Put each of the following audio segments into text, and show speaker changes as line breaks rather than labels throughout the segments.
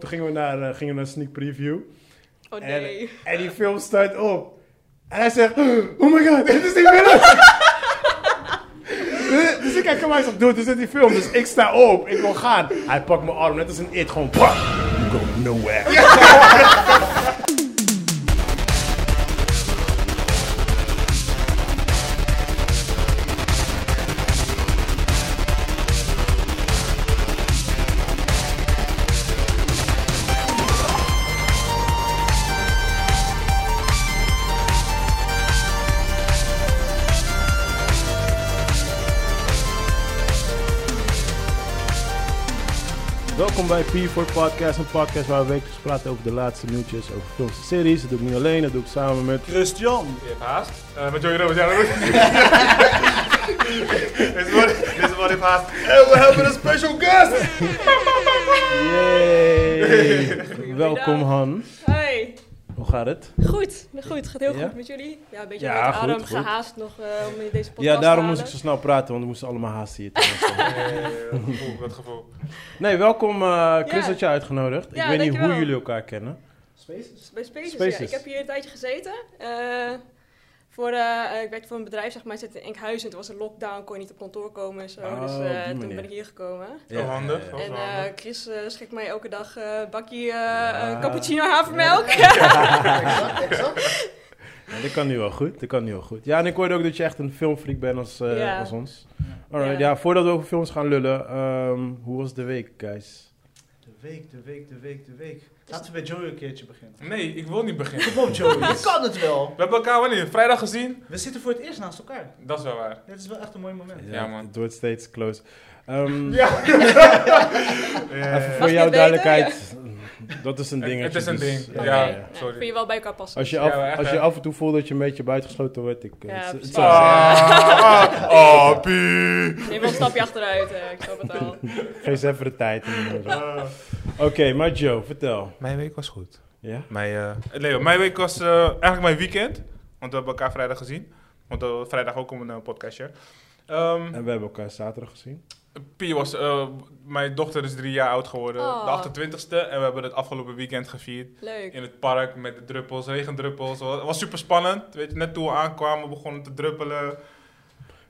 Toen gingen we naar, eh, gingen we naar Sneak Preview.
Oh
En,
nee.
en die film start op. En hij zegt, oh my god, dit is die film! dus, dus ik kijk hem aan, ik zeg, dude, dit is die film. Dus ik sta op, ik wil gaan. Hij pakt mijn arm, net als een it, gewoon, "Pah, you go nowhere. Welkom bij P4 Podcast, een podcast waar we wekelijks praten over de laatste nieuwtjes over films en series. Dat doe ik niet alleen, dat doe ik samen met...
Christian.
Je hebt haast. Eh, met Joey Robbins, ja, dat moet- Dit is wat- Dit is wat ik haast.
En we hebben een special guest.
Yay! Welkom Han,
Hey.
hoe gaat het?
Goed, goed. Gaat heel
Ja?
goed met jullie. Ja, een beetje
Ja,
uit
goed,
adem
goed.
gehaast nog eh, om in deze podcast
Ja, daarom
te
moest ik zo
halen.
snel praten, want we moesten allemaal haast hier.
Eh, dat gevoel, dat gevoel.
Nee, welkom eh, Chris
Ja.
dat je uitgenodigd.
Ja,
ik weet niet hoe
dankjewel.
jullie elkaar kennen.
Bij Spaces,
Spaces.
ja. Ik heb hier een tijdje gezeten. eh, voor, eh, eh, ik werkte voor een bedrijf, zeg maar. Ik zit in Enkhuizen. Toen was een lockdown, kon je niet op kantoor komen en zo.
Oh,
dus
op
eh,
die
toen
manier.
ben ik hier gekomen.
Heel handig.
ja,
Dat is
en
wel
eh,
handig.
Chris eh, schikt mij elke dag eh bakje eh,
Ja.
eh, cappuccino havermelk.
exact, exact.
ja. dat kan nu wel goed. Dat kan nu wel goed. Ja, en ik hoorde ook dat je echt een filmfreak bent als, eh,
Ja.
als ons. Alright, ja.
Ja.
voordat we over films gaan lullen, ehm, hoe was de week, guys?
De week, de week, de week, de week. Laten we bij Joey een keertje beginnen.
Nee, ik wil niet beginnen.
Kom op Joey, je kan het wel.
We hebben elkaar wanneer? Vrijdag gezien?
We zitten voor het eerst naast elkaar.
Dat is wel waar.
Dit is wel echt een mooi moment.
Ja, man.
Het wordt steeds close. Ehm,
Eh,
Even voor
Mag ik
jouw
het weten?
duidelijkheid, dat is een dus,
het-
ding.
het is een ding. Ja,
Oké.
ja,
Ja, Kun
sorry.
je wel bij elkaar passen.
Als je,
dus.
af,
Ja, maar echt,
als je
hè?
af en toe voelt dat je een beetje buitengesloten wordt, ik... eh,
Ja,
het- het
precies.
zal-
Ah, ah, ah, pie.
Neem wel een stapje achteruit, eh, ik snap het al.
Geef ze even de tijd.
Ah.
Oké, maar Joe, vertel.
Mijn week was goed.
Ja?
Mijn, eh, Leo, mijn week was eh, eigenlijk mijn weekend. Want we hebben elkaar vrijdag gezien. Want eh, vrijdag ook om een eh, podcastje. Ehm,
En we hebben elkaar zaterdag gezien.
Pie was, eh, mijn dochter is drie jaar oud geworden,
Oh.
de 28ste. En we hebben het afgelopen weekend gevierd
Leuk.
in het park met de druppels, regendruppels. Het was super spannend. Weet je, net toen we aankwamen begonnen te druppelen.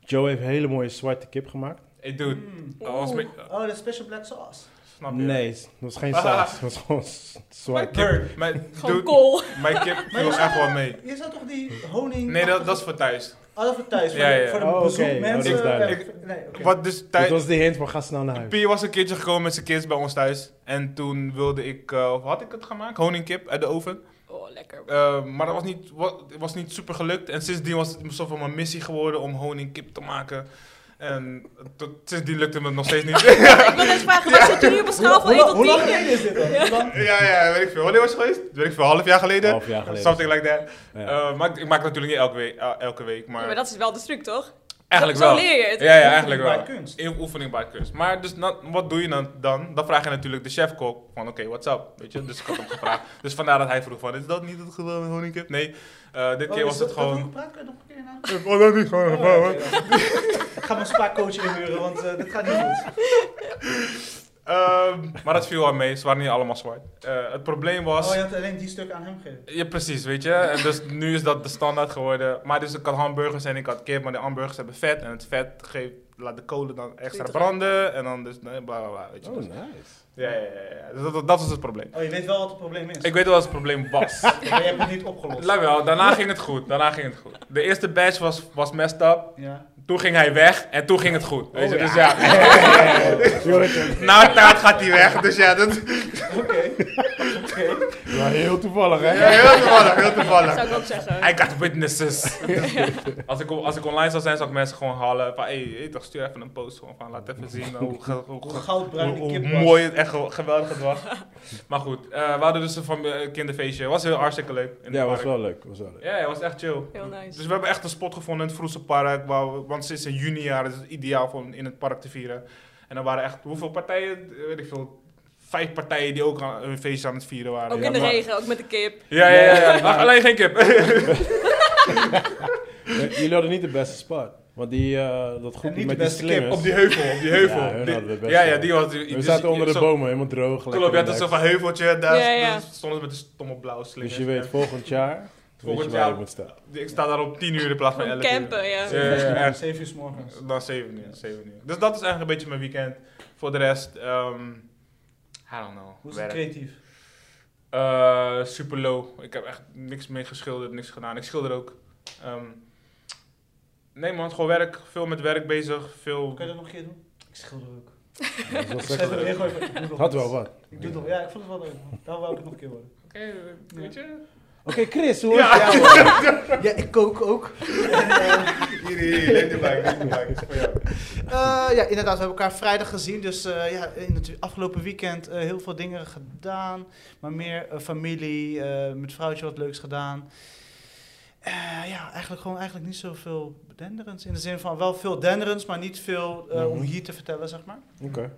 Joe heeft een hele mooie zwarte kip gemaakt.
Hey dude,
Mm.
dat was me-
Oh, dat is special black sauce.
snap je? Ah.
Nee, het was geen saus. Het was gewoon s-
Mijn
zwart.
kip, mijn,
Gewoon
dude,
kool.
mijn kip
Maar
viel
je
echt
zou-
wel mee.
Je zou toch die honing...
Nee, dat, dat is voor thuis.
Oh, dat voor thuis, voor,
Ja,
de-
ja.
voor de
Oh, oké. Oh, dat is
bezoekmensen.
duidelijk.
Eh, nee, oké.
Wat dus
Dit
thuis...
was de hint, maar ga snel naar huis.
Pie was een keertje gekomen met zijn kids bij ons thuis. En toen wilde ik, eh, of had ik het gemaakt? Honingkip uit de oven.
Oh, lekker.
Eh, maar dat was niet, wa- was niet super gelukt. En sindsdien was het een soort van mijn missie geworden om honingkip te maken. En tot, sindsdien lukte het nog steeds niet.
ik wil net vragen, waar zit je nu op een
Hoe
schaal
lang-
van
Hoe
1
lang- hoe
tot
lang
10?
geleden is dit dan? Hoe lang-
ja, ja, weet ik veel. Wanneer was het geweest? Weet ik veel, een half jaar geleden?
Half jaar geleden.
Something like that.
Ja.
Eh, maar ik, ik maak het natuurlijk niet elke week, eh, elke week maar,
Ja, maar dat is wel de truc, toch?
eigenlijk
zo,
wel.
Zo leer je het.
Ja, ja, eigenlijk
Oefening
wel.
bij kunst.
In oefening bij kunst. Maar dus na- wat doe je dan, dan? Dan vraag je natuurlijk de chefkok van, oké, what's up? Weet je, dus ik had hem gevraagd. Dus vandaar dat hij vroeg van, is dat niet het geval met honingkip? Nee, eh, dit
Oh,
keer
is
was
dat-
het
dat
gewoon...
hoe praat? Kun je nog een keer na?
Oh, dat niet gewoon
Oh, oké. Ik ga mijn spaarcoach inhuren, want eh, dit gaat niet goed.
Ehm, maar dat viel wel mee, ze waren niet allemaal zwart. Eh, het probleem was...
Oh, je
ja.
had alleen die stuk aan hem gegeven.
precies, weet je. En dus nu is dat de standaard geworden. Maar dus ik had hamburgers en ik had kip, maar de hamburgers hebben vet. En het vet geeft, laat de kolen dan extra
Ziet er-
branden. En dan dus, nee, bla bla bla, weet je.
Oh,
Dus-
nice.
ja, ja, ja, ja. Dus dat, dat, dat was het probleem.
Oh, je weet wel wat het probleem is.
Ik weet wel wat het probleem was.
Maar je hebt het niet opgelost.
Laat wel, daarna ging het goed, daarna ging het goed. De eerste badge was, was messed up.
Ja.
Toen ging hij weg en toen ging het goed. Weet je,
Oh,
dus ja. Na taart gaat hij weg, dus ja, dat...
Oké. Oké.
Ja, heel toevallig, hè?
Ja, heel toevallig, heel toevallig.
zou ik ook zeggen.
I got witnesses. als, ik, als ik online zou zijn, zou ik mensen gewoon halen. Van, hey, hey, toch, stuur even een post. Gewoon, van, laat even zien hoe, ge- hoe,
Hoe
ge-
goudbruin
hoe-
die
hoe
kip was.
mooi het echt ge- geweldig het was. maar goed, eh, we hadden dus een fam- eh, kinderfeestje. Was heel hartstikke leuk. in het
Ja, was
park.
wel leuk. Was wel leuk.
Ja, ja, was echt chill.
Heel nice.
Dus we hebben echt een spot gevonden in het Vroese Park. Waar we- want sinds in juni jaar is het ideaal om in het park te vieren. En er waren echt, hoeveel partijen? Eh, Weet ik veel. Vijf partijen die ook aan, hun feestje aan het vieren waren.
ook
Ja,
in de
maar-
regen, ook met de kip.
Ja, ja, ja. ja. Alleen geen kip.
Jullie hadden niet de beste spot. Want die, eh, dat
En
groepje
niet
met
de beste
die
kip
slingers.
Op die heuvel, op die heuvel.
Ja, hun
Die-
hadden de beste.
ja, ja, die was...
we zaten onder de
zo-
bomen, helemaal droog. lekker
Klopt, ja, dat is
relaxed.
dus zo'n heuveltje. Daar
Ja, ja.
daar stonden ze met de stomme blauwe slingers.
Dus je weet volgend jaar, volgend weet
Volgend
je waar
jaar-
je moet staan.
Ik sta daar op 10 uur in plaats van 11 uur.
Campen, ja.
Ja, ja, ja.
7 uur s morgens.
Dan 7 uur, 7 uur. Dus dat is eigenlijk een beetje mijn weekend. Voor de rest, ehm I don't know.
Hoe is het
werk.
creatief?
Eh, super low. Ik heb echt niks mee geschilderd, niks gedaan. Ik schilder ook. Ehm, nee man, gewoon werk. Veel met werk bezig. Veel...
Kun je dat nog een keer doen? Ik schilder ook.
Dat is wel
Ik schrijf het
slecht.
weer gewoon even. Ik doe nog
Had
iets.
wel wat.
Ik doe het nog. Ja, ik vond het wel leuk. Daar wou ik het nog een keer worden.
Oké, weet je?
Oké, Chris, hoe
Ja.
is het jou?
Ja, ik kook ook.
Hier, hier, hier. Neem de bike, neem de bike. Is voor jou.
Eh, ja, inderdaad, we hebben elkaar vrijdag gezien. Dus eh, ja, in het afgelopen weekend eh, heel veel dingen gedaan. Maar meer eh, familie, eh, met vrouwtje wat leuks gedaan. Eh, ja, eigenlijk gewoon eigenlijk niet zoveel denderends. In de zin van wel veel denderends, maar niet veel eh, om
Mhm.
hier te vertellen, zeg maar.
Oké.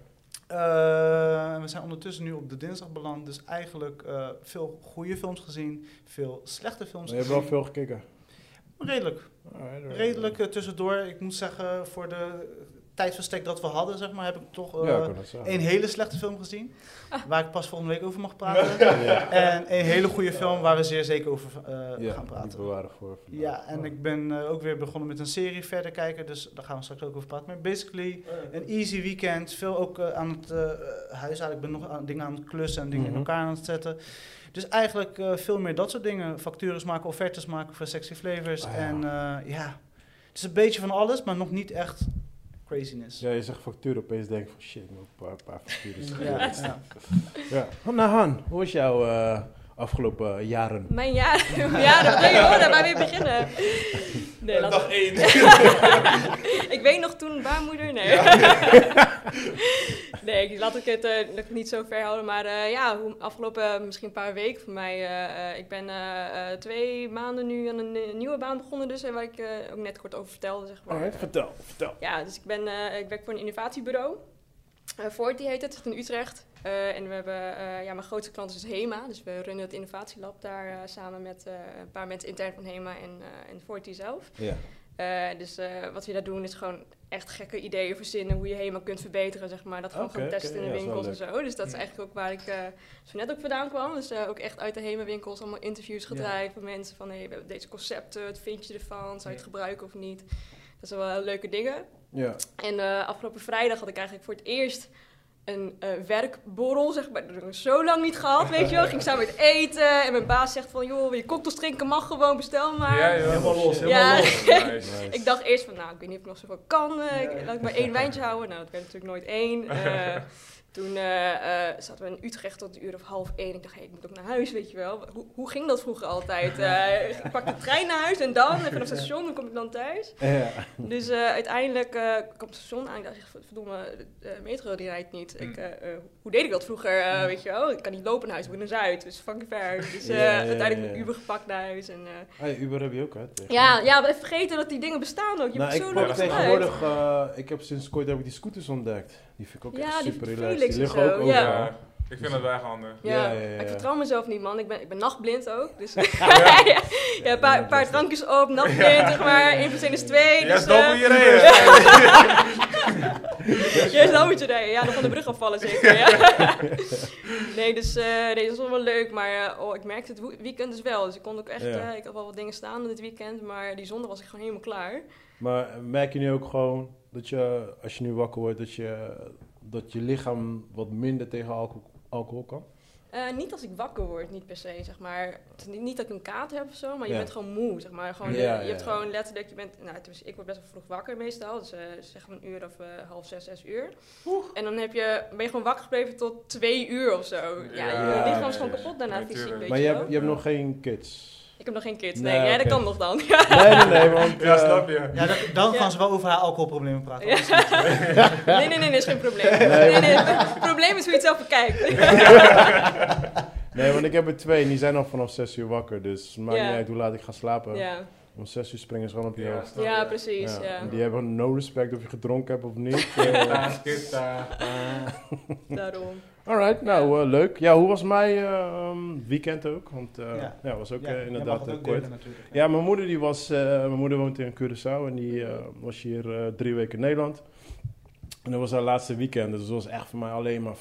Eh, en we zijn ondertussen nu op de dinsdag beland. Dus eigenlijk eh, veel goede films gezien, veel slechte films
Je hebt wel
gezien.
veel gekeken.
Redelijk.
Alright, alright.
Redelijk eh, tussendoor. Ik moet zeggen, voor de tijdverstek dat we hadden, zeg maar, heb ik toch eh,
Ja, ik kan dat zeggen.
een hele slechte film gezien. Waar ik pas volgende week over mag praten.
Ja.
En een hele goede film waar we zeer zeker over eh,
Ja,
gaan
Die
praten.
bewaren voor vandaag.
Ja, en ik ben eh, ook weer begonnen met een serie verder kijken, dus daar gaan we straks ook over praten. Maar
Oh,
basically, een easy weekend. Veel ook eh, aan het eh, huishouden. Ik ben nog aan, dingen aan het klussen en dingen
Mhm.
in elkaar aan het zetten. Dus eigenlijk eh, veel meer dat soort dingen. Factures maken, offertes maken voor sexy flavors.
Ah, ja.
En eh, ja, het is een beetje van alles, maar nog niet echt craziness.
Ja, je zegt factuur, opeens denk ik van shit, ik moet een paar, paar facturen
Ja,
schrijven.
ja.
Ja. Han, Nou Han, hoe is jouw eh, afgelopen jaren?
Mijn jaar, jaren, nee hoor, daar waar we beginnen. Nee, laat-
Dag 1.
ik weet nog toen baarmoeder, nee. nee, ik- laat ik het eh, nog niet zo ver houden, maar eh, ja, hoe- afgelopen misschien een paar weken voor mij. eh, eh, ik ben eh, eh, twee maanden nu aan een eh, nieuwe baan begonnen dus, en waar ik eh, ook net kort over vertelde, zeg maar.
Alright, vertel, vertel.
Ja, dus ik, ben, eh, ik werk voor een innovatiebureau. Voort Forti heet het, het zit in Utrecht. Eh, en we hebben, eh, ja, mijn grootste klant is HEMA. Dus we runnen het innovatielab daar eh, samen met eh, een paar mensen intern van HEMA en, eh en Forti zelf.
Ja.
Eh, dus eh, wat we daar doen is gewoon echt gekke ideeën verzinnen hoe je helemaal kunt verbeteren, zeg maar. Dat gaan we
Oké,
gewoon
oké,
testen
ja,
in de
is wel
winkels en zo. Dus dat is eigenlijk ook waar ik eh, zo net ook vandaan kwam. Dus eh, ook echt uit de HEMA-winkels allemaal interviews gedraaid van mensen van... hey, we hebben deze concepten, wat vind je ervan? Zou je het gebruiken of niet? Dat zijn wel heel leuke dingen.
Ja.
En eh, afgelopen vrijdag had ik eigenlijk voor het eerst een eh, werkborrel, zeg maar. Dat heb ik zo lang niet gehad, weet je wel. Ging samen met eten en mijn baas zegt van... joh, wil je cocktails drinken? Mag gewoon, bestel maar.
Ja, joh.
Helemaal los,
helemaal Ja.
los.
Nice.
Ik dacht eerst van, nou, ik weet niet of ik nog zoveel kan. eh, ik-
Ja.
Laat ik maar één wijntje houden. Nou, dat werd natuurlijk nooit één. Eh, toen eh, eh, zaten we in Utrecht tot een uur of half één. Ik dacht, hey, ik moet ook naar huis, weet je wel. Hoe, hoe ging dat vroeger altijd? Eh, ik pak de trein naar huis en dan, en vanaf het station, dan kom ik dan thuis.
Ja.
Dus eh, uiteindelijk eh, ik kwam het station aan. Ik dacht, echt, verdomme, de eh, metro die rijdt niet. Ik, eh, eh, hoe deed ik dat vroeger, eh, weet je wel? Ik kan niet lopen naar huis, ik moet naar Zuid. Dus fucking ver. Dus eh,
Ja, ja, ja,
uiteindelijk
ja.
Uber gepakt naar huis. En, eh,
Hey, Uber heb je ook, hè? tegen.
ja, ja, we vergeten dat die dingen bestaan ook. Je
nou,
moet
ik
zo
pak
lang uit.
tegenwoordig, eh, ik heb sinds kort heb ik die scooters ontdekt. Die vind ik ook
Ja,
echt
die
super
van
relaxed.
Felix
Die
of
liggen ook
zo,
overal.
ja.
Ja, ik vind dat wel echt handig.
Ja,
Ja, ja, ja,
maar ik
ja.
vertrouw mezelf niet, man. Ik ben, ik ben nachtblind ook. Dus ja,
Ja.
een paar, paar drankjes op, nachtblind, zeg maar. 1 plus 1 is 2.
Jij
dus,
stopt
eh,
hier reden.
Juist dan moet je rijden. Ja, dan van de brug afvallen zeker. Ja. nee, dus eh, nee, dat was wel leuk. Maar eh, oh, ik merkte het woe- weekend dus wel. Dus ik kon ook echt...
Ja.
eh, ik had wel wat dingen staan dit weekend. Maar die zondag was ik gewoon helemaal klaar.
Maar merk je nu ook gewoon dat je, als je nu wakker wordt, dat je, dat je lichaam wat minder tegen alcohol, alcohol kan?
Eh, niet als ik wakker word, niet per se, zeg maar. Het is niet, niet dat ik een kater heb of zo, maar je
Ja.
bent gewoon moe, zeg maar. Gewoon,
Ja,
je, je
ja,
hebt
ja.
gewoon letterlijk, je bent... Nou, tenminste, ik word best wel vroeg wakker meestal. Dus eh, zeg maar een uur of eh, half zes, zes uur. En dan heb je, ben je gewoon wakker gebleven tot twee uur of zo. Ja,
Ja,
je lichaam
ja,
is gewoon
ja.
kapot daarna
Nee,
fysiek,
tuurlijk.
weet
maar
je
je
wel.
hebt, je hebt nog geen kids.
Ik heb nog geen kids,
Nee,
nee. Ja,
oké.
dat kan nog dan. Ja.
Nee, nee, nee, want...
Ja,
eh,
snap je.
Ja, dat- dan
Ja.
gaan ze wel over haar alcoholproblemen praten.
Ja. Nee, nee, nee, nee, is geen probleem.
Nee,
Nee,
want-
nee, het probleem is hoe je het zelf bekijkt.
Nee, want ik heb er twee en die zijn al vanaf 6 uur wakker. Dus het maakt
Ja.
niet uit hoe laat ik ga slapen.
Ja,
Om 6 uur springen ze gewoon op je
Ja,
hoofd.
snap
ja
je.
precies, ja.
en Die hebben Eh, no respect of je gedronken hebt of niet.
Kitta, kitta.
Eh,
Daarom.
Alright, nou eh, leuk. Ja, hoe was mijn eh, um, weekend ook? Want eh, ja.
Ja.
was ook
Ja,
eh,
jij mag
inderdaad
het
eh,
ook
kort.
delen natuurlijk,
Ja, mijn moeder die was, eh, mijn moeder woont in Curaçao en die eh, was hier eh, drie weken in Nederland. En dat was haar laatste weekend, dus dat was echt voor mij alleen maar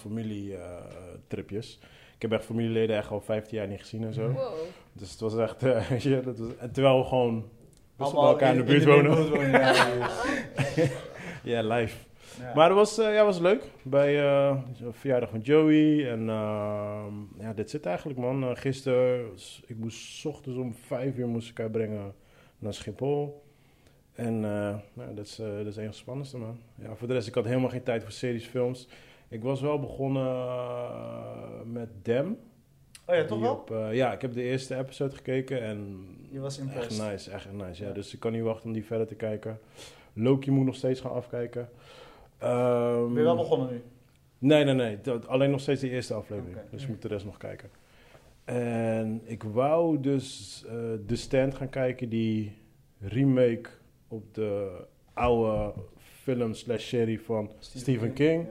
familietripjes. ik heb echt familieleden echt al 15 jaar niet gezien en zo.
Wow.
Dus het was echt, eh, weet je, dat was, en terwijl we gewoon best wel bij
Allemaal
elkaar in de buurt wonen.
ja, ja,
Ja, live.
ja.
Maar het was, eh, ja, was leuk. Bij eh verjaardag van Joey. En ehm, ja, dit zit eigenlijk, man. Eh, gisteren, s- ik moest 's ochtends om vijf uur moest ik haar brengen naar Schiphol. En eh, nou, dat is, eh, dat is een van het spannendste, man. Ja, voor de rest, ik had helemaal geen tijd voor series, films. Ik was wel begonnen eh, met Dem.
Oh ja, toch
Die
wel?
op, eh, ja, ik heb de eerste episode gekeken en...
Je was
Echt
impressed.
nice, echt nice. Ja.
Ja.
Dus ik kan niet wachten om die verder te kijken. Loki moet ik nog steeds gaan afkijken. Ehm,
Ben je wel begonnen nu?
Nee, nee, nee. Dat, alleen nog steeds de eerste aflevering.
Oké.
Dus ik
Mm.
moet de rest nog kijken. En ik wou dus eh The Stand gaan kijken, die remake op de oude film slash serie van Stephen King.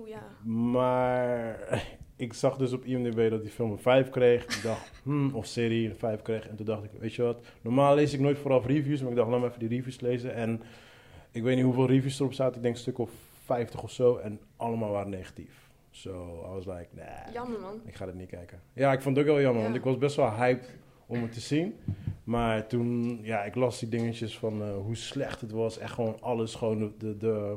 Oh ja.
Maar ik zag dus op IMDb dat die film een 5 kreeg. Ik dacht, hmm, of serie een 5 kreeg. En toen dacht ik, weet je wat, normaal lees ik nooit vooraf reviews. Maar ik dacht, laat me even die reviews lezen. En ik weet niet hoeveel reviews erop zaten. Ik denk een stuk of 50 of zo. En allemaal waren negatief. So, I was like, nah.
Jammer man.
Ik ga dit niet kijken. Ja, ik vond het ook wel jammer, want
Ja.
ik was best wel hyped om het te zien. Maar toen, ja, ik las die dingetjes van eh, hoe slecht het was. Echt gewoon alles, gewoon de, de, de,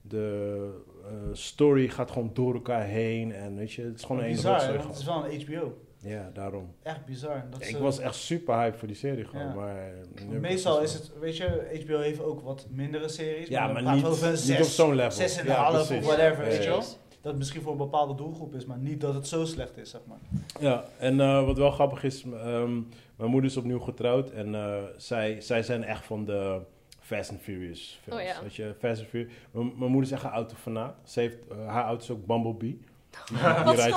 de, eh, story gaat gewoon door elkaar heen. En weet je, het is gewoon een enige
bizar, hè,
rotzooi.
want het is
gewoon.
wel een HBO.
Ja, daarom.
Echt bizar. Dat
ik
ze-
was echt super hyped voor die serie gewoon,
Ja.
maar... nu-
Meestal is het, weet je, HBO heeft ook wat mindere series.
dus Ja,
dan
maar
praten
niet,
we over een
niet op
zes.
zo'n level.
zes en een
Ja,
half
precies.
of whatever,
Ja,
weet je
ja,
wel. Dat misschien voor een bepaalde doelgroep is, maar niet dat het zo slecht is, zeg maar.
Ja, en eh, wat wel grappig is, ehm, mijn moeder is opnieuw getrouwd en eh, zij, zij zijn echt van de Fast and Furious films.
Oh ja.
Weet je, Fast and Furious. Mijn mijn moeder is echt een autofanaat. Ze heeft, eh, haar auto is ook Bumblebee. Die,
Wat
zo.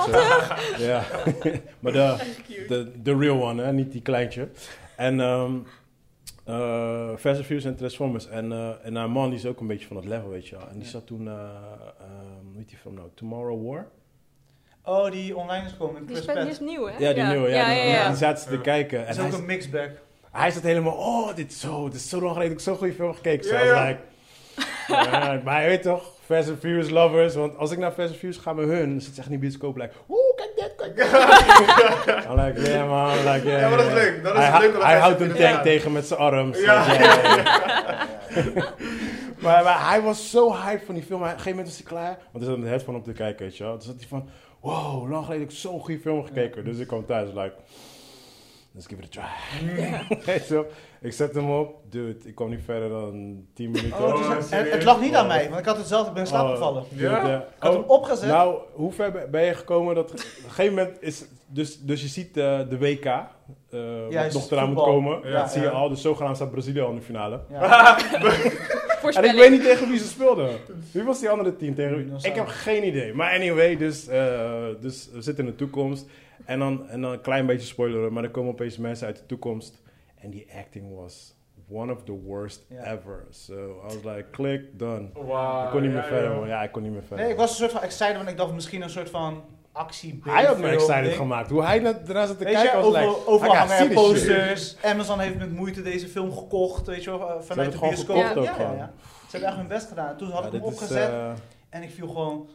Ja, eh, maar de, de, de real one, hè? niet die kleintje. En ehm eh, Fast and Furious en Transformers. En, eh, en haar man die is ook een beetje van dat level, weet je wel. En die
Ja.
zat toen, eh, ehm, hoe heet die film nou? Tomorrow War?
Oh, die online is gekomen met
Die
Chris
spek die
Pratt.
is nieuw hè?
Ja, die nieuwe. Ja,
Ja,
die,
ja,
die
ja.
zaten ze te
Ja.
kijken. En
Dat is
hij
ook een mixbag.
Hij zat helemaal, oh, dit is zo, dit is zo lang geleden dat ik zo'n goede film heb gekeken.
Ja,
Zo, I was
ja.
like, ja, maar je weet toch, Fast and Furious lovers. Want als ik naar Fast and Furious ga met hun, dan zit ze echt in de bioscoop. Like, oeh, kijk dit, kijk dit. I'm like, yeah man, I'm like, yeah,
Ja, maar dat is
yeah.
leuk. Dat is
hij,
leuk,
hou-
want
Hij
hij
houdt
zit
een tank
inderdaad.
tegen met zijn arms.
Ja.
weet je. maar, maar hij was zo hyped van die film. Hij- Op een gegeven moment was hij klaar. Want er zat een headphone op te kijken, weet je wel. Toen zat hij van, wow, lang geleden heb ik zo'n goede film gekeken. Dus ik kwam thuis, like... Let's give it a try. Weet je wel. ik zet hem op. Dude, ik kwam niet verder dan 10 minuten.
Oh,
Oh,
het, is- het,
serieus?
het lag niet aan mij, want ik had hetzelfde, ik ben in slaap
Oh,
gevallen.
dude, Oh,
Ja?
Ik had hem opgezet.
nou, hoe ver ben- ben je gekomen? Dat, op een gegeven moment is... Dus, dus je ziet eh, de WK, eh, wat
Juist,
nog eraan moet
voetbal.
komen.
Ja,
dat zie je
ja.
al. Dus zogenaamd staat Brazilië al in de finale.
Ja.
En ik
Voorspelling.
weet niet tegen wie ze speelden.
Dus-
Wie was die andere team tegen wie?
Buenos
Ik heb
Aires.
geen idee. Maar anyway, dus, eh, dus we zitten in de toekomst. En dan, en dan een klein beetje spoileren. Maar er komen opeens mensen uit de toekomst. En die acting was one of the worst
Ja. Ah,
ever. So I was like, click, done.
Wauw.
ik kon niet meer
ja,
verder,
ja.
man. Ja, ik kon niet meer verder.
Nee, ik was een soort van excited, want ik dacht misschien een soort van actie
hij had me
B-film
excited
ding.
gemaakt. Hoe hij naar- daarna zat te
Weet
kijken
je,
was
overal,
like,
overal
I gotta
hangen er
see this shit.
posters. Amazon heeft met moeite deze film gekocht, weet je wel, eh,
hebben
vanuit
het
de
gewoon
bioscoop.
gekocht
ja,
ook
ja,
gewoon.
ja. Ze hebben echt hun best gedaan. Toen had
Ja,
ik hem
dit is,
opgezet
eh,
en ik viel gewoon...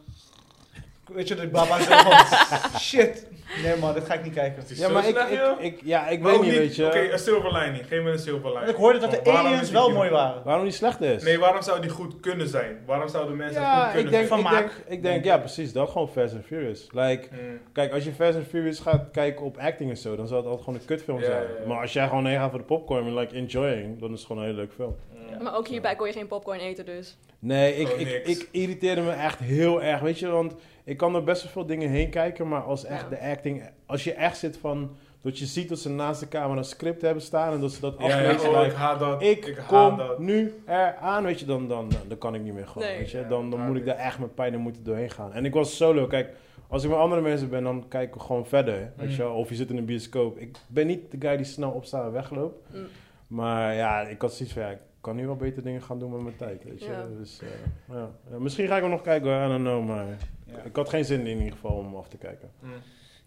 Weet je, dat ik baba zo van, shit. Nee man, dit ga ik niet kijken.
Het is
ja,
zo
maar ik,
slecht,
ik,
joh.
ik, ja, ik
Maar
weet
ook
niet, weet je.
Oké, een zilverlining. Geef me een
Want
zilverlining.
ik hoorde dat de
Waarom
aliens
is die
wel
film-
mooi waren.
Waarom die slecht is?
Nee, waarom zou die goed kunnen zijn? Waarom zouden mensen het
ja,
goed
ik
kunnen
denk,
Van
ik,
Maak.
denk, ik denk, ja, precies dat. Gewoon Fast and Furious. Like,
vinden? Mm.
kijk, als je Fast and Furious gaat kijken op acting en zo, dan zal het altijd gewoon een kutfilm
Ja,
zijn.
ja, ja.
Maar als jij gewoon heen gaat voor de popcorn en like enjoying, dan is het gewoon een hele leuke film.
mm.
Maar ook hierbij kon je geen popcorn eten dus.
Nee, ik,
Oh,
ik,
niks.
ik irriteerde me echt heel erg. Weet je, want ik kan er best wel veel dingen heen kijken, maar als echt
Ja.
de acting, als je echt zit van, dat je ziet dat ze naast de camera een script hebben staan en dat ze dat
Ja, ja,
aflezen.
oh, ik
like,
haat dat.
ik,
ik haat
kom
dat.
nu eraan, weet je, dan, dan, dan, dan kan ik niet meer gewoon,
Nee.
weet je.
Ja,
Dan, dan
ja,
moet ik daar echt met pijn en moeite doorheen gaan. En ik was solo, kijk, als ik met andere mensen ben, dan kijk ik gewoon verder,
Mm.
weet je wel. Of je zit in een bioscoop. Ik ben niet de guy die snel opstaat en wegloopt.
Mm.
Maar ja, ik had zoiets van, ja, ik kan nu wel beter dingen gaan doen met mijn tijd, weet je.
Ja.
Dus, eh, ja. Ja, misschien ga ik hem nog kijken, hoor, I don't know, maar...
Ja,
Ja.
Ik had geen zin in ieder geval om af te kijken.
Mm.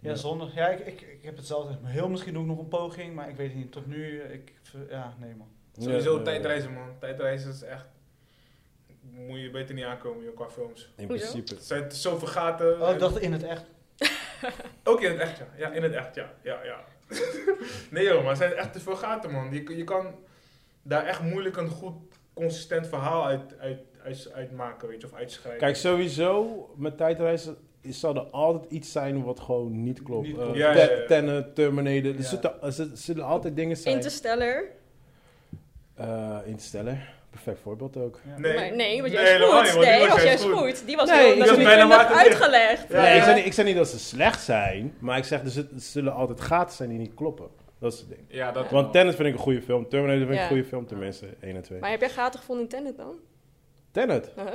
Ja, zondag. Ja, ik, ik, ik heb hetzelfde. Heel misschien doe ik nog een poging, maar ik weet het niet. Tot nu, eh, ik, ver- ja, nee man.
Sowieso
Ja, eh,
tijdreizen, man. Tijdreizen is echt... Moet je beter niet aankomen, joh, qua films.
In
Hoezo?
principe.
Er zijn zoveel gaten.
Oh,
en-
ik dacht in het echt.
Ook in het echt, ja. Ja, in het echt, ja. ja, ja. nee joh, maar er zijn echt te veel gaten, man. Je, je kan daar echt moeilijk een goed, consistent verhaal uit, uit, uit, maken, weet je. Of uitschrijven.
Kijk, sowieso met tijdreizen is- zal er altijd iets zijn wat gewoon niet klopt.
Niet
Eh,
klopt.
Ja, ja, ja.
Te- Tenet, Terminator. Er
Ja.
zitten, er zitten- zullen altijd dingen zijn.
Interstellar.
Eh, Interstellar. Perfect voorbeeld ook.
Ja.
Nee.
Maar nee, want jij
Nee,
is
helemaal
goed.
niet, want die
nee,
was
want jij
juist
is goed.
goed.
Die was
Nee,
heel
die was
natuurlijk
bijna
net
water dicht.
uitgelegd.
Ja,
nee,
ja.
Ik, zeg niet, ik zeg niet dat ze slecht zijn, maar ik zeg er zit- er zullen altijd gaten zijn die niet kloppen. Dat is het ding.
Ja, dat
Want Tenet vind ik een goede film, Terminator vind ik
Ja.
een goede film, tenminste 1 en 2.
Maar Uh-huh. heb jij gaten gevonden in Tenet dan?
Tenet.
Huh?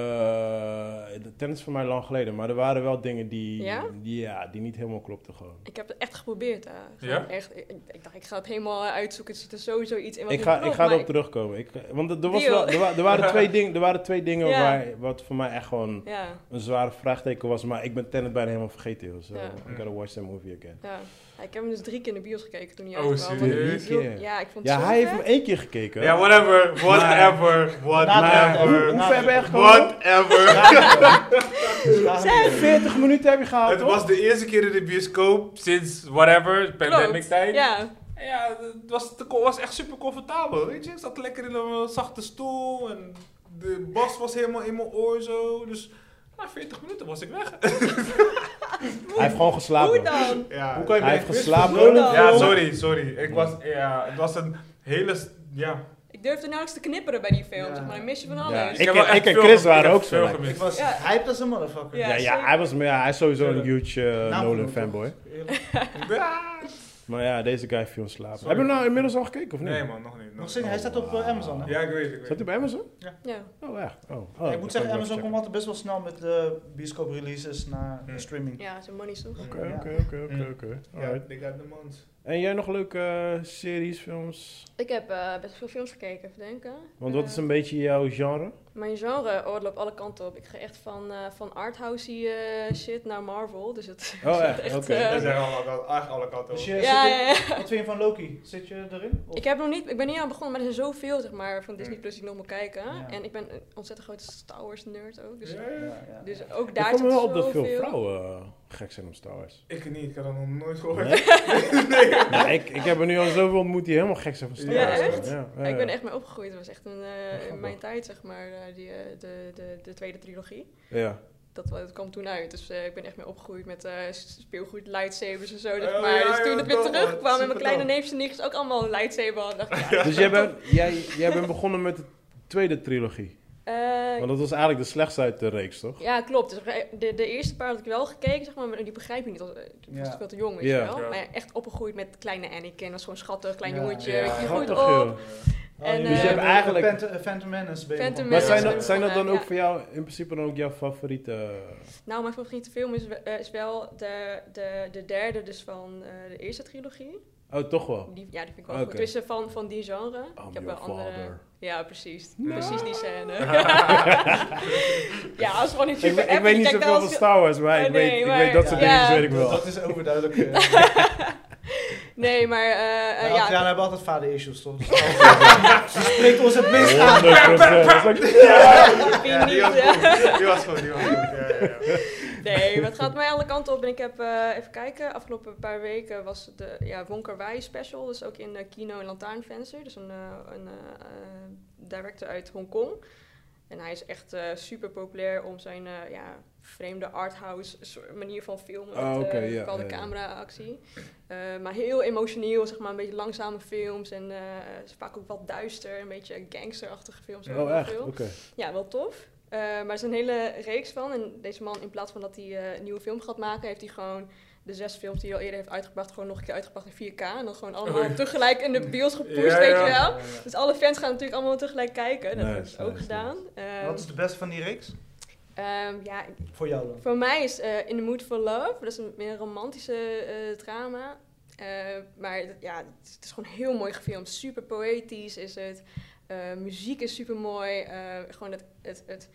Eh, Tenet is voor mij lang geleden, maar er waren wel dingen die,
Ja?
die, ja, die niet helemaal klopten gewoon.
Ik heb het echt geprobeerd. eh. Gewoon
Ja?
Echt, ik, ik- ik dacht, ik ga het helemaal uitzoeken. Er zit er sowieso iets in wat
Ik
niet
ga, ik
klopt,
ga
maar
erop terugkomen. Ik, want er, er was
Deal.
wel, er, wa- er waren twee dingen, er waren twee dingen
Ja.
waar, wat voor mij echt gewoon
Ja,
een zware vraagteken was. Maar ik ben Tenet bijna helemaal vergeten. joh. So,
Ja.
I gotta watch that movie again.
ja. Ja, Ik heb hem dus drie keer in de bios gekeken toen hij
Oh,
uitkwam, want
serieus?
ik wil-
Keer?
Ja, ik vond het
Ja,
zo
hij heeft
vet.
hem één keer gekeken.
Ja, whatever, whatever,
maar hoe,
whatever,
hoe ver ben je gekomen?
whatever.
Ja,
40 minuten heb je gehaald,
Het
toch?
was de eerste keer in de bioscoop sinds whatever, pandemic
Klopt.
tijd.
Ja,
En ja, het was, te- was echt super comfortabel, weet je. Ik zat lekker in een eh, zachte stoel en de bas was helemaal in mijn oor zo. Dus na 40 minuten was ik weg.
Hij heeft gewoon
hoe
geslapen.
dan?
Ja,
Hoe kan je Hij heeft
wist-
geslapen.
Hoe dan?
Ja, sorry, sorry. Ik was, ja, het was een hele, s- ja.
Ik durfde nauwelijks te knipperen bij die film,
Ja.
zeg maar. Dan mis je van
Ja,
alles.
ik-
heb wel
en
echt
Chris
veel gemist.
waren
Ik heb
ook zo
veel
lekker.
gemist.
ik was
Ja.
hyped als een motherfucker.
Ja,
Ja, ja,
zeker.
hij, was, maar ja, hij is sowieso een
Tuurlijk.
huge eh,
Nou,
Nolan
goed,
fanboy.
eerlijk.
Ah.
Maar ja, deze guy viel in slaap.
Sorry.
Heb je hem nou inmiddels al gekeken of niet?
Nee man, nog niet.
Nog
Nog
steeds, hij staat op eh, Amazon. Hè?
Ja, ik weet het. Ik weet
Zat
het.
hij bij Amazon?
Ja.
Oh, echt? Oh, oh,
ik
dat
moet
kan
zeggen,
wel
Amazon
checken.
komt altijd best wel snel met de bioscoop releases naar
Hmm.
streaming.
ja, zijn money is toch?
Oké,
Ja.
oké, oké, oké,
Mm.
oké.
Ja,
Alright.
they got the months.
En jij nog leuke eh, series, films?
Ik heb eh, best veel films gekeken, even denken.
Want wat
Eh,
is een beetje jouw genre?
Mijn genre, oh, het loopt alle kanten op. Ik ga echt van, eh van arthousey eh, shit naar Marvel. Dus het
Oh,
het
echt? Oké.
eh,
Wij zijn allemaal kant- eigenlijk alle kanten
Dus
op.
je, zit
ja,
in-
ja, ja.
Wat vind je van Loki? Zit je erin? Of-
Ik, heb nog niet, ik ben niet aan begonnen, maar er zijn zoveel zeg maar, van Disney
Mm.
Plus die ik nog moet kijken.
Ja.
En ik ben een ontzettend grote Star Wars nerd ook. Dus,
Ja,
Ja,
ja.
ja.
dus ook
ik
daar
kom
zit
wel op dat veel
zoveel.
vrouwen eh, gek zijn op Star Wars.
Ik niet, ik had dat nog nooit gehoord.
Nee? Nou, ik, ik heb er nu al zoveel ontmoet die helemaal gek zijn van Star
Ja,
Wars.
echt?
Ja,
Ja,
ja,
ik ben
ja.
echt mee opgegroeid. Het was echt een, eh,
grappig.
in mijn tijd, zeg maar, eh, die, eh, de, de, de tweede trilogie.
Ja.
Dat, wa- dat kwam toen uit. Dus eh, ik ben echt mee opgegroeid met eh, s- speelgoed, lightsabers en zo.
Oh,
zeg maar.
ja,
dus
ja,
toen het weer
toch,
terugkwam en mijn
super
kleine
tof.
neefjes en nichtjes ook allemaal een lightsaber hadden, dacht ik, ja,
Dus jij bent, jij, jij bent begonnen met de tweede trilogie.
eh,
Want dat was eigenlijk de slechtste uit de reeks, toch?
Ja, klopt. Dus de, de eerste paar had ik wel gekeken, zeg maar, maar die begrijp je niet. als- eh, Toen was
Ja.
ik veel te jong, weet
Ja.
je wel.
Ja.
Maar ja, echt opgegroeid met kleine Anakin. was gewoon schattig, klein
Ja.
jongetje.
Ja,
weet je, je groeit op.
grappig, joh.
Oh,
En,
Dus je
eh,
hebt eigenlijk-
Phantom- eh, Phantom Menace ben je
Phantom
nog.
Maar
Menace.
zijn
Ja.
dat, zijn dat dan ook
Ja.
voor jou in principe dan ook jouw favoriete...
Nou, mijn favoriete film is, we- eh, is wel de, de, de derde dus van eh, de eerste trilogie.
Oh, toch wel?
Die, ja, die vind ik wel
Oké.
goed. Tussen van, van die genre.
I'm
ik heb wel
your
andere...
father.
Ja, precies.
Nee.
Precies die scène. ja, als gewoon niet
Ik,
super
ik weet niet zoveel van Star Wars, maar,
Oh,
ik,
nee,
weet, ik
maar-
weet dat soort
Ja.
dingen weet ik
Dat-
wel.
Dat is overduidelijk. eh.
Nee, maar... eh, eh,
Nou,
Maar
ja,
Adriana hebben altijd vader issues, toch? Dus- Ze spreekt ons het minst aan.
100%. Dat is ook-
ik
Ja,
niet,
die was
eh.
goed, die was goed, die was goed. Ja, ja, ja.
Nee, maar het gaat mij alle kanten op. En ik heb, eh, even kijken, afgelopen paar weken was het de ja, Wonkarwai special. Dus ook in eh, Kino en Lantaarnvenster. Dus een, eh, een eh, eh, director uit Hongkong. En hij is echt super populair om zijn eh, ja, vreemde arthouse soort manier van filmen.
Oh,
met
oké,
eh,
ja,
bepaalde
ja, ja.
camera-actie. Eh, maar heel emotioneel, zeg maar, een beetje langzame films. En eh, is vaak ook wat duister, een beetje gangsterachtige films. ook
Oh,
heel
echt?
veel.
Oké.
Ja, wel tof. Eh, maar er is een hele reeks van. En deze man, in plaats van dat hij eh, een nieuwe film gaat maken, heeft hij gewoon de zes films die hij al eerder heeft uitgebracht, gewoon nog een keer uitgebracht in 4K. En dan gewoon allemaal
Oei.
tegelijk in de bios gepusht,
Ja,
weet
ja.
je wel. Dus alle fans gaan natuurlijk allemaal tegelijk kijken. Dat
Nice,
heb ik ook
nice,
gedaan. Ehm,
Wat is de beste van die reeks?
ehm, ja, ik-
Voor jou dan.
voor mij is eh, In the Mood for Love, dat is een meer een romantische eh, drama. Eh, maar het- ja, het is gewoon heel mooi gefilmd. Super poëtisch is Eh, het. Eh, muziek is super mooi. gewoon het, het, het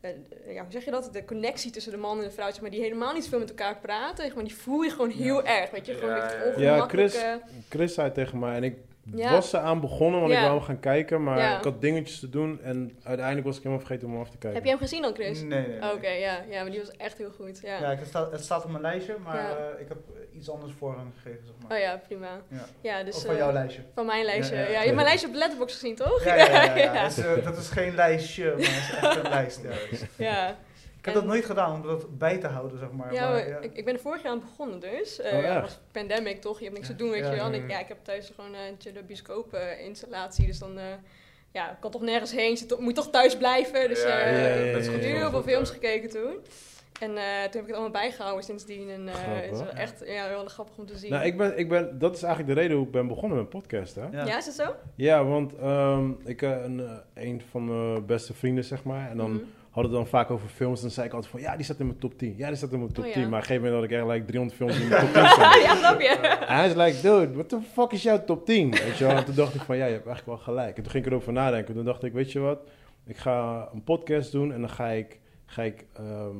eh, ja, hoe zeg je dat? De connectie tussen de man en de vrouw, zeg maar, die helemaal niet veel met elkaar praten. zeg Maar die voel je gewoon heel erg. Weet je, gewoon
Ja,
echt
ja, ja. Ja,
ongemakkelijke...
Chris- Chris zei tegen mij en ik
Ja.
was eraan begonnen, want ik
Ja.
wou hem gaan kijken, maar
Ja.
ik had dingetjes te doen en uiteindelijk was ik helemaal vergeten om hem af te kijken.
Heb je hem gezien dan, Chris?
Nee, nee, nee.
Oké, ja, ja, maar die was echt heel goed. Ja.
Mm. Ja, ik heb sta- het staat op mijn lijstje, maar
Ja.
eh, ik heb eh, iets anders voorrang gegeven, zeg maar.
Oh ja, prima.
Ja.
Ja, dus...
Of van
eh,
jouw lijstje.
Van mijn lijstje. Ja,
Ja, ja.
je hebt mijn lijstje op Letterboxd gezien, toch?
Ja, ja, ja, ja, ja. Dat, is, eh, dat is geen lijstje, maar het is echt een lijst. Ja.
Ja.
Ik heb dat nooit gedaan om dat bij te houden, zeg maar.
Ja,
maar,
maar
ja.
ik, ik ben er vorig jaar aan begonnen dus. Eh,
Oh,
ja,
echt?
was pandemic toch, je hebt niks
Ja.
te doen, weet
Ja,
je wel. En
ja.
ik, ja, ik heb thuis gewoon eh, eentje de bioscoop eh, installatie, dus dan... eh, ja, ik kan toch nergens heen, zit toch- moet toch thuis blijven. Dus eh
Ja,
ja, ja,
ik
ja,
heb
ja, ja.
heel veel films gekeken toen. En eh, toen heb ik het allemaal bijgehouden sindsdien. En eh,
Grappig.
het is wel echt ja, heel grappig om te zien.
Nou, ik ben, ik ben, dat is eigenlijk de reden hoe ik ben begonnen met podcasten. hè?
ja. is dat zo?
Ja, want ehm, ik, eh, een, eh, een van mijn beste vrienden, zeg maar. En dan
Mhm.
hadden we het dan vaak over films. En dan zei ik altijd van, ja, die staat in mijn top 10. Ja, die staat in mijn top
Oh, ja.
10. Maar op een gegeven moment had ik echt like 300 films in mijn top 10 staan.
Ah, ja, snap je.
En hij is like, dude, what the fuck is jouw top 10? Weet je wel? En toen dacht ik van, ja, je hebt eigenlijk wel gelijk. En toen ging ik erover nadenken. Toen dacht ik, weet je wat? Ik ga een podcast doen en dan ga ik, ga ik, ehm,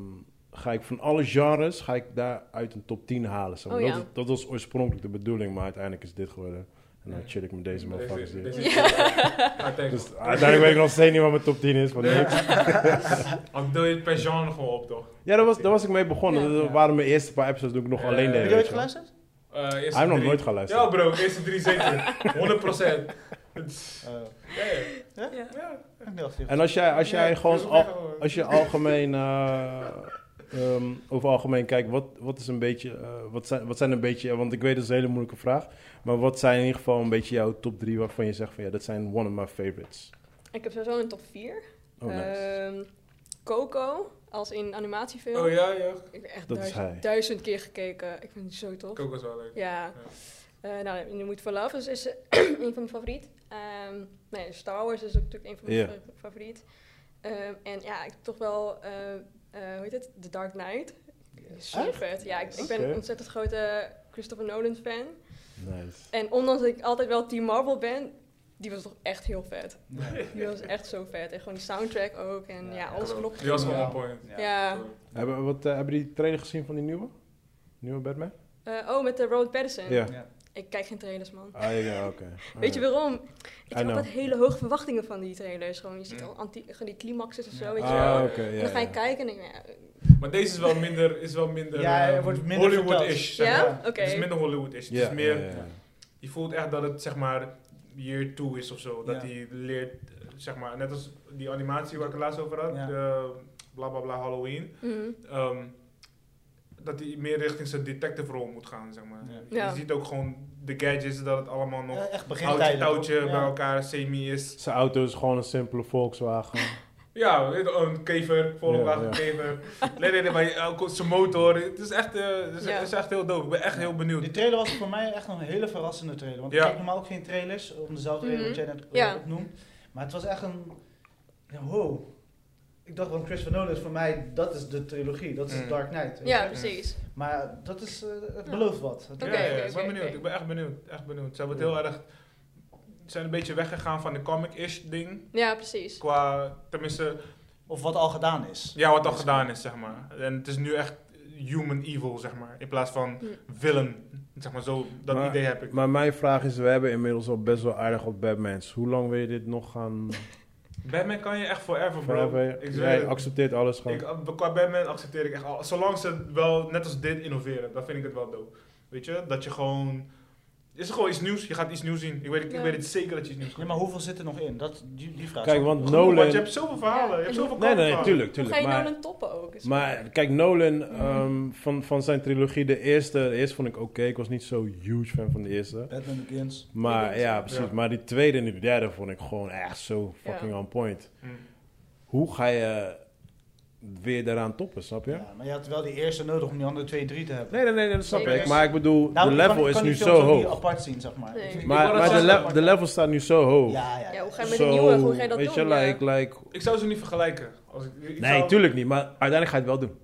ga ik van alle genres... ga ik daaruit een top 10 halen. zeg maar.
Oh, ja.
dat, dat was oorspronkelijk de bedoeling, maar uiteindelijk is dit geworden. En dan chill ik met deze motherfuckers hier.
Deze-
Ja.
Ja, thanks.
Dus uiteindelijk weet ik nog steeds niet wat mijn top 10 is. Want niks.
Al deel je het per genre gewoon op, toch?
Ja, daar was, daar was ik mee begonnen.
Ja.
Dat waren mijn eerste paar episodes toen ik nog
Ja.
alleen
Heb
deed.
Heb
je
je ooit
weet je wel.
geluisterd?
Eh, eerste
Hij heeft nog
drie.
nooit geluisterd.
Ja, bro, eerste drie zeker. 100 procent.
Eh,
Ja, ja.
Ja.
Ja.
En als jij, als jij
Ja,
gewoon
dus
al,
gewoon-
als je algemeen, eh, ehm, over algemeen kijkt, wat, wat is een beetje, eh, wat, zijn, wat zijn een beetje, want ik weet dat is een hele moeilijke vraag, maar wat zijn in ieder geval een beetje jouw top 3 waarvan je zegt van ja, dat zijn one of my favorites?
Ik heb sowieso een top 4.
Oh, nice.
Coco, als in animatiefilm.
Oh ja, ja.
Ik heb echt
Dat is hij.
duizend, duizend keer gekeken. Ik vind het zo tof.
Coco is wel leuk.
Ja. Eh, nou, In The Mood for Love is, is eh, een van mijn favoriet. Ehm, nee, Star Wars is ook natuurlijk een van mijn
Ja.
fa- favoriet. Ehm, en ja, ik toch wel, eh, eh, hoe heet het? The Dark Knight. Super vet. Ja, ik, ik ben
Oké.
een ontzettend grote Christopher Nolan fan.
nice.
En ondanks dat ik altijd wel Team Marvel ben, die was toch echt heel vet. Die was echt zo vet. En gewoon die soundtrack ook. En ja,
Ja,
alles klopt.
Die was gewoon
Ja.
on point.
Ja.
Hebben, wat, eh, hebben die trailer gezien van die nieuwe? Nieuwe Batman?
Eh, oh, met de Robert Pattinson.
Ja.
Ik kijk geen trailers, man.
Ah ja, oké.
Weet je waarom? Ik heb
know.
altijd hele hoge verwachtingen van die trailers. Gewoon, je ziet
Mm.
al anti- gewoon die climaxes of
Ja.
zo, weet je wel.
Ah,
wel.
oké, ja,
en dan ga je
ja.
kijken en denk ik, nou
Maar deze is wel minder, is wel minder,
Ja, er
ehm,
wordt minder
Hollywood-ish.
ja,
zeg
ja?
maar.
oké.
Het is minder Hollywood-ish.
Ja,
Het is meer,
ja, ja, ja.
je voelt echt dat het zeg maar year two is of zo. Dat
Ja.
hij leert, eh, zeg maar, net als die animatie waar ik het laatst over had,
Ja.
de bla bla bla Halloween.
Mhm.
ehm, dat hij meer richting zijn detective rol moet gaan, zeg maar.
Ja.
Ja.
Je ziet ook gewoon de gadgets, dat het allemaal nog
Eh, echt
houtje touwtje bij
Ja.
elkaar, semi is.
Zijn auto is gewoon een simpele Volkswagen.
Ja, een kever, Volkswagen
Ja, ja.
kever. Nee, nee, nee, maar elke- zijn motor. Het is echt, eh, het is,
Ja.
het is echt heel dope. Ik ben echt heel benieuwd.
Die trailer was voor mij echt een hele verrassende trailer. Want
Ja.
ik kijk normaal ook geen trailers, om dezelfde reden wat jij net eh,
Mhm. Ja.
opnoemt. Maar het was echt een... Ja, wow. Ik dacht, want Christopher Nolan is voor mij, dat is de trilogie. Dat is
Mm.
Dark Knight. weet
Ja,
je.
precies.
Maar dat is, eh, het belooft wat. Het
Oké,
ja, ja,
oké,
ik ben
oké,
benieuwd.
oké.
Ik ben echt benieuwd. Echt benieuwd. Ze hebben het
Ja.
heel erg. Ze zijn een beetje weggegaan van de comic-ish ding.
Ja, precies.
Qua, tenminste,
Of wat al gedaan is.
ja, wat al gedaan is, zeg maar. En het is nu echt human evil, zeg maar. In plaats van
Hm.
villain. Zeg maar, zo, dat
Maar-
idee heb ik.
Maar mijn vraag is, we hebben inmiddels al best wel aardig op Batmans. Hoe lang wil je dit nog gaan...
Batman kan je echt forever, bro.
Forever?
Ik zweer
Jij
het.
accepteert alles gewoon.
Ik, eh, qua Batman accepteer ik echt al. Zolang ze het wel, net als dit, innoveren, dan vind ik het wel dope. Weet je, dat je gewoon. Is er gewoon iets nieuws? Je gaat iets nieuws zien. Ik weet, ik
Ja.
weet het zeker dat je iets nieuws
Ja,
gaat
maar hoeveel zit er nog in? Dat, die, die vraag.
Kijk,
snap ik
want
wel.
zien.
Nolan...
Want je hebt zoveel verhalen, je hebt zoveel
Nee, nee, nee,
kanten.
tuurlijk,
Hoe ga
tuurlijk.
je
maar,
Nolan toppen ook? dus- Is-
maar kijk, Nolan, ehm, van, van zijn trilogie, de eerste, de eerste vond ik oké. Ik was niet zo huge fan van de eerste.
Batman Begins.
Maar ja, precies.
Ja.
Maar die tweede en die derde vond ik gewoon echt zo fucking on point.
Hmm.
Hoe ga je weer daaraan toppen, snap je?
Ja. maar je had wel die eerste nodig om die andere twee, drie te hebben.
Nee, nee, nee, dat snap
Zeker.
ik. Maar ik bedoel, de
ik
level
kan- ik
is
kan
nu
die
zo
films ook niet
hoog.
apart zien, zeg maar.
Nee.
Ik- ik
Maar,
wou
maar
dat
de,
zeggen,
le- de level staat nu zo hoog.
Ja, ja.
ja, hoe ga je
Zo,
met de nieuwe, hoe ga je dat
weet
doen?
je,
ja?
like, like,
Ik zou ze niet vergelijken. Als ik, ik
nee,
zou-
tuurlijk niet. Maar uiteindelijk ga je het wel doen.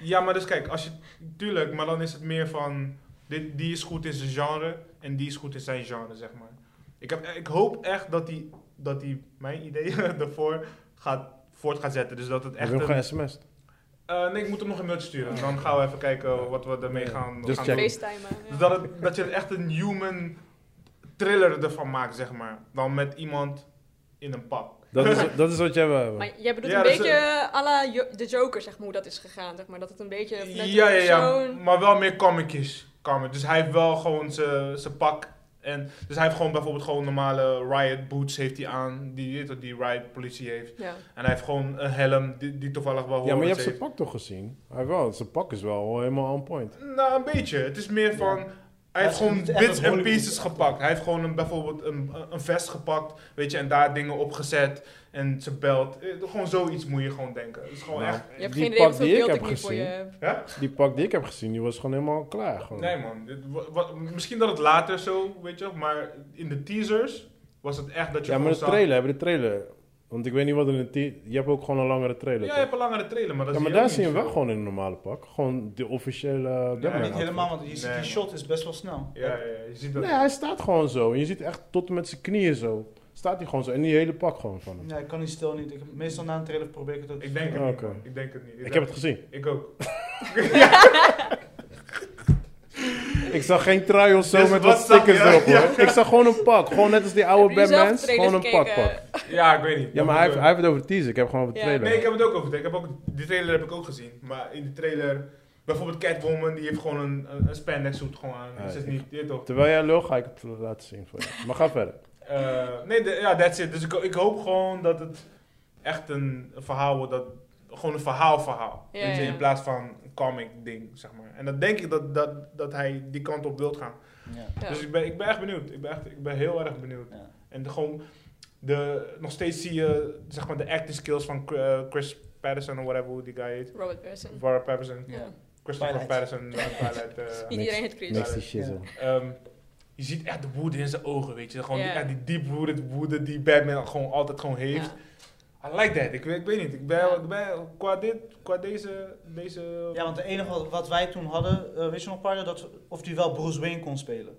Ja, maar dus kijk, als je, tuurlijk, maar dan is het meer van. Dit, die is goed in zijn genre en die is goed in zijn genre, zeg maar. Ik, heb, ik hoop echt dat die, dat die mijn idee daarvoor gaat voort gaat zetten. Dus dat het
Heb
echt.
je hem
een-
ge-sms'd?
Eh, nee, ik moet hem nog een mailtje sturen. Dan gaan we even kijken wat we ermee
Ja.
gaan,
Dus
gaan
check.
doen.
FaceTime.
Dus dat, het- dat je er echt een human thriller ervan maakt, zeg maar. Dan met iemand in een pap.
Dat is, dat is wat jij wil hebben.
Maar jij bedoelt
Ja,
een
dat is,
beetje à la Jo- de Joker, zeg maar, hoe dat is gegaan. Zeg maar. Dat het een beetje vanuit
Ja,
de
ja, ja.
persoon...
Maar wel meer comicjes. Comic. Dus hij heeft wel gewoon zijn pak. En, dus hij heeft gewoon bijvoorbeeld gewoon normale riot boots heeft hij aan. Die, die riot politie heeft.
Ja.
En hij heeft gewoon een helm die, die toevallig wel hoort.
Ja, maar je hebt zijn pak toch gezien? Hij wel, zijn pak is wel helemaal on point.
Nou, een beetje. Het is meer van. Hij
Hij
heeft
is
gewoon
niet echt
bits
een
en
Hollywood
pieces gepakt. Hij heeft gewoon een, bijvoorbeeld een, een vest gepakt, weet je, en daar dingen op gezet. En zijn belt. Eh, Gewoon zoiets moet je gewoon denken. Het is gewoon
Nou,
Oh, echt.
Je hebt
die
geen idee
pak
hoeveel
die ik
beeld ik
heb
hier voor je heb.
Ja?
Die pak die ik heb gezien, die was gewoon helemaal klaar. Gewoon.
Nee man, Dit wa- wa- misschien dat het later zo, weet je, maar in de teasers was het echt dat je
ja, maar
gewoon
de trailer, hebben de trailer. Want ik weet niet wat in de... ti- Je hebt ook gewoon een langere trailer.
zag- Ja,
toch?
je hebt een langere trailer, maar dat
ja,
zie
maar
je
daar
ook
zie je
niet
hem wel
zo.
gewoon in een normale pak. Gewoon de officiële Batman
niet
niet
outfit.
helemaal, want die,
Nee,
die
man.
shot is best wel snel.
Ja, ja, ja, je ziet dat.
Nee, hij staat gewoon zo. En je ziet echt tot en met zijn knieën zo. Staat hij gewoon zo. En die hele pak gewoon van hem.
Ja, ik kan niet stil niet. Ik, meestal na een trailer probeer ik het ook.
Ik denk het
Oké.
niet. man. Ik denk het niet.
Ik heb het gezien.
Ik ook.
Ik zag geen trui of zo
Dus
met
wat
wat stickers
zag je?
erop hoor. Ik zag gewoon een pak. Gewoon net als die oude
Heb je zelf
Batmans.
de
Gewoon een
trailers
pak
gekeken?
pak.
Ja, ik weet niet.
Ja, maar hij heeft, hij heeft het over de teaser. Ik heb gewoon over de
Ja.
trailer.
Nee, ik heb het ook over. Ik heb ook, die trailer heb ik ook gezien. Maar in de trailer, bijvoorbeeld Catwoman, die heeft gewoon een, een, een spandex suit gewoon aan.
Ja,
is het
ik-
niet? Dit toch?
Terwijl jij lul ga ik het laten zien voor je. Maar ga verder.
Eh, nee, de- ja, that's it. Dus ik, ik hoop gewoon dat het echt een verhaal wordt. Dat, gewoon een verhaal verhaal.
Ja,
weet je,
ja.
In plaats van een comic ding, zeg maar. En dan denk ik dat, dat, dat hij die kant op wilt gaan.
Ja.
Ja.
Dus ik ben, ik ben echt benieuwd. Ik ben, echt, ik ben heel erg benieuwd.
Ja.
En de- gewoon, de, nog steeds zie je zeg maar, de acting skills van eh, Chris Patterson of whatever hoe die guy heet.
Robert Pattinson.
Warren Patterson.
Ja.
Ja.
Christopher
Twilight.
Patterson, eh, Twilight. eh,
Iedereen het Chris.
niks.
Next is shizzle.
ehm, je ziet echt de woede in zijn ogen, weet je. Gewoon
Ja.
die, echt die deep-rooted woede die Batman gewoon altijd gewoon heeft.
Ja.
I like that. Ik, weet- ik weet niet. Ik ben,
Ja.
ik ben qua dit, qua deze, deze...
Ja, want het enige wat, wat wij toen hadden, eh, weet je nog, Pardo, dat of hij wel Bruce Wayne kon spelen.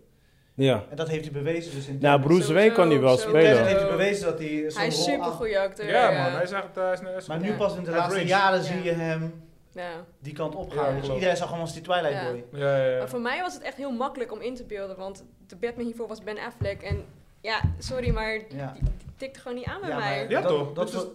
Ja.
En dat heeft hij bewezen. Dus in
Nou, Bruce
Sowieso,
Wayne kan hij wel
sowieso.
in Tenet
spelen.
heeft hij bewezen dat hij zo'n
Hij is
rol
super
aan-
goede acteur.
ja, man. Hij is echt... eh, hij is- hij is
Maar
goed.
nu pas in de
Hij
laatste
bridge.
jaren
Ja.
zie je hem
Ja.
die kant op
Ja,
gaan. dus
klopt.
iedereen zag hem als die Twilight
Ja.
Boy.
Ja, ja, ja.
Maar voor mij was het echt heel makkelijk om in te beelden, want de Batman hiervoor was Ben Affleck. En ja, sorry, maar die
Ja.
tikte gewoon niet aan bij
Ja, maar-
mij.
Ja,
Dat-
toch?
dat
Dit
is-
Dat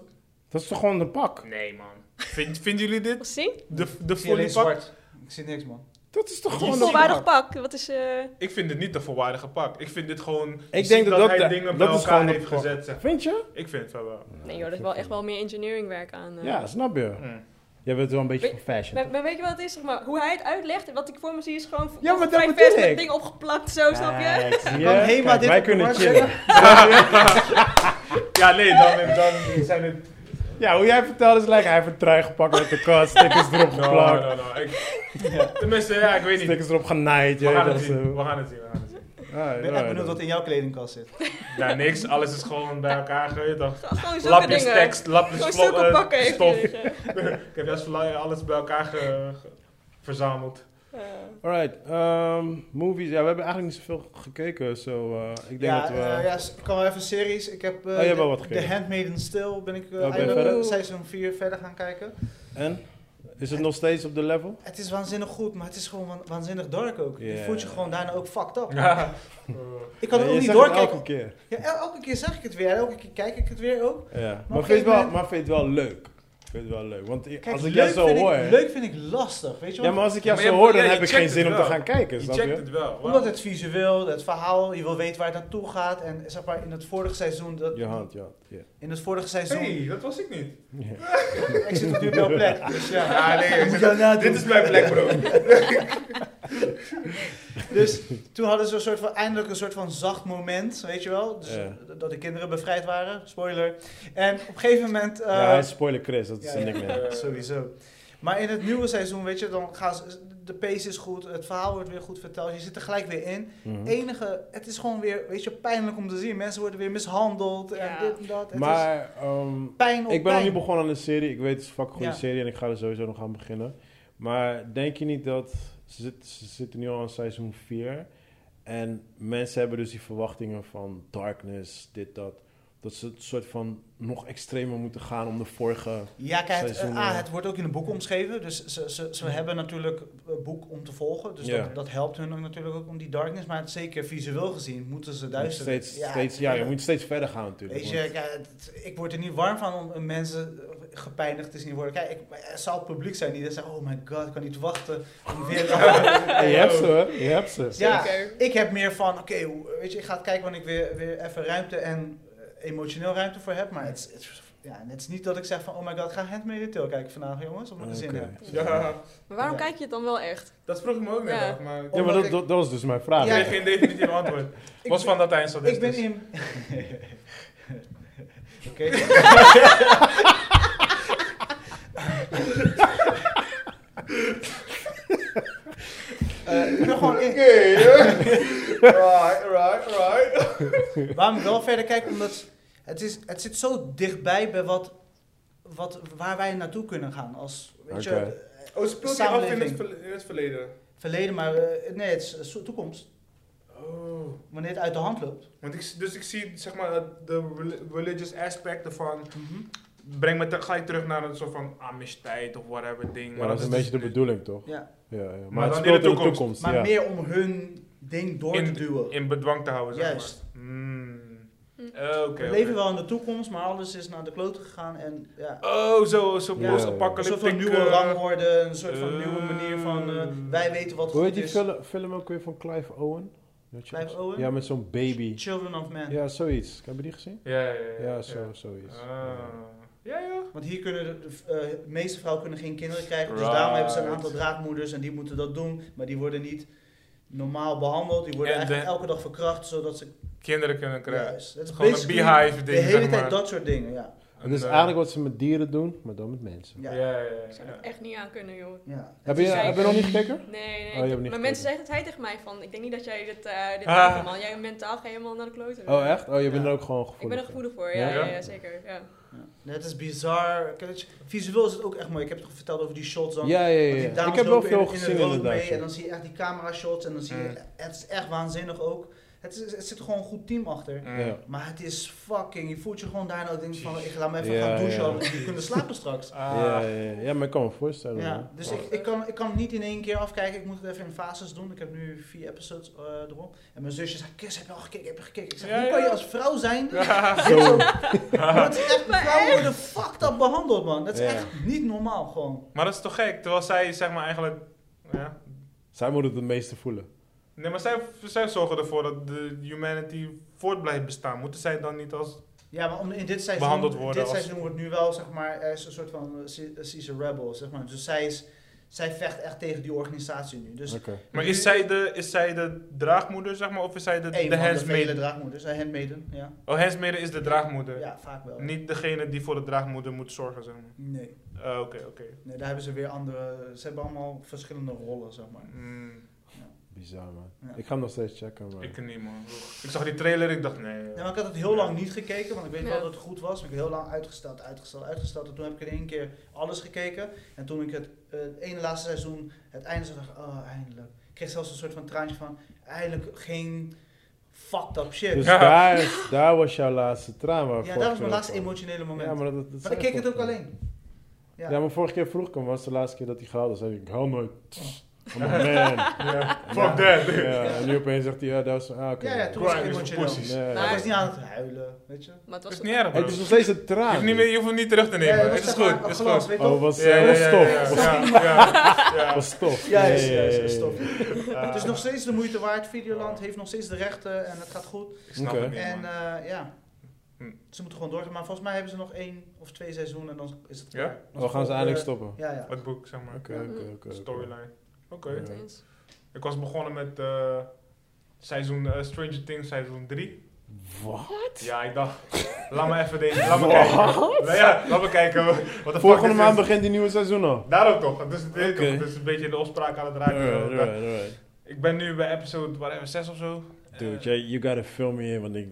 Dus is toch gewoon een pak?
Nee, man. Vind, vinden jullie dit?
Wat zie?
De, de
Ik zie alleen
volle pak?
zwart. Ik zie niks, man.
Dat is toch
Je
gewoon
ziet
een pak?
Volwaardig pak. Wat is. eh,
Ik vind dit niet de volwaardige pak. Ik vind dit gewoon... je
denk
ziet
dat dat
hij
de-
dingen
dat
bij
is
elkaar
gewoon de
heeft
pak.
gezet, zeg.
Vind je?
Ik vind het van wel.
Nee, joh, dat is wel echt wel meer engineeringwerk aan. eh.
Ja, snap je.
Mm.
Jij bent wel een beetje
Weet-
van fashion.
Maar, maar weet je wat het is, zeg maar? Hoe hij het uitlegt, wat ik voor me zie, is gewoon
Ja, maar dat
vrij
bedoel
vers met
ik.
ding opgeplakt, zo, Oh, snap je?
Kijk, zie je?
Kan Hema
Kijk,
dit
wij
op de
kunnen
markt
chillen.
Ja, nee, dan, dan zijn het...
Ja, hoe jij vertelde is lijkt hij heeft een trui gepakt uit de kast, stickers erop
No, no,
geplakt,
no, no. Ik, tenminste, ja, ik weet niet.
stickers erop genaaid.
We
je
gaan
weet
het
wel
zien.
zo.
We gaan het zien. We gaan het zien.
Ah,
Ik ben
ja,
echt benieuwd
ja.
wat in jouw kledingkast zit.
Ja, niks. Alles is gewoon bij elkaar gegooid. toch?
Gewoon- Gewoon zulke
Lapjes
dingen.
tekst, lapjes
Gewoon
vlo-
zulke
eh,
pakken heeft hij,
stof.
weet je.
Ik heb juist verla- alles bij elkaar ge- ge- verzameld.
Eh,
Alright, ehm, movies. Ja, we hebben eigenlijk niet zoveel gekeken. So, eh, ik denk
ja,
dat we...
eh, ja, s- ik kan wel even series. Ik heb eh,
jij hebt wel
de-
wat gekeken.
The Handmaiden Still ben ik eh,
ben je
eindelijk
verder?
seizoen 4 verder gaan kijken.
En? Is het nog steeds op de level?
Het is waanzinnig goed, maar het is gewoon wa- waanzinnig dark ook.
Ja.
Je voelt je gewoon daarna ook fucked up.
Ja.
Ik kan
Ja,
er
je
ook niet
zegt het
doorkijken.
elke keer.
Ja, el- elke keer zeg ik het weer. Elke keer kijk ik het weer ook.
Ja. Maar,
op een
vind je
gegeven
wel,
moment-
maar vind je het wel leuk? Vind je het wel leuk? Want i-
Kijk,
als ik jou
leuk,
zo
vind
hoor...
ik, leuk vind ik lastig, weet je
Ja,
wel.
maar als ik
Ja,
jou
maar
zo
je-
hoor, dan
ja, je
heb ik
checkt
geen zin
het
om te
wel.
gaan kijken,
Je
snap
checkt
je?
het wel.
Omdat het visueel, het verhaal, je wil weten waar het naartoe gaat. En zeg maar, in het vorige seizoen... Dat,
Je hand, je hand. ja.
In het vorige seizoen...
Hey, dat was ik niet.
Eh,
Ja.
Ik zit natuurlijk op jouw plek. Dus ja,
Ja, nee,
Ik moet jou nadoen.
dit is mijn plek, bro.
Dus toen hadden ze een soort van, eindelijk een soort van zacht moment, weet je wel? Dus
Ja.
d- Dat de kinderen bevrijd waren, spoiler. En op een gegeven moment... eh,
Ja, hij is spoiler Chris, dat is
ja,
een
ja,
nickname.
ja, sowieso. Maar in het nieuwe seizoen, weet je, dan gaan ze... De pace is goed, het verhaal wordt weer goed verteld, je zit er gelijk weer in.
Hm.
Mhm.
Enige, het is gewoon weer, weet je, pijnlijk om te zien. Mensen worden weer mishandeld
Ja.
en dit en dat. Het is
Maar ehm,
pijn op
ik ben nog
pijn.
niet begonnen aan de serie. Ik weet het is een fucking goede
Ja.
serie en ik ga er sowieso nog aan beginnen. Maar denk je niet dat ze, zit- ze zitten nu al aan seizoen 4 en mensen hebben dus die verwachtingen van darkness, dit, dat. dat ze het soort van nog extremer moeten gaan om de vorige...
Ja, kijk, het,
Seizoen,
ah,
eh.
het wordt ook in een boek omschreven. Dus ze, ze, ze hebben natuurlijk een boek om te volgen. Dus
Ja.
dat, dat helpt hun ook natuurlijk ook om die darkness. Maar zeker visueel gezien moeten ze duister.
Steeds, steeds, ja, je moet steeds verder gaan natuurlijk.
Weet
want-
je, kijk, het- ik word er niet warm van om mensen gepijnigd te zien worden. Kijk, ik, er zal het publiek zijn die dan zegt, oh my god, ik kan niet wachten om weer...
Hey, je hebt ze, hè? Je hebt ze.
Ja,
Zeker.
ik heb meer van, oké, hoe- weet je, ik ga het kijken wanneer ik weer, weer even ruimte en eh, emotioneel ruimte voor heb. Maar het, is- het is- ja, het is niet dat ik zeg van, oh my god, ga Handmaid's Tale kijken vandaag, jongens, om ik er zin in
Oké.
heb.
Ja,
Maar waarom
Ja.
kijk je het dan wel echt?
dat vroeg ik me ook net
Ja.
af, maar ik
Ja, maar dat, dat, dat was dus mijn vraag.
Ja.
kreeg geen definitief antwoord.
Ik
Was
ben-
van dat hij een sadist
Ik ben
is.
in... Oké. Eh, ik ben gewoon in-
right, right, right.
Waarom ik wel verder kijk, omdat het, is, het zit zo dichtbij bij wat, wat, waar wij naartoe kunnen gaan. Als, weet je,
Oké.
eh,
Oh, speelt hij af in het,
Samenleving.
verle- in het verleden?
verleden, maar eh, nee, het is zo- toekomst.
Oh.
Wanneer het uit de hand loopt.
Want ik, s- dus ik zie zeg maar eh, de rel- religious aspect ervan. Breng me te- ga je terug naar een soort van Amish-tijd of whatever ding.
Ja, dat is een
dus-
beetje de bedoeling, toch?
Ja.
Ja, ja. Maar,
Maar
het
dan
speelt
in de
in de
toekomst.
toekomst.
Maar
ja.
meer om hun ding door te duwen.
In bedwang te houden, zeg
Juist.
maar. Hmm.
Hm.
Eh, Oké.
We
oké.
leven wel in de toekomst, maar alles is naar de klote gegaan. En ja,
Oh, zo, zo
Ja.
een
post-apocalyptic.
soort van nieuwe
eh,
rangorde, een soort van nieuwe
eh,
manier van eh, wij weten wat
Hoe
goed
heet die
is.
film, film ook weer van Clive Owen? Weet je
Clive
dat?
Owen?
Ja, met zo'n baby.
Children of Men.
Ja, zoiets. Heb je die gezien?
Ja, ja, ja.
Ja, zo, zoiets.
Ah. Ja, ja.
Want hier kunnen de, de- eh, de meeste vrouwen kunnen geen kinderen krijgen. Dus
Right.
daarom hebben ze een aantal draadmoeders en die moeten dat doen. Maar die worden niet normaal behandeld. Die worden
En
eigenlijk
de-
elke dag verkracht, zodat ze
Kinderen kunnen krijgen.
kruis. Het is
Gewoon een
basically
beehive ding,
De hele
zeg
tijd
maar.
dat soort dingen, ja.
En dat is
eh,
eigenlijk wat ze met dieren doen, maar dan met mensen.
ja.
Ja, ja, ja.
Ik zou
ja.
het echt niet aan kunnen, joh.
ja.
Heb je,
is
heb je nog niet gekeken?
Nee, nee.
Oh, je hebt niet
maar
gekeken.
mensen zeggen het hij tegen mij van, ik denk niet dat jij dit, eh dit
Ah.
doet, man. Jij mentaal ga je helemaal naar de kloten.
Oh, echt? Oh, je bent
Ja.
er ook gewoon
Ik
gevoelig
ben
voor.
er gevoelig voor, ja,
Ja?
ja? ja, zeker. Ja.
Ja, Het is bizar. Kijk, weet je, Visueel is het ook echt mooi. Ik heb het toch verteld over die shots dan.
Ja, ja,
Want die
ja. ja.
dames
Ik heb wel
lopen in-
veel
in een
gezien
rood
inderdaad.
Mee, en
ja.
dan zie je echt die camera shots en dan zie je,
Mm.
het is echt waanzinnig ook. Het, is, het zit gewoon een goed team achter.
Mm.
Ja.
Maar het is fucking, je voelt je gewoon daarna ook denk van, ik laat me even
Ja,
gaan douchen,
ja.
want we kunnen slapen straks.
Ah.
Ja, ja, ja. ja, maar ik kan me voorstellen.
Ja,
man.
dus ik, ik, kan, ik kan het niet in één keer afkijken, ik moet het even in fases doen. Ik heb nu vier episodes eh erop. En mijn zusje zei, Chris, heb je al gekeken, heb je gekeken? Ik zeg,
Ja,
hoe
ja.
kan je als vrouw zijn?
Zo.
Dat is echt, vrouwen worden fucked up behandeld, man. Dat is
Ja.
echt niet normaal, gewoon.
Maar dat is toch gek, terwijl zij zeg maar eigenlijk... Ja.
Zij moeten het het meeste voelen.
Nee, maar zij, zij zorgen ervoor dat de humanity voort blijft bestaan. Moeten zij dan niet als...
Ja, maar om, in dit seizoen,
Behandeld worden
dit
als-
seizoen wordt nu wel, zeg maar, er is een soort van eh, she- she's a rebel, zeg maar. Dus zij, is, zij vecht echt tegen die organisatie nu. Dus
Oké.
Maar is zij de, is zij de draagmoeder, zeg maar? Of is zij de,
een
de
van de vele
handsmaiden?
draagmoeders, eh, handmaiden, ja.
Oh, handsmaiden is de draagmoeder.
Ja, vaak wel.
Niet degene die voor de draagmoeder moet zorgen, zeg maar.
Nee.
Eh, Oké, oké.
Nee, daar hebben ze weer andere. Ze hebben allemaal verschillende rollen, zeg maar.
Mm,
Bizar, man.
Ja.
Ik ga hem nog steeds checken, maar...
ik niet, man. Ik zag die trailer, ik dacht, nee.
Ja, maar ik had het heel lang niet gekeken, want ik weet wel
Ja.
dat het goed was. Maar ik heb heel lang uitgesteld, uitgesteld, uitgesteld. En toen heb ik in één keer alles gekeken. En toen ik het, eh, het ene laatste seizoen, het einde zag, dacht ik, oh, eindelijk. Ik kreeg zelfs een soort van traantje van, eindelijk geen fucked up shit.
Dus
Ja,
Ja.
daar, daar was jouw laatste traan waarvoor
dat
ik
was mijn
er
laatste
van-
emotionele moment.
Ja,
maar
maar, dat, dat
ik keek het ook
alleen.
alleen. Ja.
Ja. maar vorige keer vroeg ik hem, was de laatste keer dat hij gehaald is. Zei hij, ik haal nooit. I'm a Oh, man.
Ja, Fuck
Ja.
that.
Ja, en nu opeens zegt hij, ja, dat is... Ah, oké.
Ja, ja, toen was ik
Crime is
emotioneel.
pussies.
Nee.
Maar ik was niet aan het huilen, weet je.
Maar het
Dat
was
is
toch-
niet erg,
Hey,
bro.
het is nog steeds een
Je
traan.
hoeft, niet meer, je hoeft hem niet terug te nemen.
Ja,
het
was
is
zeg maar
goed, het is
een glans,
goed.
weet je
Oh,
wel.
was,
Ja, ja,
was
ja,
tof.
ja,
Was,
ja, ja, ja.
was tof.
Ja,
Ja,
is,
ja,
is,
ja,
is
ja.
tof.
Ah,
Het is nog steeds de moeite waard. Videoland heeft nog steeds de rechten en het gaat goed.
ik snap
Oké.
het niet,
En
man.
eh, ja,
Hm.
ze moeten gewoon doorgaan. Maar volgens mij hebben ze nog één of twee seizoenen en dan is het
Ja?
klaar.
We gaan ze eindelijk stoppen.
Ja, ja.
Het boek, zeg maar.
Oké, oké, oké, oké.
Storyline. Oké.
Ja.
Intens.
Ik was begonnen met eh, seizoen, eh, Stranger Things seizoen 3.
Wat?
Ja, ik dacht, laat me even deze, laat me kijken. Ja, Ja, laat me kijken. hoor. Wat de
Volgende
fuck is
maand
dit?
begint die nieuwe seizoen al.
Daarom toch, dus, het is
Oké.
toch, het is een beetje de opspraak aan het raken.
Alright, alright, alright.
Ik ben nu bij episode, whatever, 6 of zo.
Dude,
Eh,
jij- you gotta film me in, want ik,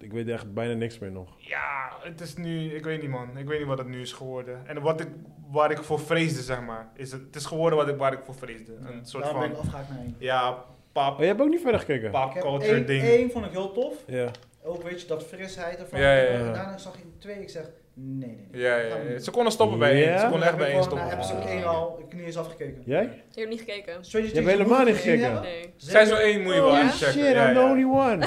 ik weet echt bijna niks meer nog.
Ja, het is nu, ik weet niet man, ik weet niet wat het nu is geworden. En wat ik, waar ik voor vreesde, zeg maar. Is het, het is geworden wat ik, waar ik voor vreesde. Een soort
Daarom ben ik
van,
afgehaakt naar één.
ja,
Oh,
pap,
jij hebt ook niet verder gekeken?
pop
Ik heb
culture
één,
ding.
één vond ik heel tof.
Ja.
Eh, Ook weet je, dat frisheid ervan.
Ja, ja, ja.
En daarna zag je twee, ik zeg, nee, nee, nee.
Ja, ja, ja. Ze konden stoppen bij
Ja?
één. Ze
kon
konden echt bij één
Ik heb
stoppen.
nou,
episode 1 al, ik knie is afgekeken.
Jij?
Je hebt niet gekeken.
Stranger
Je hebt
Things,
helemaal
moet
niet
je één
gekeken.
hebben?
Nee.
Zijn zo één moet je wel
Holy
even checken.
Oh, Shit,
ja,
I'm the
ja.
only one.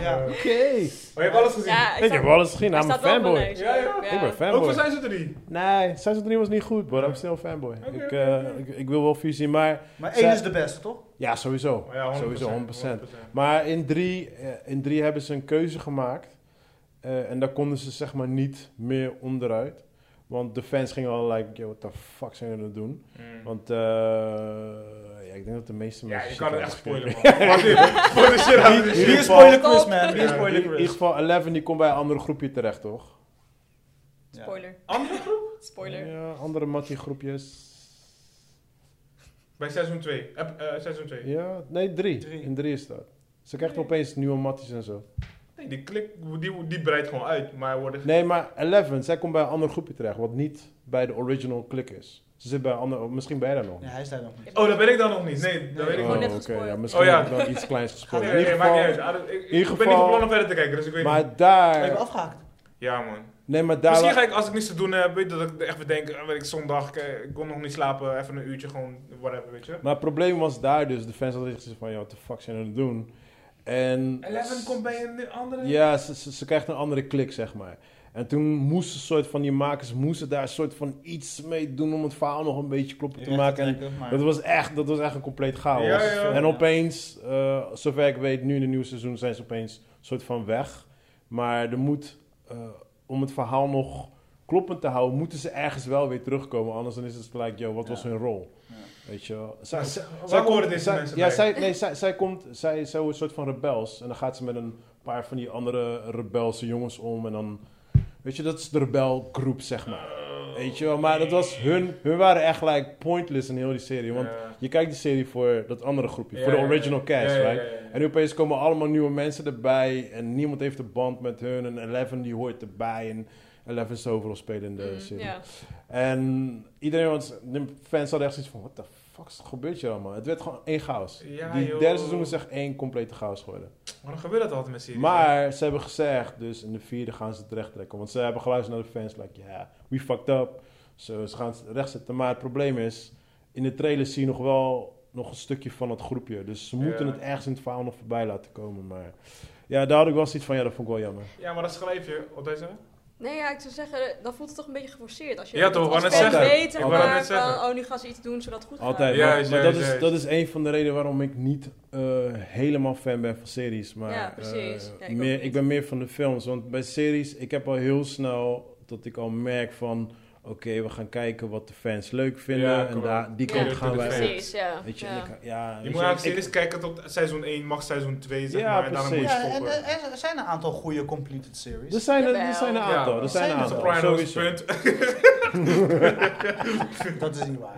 Ja.
Oké.
Maar Oh, je hebt alles gezien.
Ja, ik,
Ik
zag-
heb alles gezien,
hij
I'm a
staat wel op mijn
fanboy.
lijst,
Ja, ja.
Ik ben
Ook voor
fanboy.
zijn ze drie.
Nee, Seizoen 3 was niet goed, maar ik ben still fanboy.
Oké,
ik,
oké,
eh,
oké.
ik, ik wil wel vier zien, maar
Maar
Zij-
één is de beste, toch?
ja, sowieso.
Oh, Ja,
Sowieso 100%. Maar in drie, eh, in drie hebben ze een keuze gemaakt. Eh, en daar konden ze zeg maar niet meer onderuit. Want de fans gingen al like, yo, what the fuck zijn we aan het doen?
Mm.
Want eh, ja, ik denk dat de meeste
Ja,
mensen...
je
shit
kan het
hebben
echt spoilen,
gekeken.
man. Wat dit? Voor de shit out of
Hier-
this shit.
Wie
ieder
is
geval-
spoiler quiz, man? Wie
Ja,
is spoiler
In ieder
quiz?
geval, Eleven die komt bij een andere groepje terecht, toch?
Spoiler.
Andere groep?
Spoiler.
Ja, andere mattie groepjes.
Bij seizoen 2. seizoen 2.
Ja, nee, drie.
Drie.
In drie is dat. Ze krijgt
Nee.
opeens nieuwe matties en zo.
Nee, die klik, die, die breidt gewoon uit. Maar worden...
Nee, maar Eleven, zij komt bij een ander groepje terecht, wat niet bij de original klik is. Ze zit bij een ander, misschien bij daar nog.
Ja, hij is daar nog niet.
Oh, dat ben ik dan nog niet. Nee, dat weet ik
Oh.
gewoon
net
niet.
oké,
gespoord.
ja, misschien
Oh, ja.
heb ik dan iets kleins gespeeld.
Nee,
In
nee,
ieder
maakt niet uit.
geval,
Ah, dat- Ik, ik
in ieder
ben niet
geval-
van plan om verder te kijken, dus ik weet niet.
maar
Even
daar...
afgehaakt.
Ja, man.
Nee, maar daar...
Misschien ga ik, als ik niets te doen heb, weet je, dat ik echt weer denk, ah, weet ik, zondag, ik, eh, ik kon nog niet slapen, even een uurtje, gewoon whatever, weet je.
Maar het probleem was daar dus. De fans hadden echt gezegd van, ja, what the fuck zijn we aan het doen? En...
Eleven komt bij een andere...
Ja, ze, ze, ze krijgt een andere klik, zeg maar. En toen moesten soort van die makers moesten daar soort van iets mee doen om het verhaal nog een beetje kloppen te maken. En dat was echt, dat was echt een compleet chaos.
Ja, ja.
En opeens, eh, zover ik weet, nu in het nieuwe seizoen zijn ze opeens soort van weg. Maar er moet, eh, om het verhaal nog kloppend te houden, moeten ze ergens wel weer terugkomen. Anders dan is het gelijk, yo, wat
Ja.
was hun rol?
Ja.
Weet je wel. Zij, zij,
Waar
komt-
horen deze
zij-
mensen
ja,
bij?
zij, nee, zij, zij komt, zij, zij wordt een soort van rebels. En dan gaat ze met een paar van die andere rebelse jongens om. En dan, weet je, dat is de rebelgroep, zeg maar.
Oh.
Weet je wel, maar dat was hun, hun waren echt like pointless in heel die serie. Want
Ja.
je kijkt die serie voor dat andere groepje,
Ja,
voor de
ja, ja.
original cast,
Ja, ja,
right?
ja, ja, ja.
En nu opeens komen allemaal nieuwe mensen erbij en niemand heeft een band met hun. En Eleven die hoort erbij en Eleven is de hoofdrolspeler in de
Mm,
serie.
ja.
En iedereen, was, de fans hadden echt zoiets van, what the fuck gebeurt hier allemaal? Het werd gewoon één chaos.
Ja,
die
joh.
derde seizoen is echt één complete chaos geworden.
Maar dan gebeurt dat altijd met series.
Maar ze hebben gezegd, dus in de vierde gaan ze het recht trekken. Want ze hebben geluisterd naar de fans, like, ja, we fucked up. So, ze gaan het recht zetten. Maar het probleem is, in de trailer zie je nog wel nog een stukje van het groepje. Dus ze moeten
Ja.
het ergens in het verhaal nog voorbij laten komen. Maar ja, daar had ik wel zoiets van, ja, dat vond ik wel jammer.
Ja, maar dat schrijf je. Wat hij zei?
Nee, ja, ik zou zeggen, dan voelt het toch een beetje geforceerd. Als je
Ja,
het
toch, ik
als
wou
net
fans
zeggen.
weet, zeg
Ik wou
maar,
net zeggen.
van, oh, nu gaan ze iets doen zodat het goed gaat.
Altijd.
Ja,
maar
juist,
maar dat,
juist,
is, dat is een van de redenen waarom ik niet eh, helemaal fan ben van series. Maar,
Ja, precies.
eh,
Ja, ik ook
meer,
niet.
ik ben meer van de films. Want bij series, ik heb al heel snel dat ik al merk van... Oké, we gaan kijken wat de fans leuk vinden.
Ja,
en
correct.
daar, die
Ja,
kant gaan wij op.
Precies, ja.
Weet je,
ja.
en ik, ja,
Je
weet
moet
je,
eigenlijk
ik-
series kijken tot seizoen 1, mag seizoen 2, zeg
Ja,
maar. En daarna moet je
precies.
Ja, en
stoppen.
eh, er er zijn een aantal goede completed series.
er zijn er, er
Jawel.
zijn een
Ja,
aantal.
maar-
er zijn een
Zijn er
aantal.
Sopranos,
Sowieso.
punt.
dat is niet waar.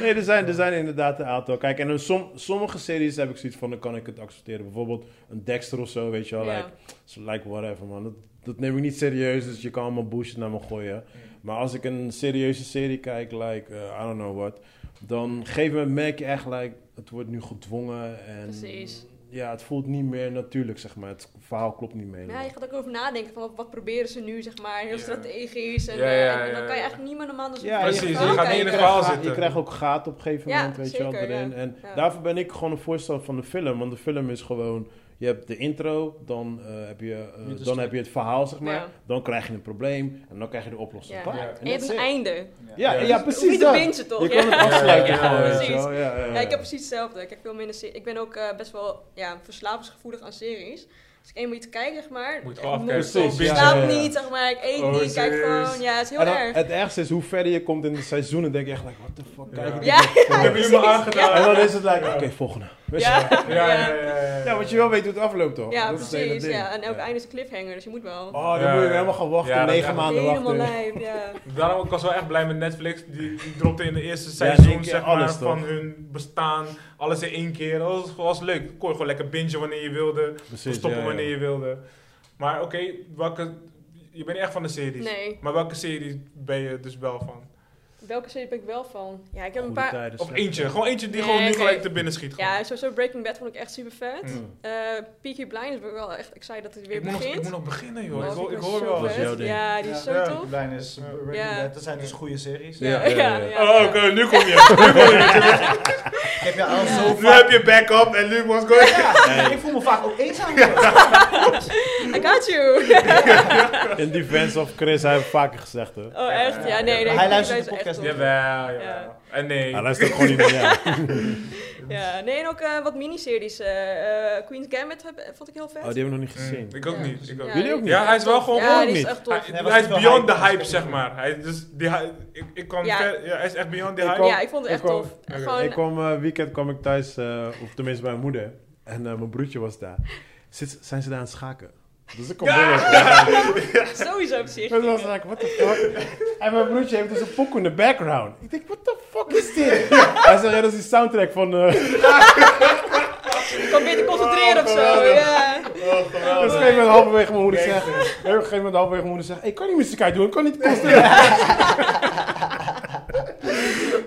Nee, er zijn, er zijn inderdaad een aantal. Kijk, en in som, sommige series heb ik zoiets van, dan kan ik het accepteren. Bijvoorbeeld een Dexter of zo, weet je wel.
Ja.
Like, So, like whatever, man. Dat, dat neem ik niet serieus, dus je kan allemaal bullshit naar me gooien. Maar als ik een serieuze serie kijk, like, eh, I don't know what... dan op een gegeven moment merk je echt, like, het wordt nu gedwongen en...
Precies.
Ja, het voelt niet meer natuurlijk, zeg maar. Het verhaal klopt niet meer.
Maar ja,
helemaal.
je gaat ook over nadenken van wat, wat proberen ze nu, zeg maar, heel
Ja.
strategisch. En,
Ja, ja,
eh,
ja,
en dan
ja,
kan je
ja.
echt niet meer normaal dan zo'n
Ja,
Precies,
verhaal
je
kijken.
gaat niet in het
krijgt-
verhaal zitten.
Je krijgt ook gaten op een gegeven
Ja,
moment, weet je wel,
zeker,
erin.
ja.
En
Ja.
daarvoor ben ik gewoon een voorstander van de film. Want de film is gewoon... Je hebt de intro, dan, eh, heb, je, eh,
Dit is
dan
de-
heb je het verhaal, zeg maar.
Ja.
Dan krijg je een probleem en dan krijg je de oplossing.
Ja.
Klaar.
Ja.
En
En je hebt
that's
een
it.
einde.
Ja, ja,
Ja.
Hoef
precies
niet te
dat.
bingen toch?
Je
ja.
kan het afsluiten
Ja, ja,
gewoon,
ja,
weet je
precies.
wel. Ja, ja,
Ja, ik heb precies hetzelfde. Ik kijk veel minder se- Ik ben ook eh, best wel ja, verslavingsgevoelig aan series. Als ik eenmaal iets kijk, zeg maar.
Moet je
echt
gewoon afkijken.
non-stop.
Precies,
Ik
ja,
slaap
ja, ja.
niet, zeg maar. Ik eet
Oh,
niet. Ik kijk
serieus?
gewoon. Ja, het is heel
En dan-
erg.
het ergste is, hoe verder je komt in de seizoenen, denk je echt, like, what the fuck,
Ja.
kijk ik dit
Ja,
nog voor?
Ik heb jullie me aangedaan.
En dan is het like, oké, volgende. Weet je wel.
Ja, ja, ja, ja, ja.
Ja, want je wel weet hoe het afloopt, toch?
Ja,
Dat is het hele
precies.
ding.
Ja. En elk
Ja.
einde is een cliffhanger, dus je moet wel.
Oh, dan
Ja,
moet je
ja.
helemaal gaan wachten,
Ja, dat is
negen
echt-
maanden
Helemaal
wachten.
lijp, ja.
Daarom ik was wel echt blij met Netflix. Die, die dropte in de eerste
Ja, in één
seizoen
keer
zeg maar,
alles, toch?
van hun bestaan. Alles in één keer. Dat was, was leuk. Kon je gewoon lekker bingen wanneer je wilde.
Precies,
stoppen
ja, ja.
wanneer je wilde. Maar oké, welke... Je bent niet echt van de series.
Nee.
Maar welke serie ben je dus wel van?
Welke serie ben ik wel van? Ja, ik heb een
Goede
paar...
tijden,
Of
slechte
eentje,
tijden.
gewoon eentje die
Nee,
gewoon nu
oké.
gelijk te binnen schiet. gewoon.
Ja, sowieso Breaking Bad vond ik echt super vet.
Mm.
Eh, Peaky Blinders ben ik wel echt excited dat hij weer
ik, moet nog, ik
begint.
moet nog beginnen, joh.
Oh,
Ik,
vind
hoor- ik
wel
hoor
zo
wel.
Dat is
vet.
jouw ding.
Ja, die is zo
Ja.
tof.
Blijn is
Ja.
Breaking Bad. Dat zijn dus goede series.
Ja.
ja,
ja.
ja, ja.
Oh, oké, nu kom je.
Ik heb je al zo
nu heb je backup en nu was go.
Ja, ik voel me vaak ook eenzaam. Ja.
I got you!
In defense of Chris, hij heeft vaker gezegd, hè.
Oh, echt? Ja, nee, nee.
Hij
Peaky
luistert
Blinders
de
is echt
podcast
tof.
niet.
Jawel,
Ja.
jawel. En nee.
Hij luistert ook gewoon niet naar jou.
Ja, nee, en ook eh, wat miniseries. eh eh Queen's Gambit heb, vond ik heel vet.
Oh, die hebben we nog niet
Mm,
gezien.
Ik ook
Ja.
niet. Ik ook
Jullie ook
die-
niet?
Ja, hij is wel gewoon
Ja,
ook
die is
niet.
echt
Hij,
tof.
Hij
hij,
was
is
niet wel
beyond
hype,
the
dus
hype,
dat
zeg
is-
maar. Hij, dus die, hy- ik, ik kwam
Ja.
ver- ja, hij is echt beyond the
Ik
hype.
kwam-
Ja, ik vond het
ik
echt
kwam-
tof.
oké.
Gewoon,
Ik kwam eh, weekend kwam ik thuis, eh, of tenminste bij mijn moeder. En eh, mijn broertje was daar. Zit, zijn ze daar aan het schaken? Dus ik kom binnen.
sowieso op zich.
En toen was ik, what the fuck? En mijn broertje heeft dus een pokoe in de background. Ik denk, what the fuck is dit? Hij zegt, ja, dat is die soundtrack van... eh
Ik kan beter concentreren
Oh,
of zo.
geweldig.
Ja.
Oh,
dus op een gegeven moment halverwege mijn moeder zegt... Op een gegeven moment halverwege mijn moeder zegt... Ik kan niet muziek uit doen, ik kan niet concentreren.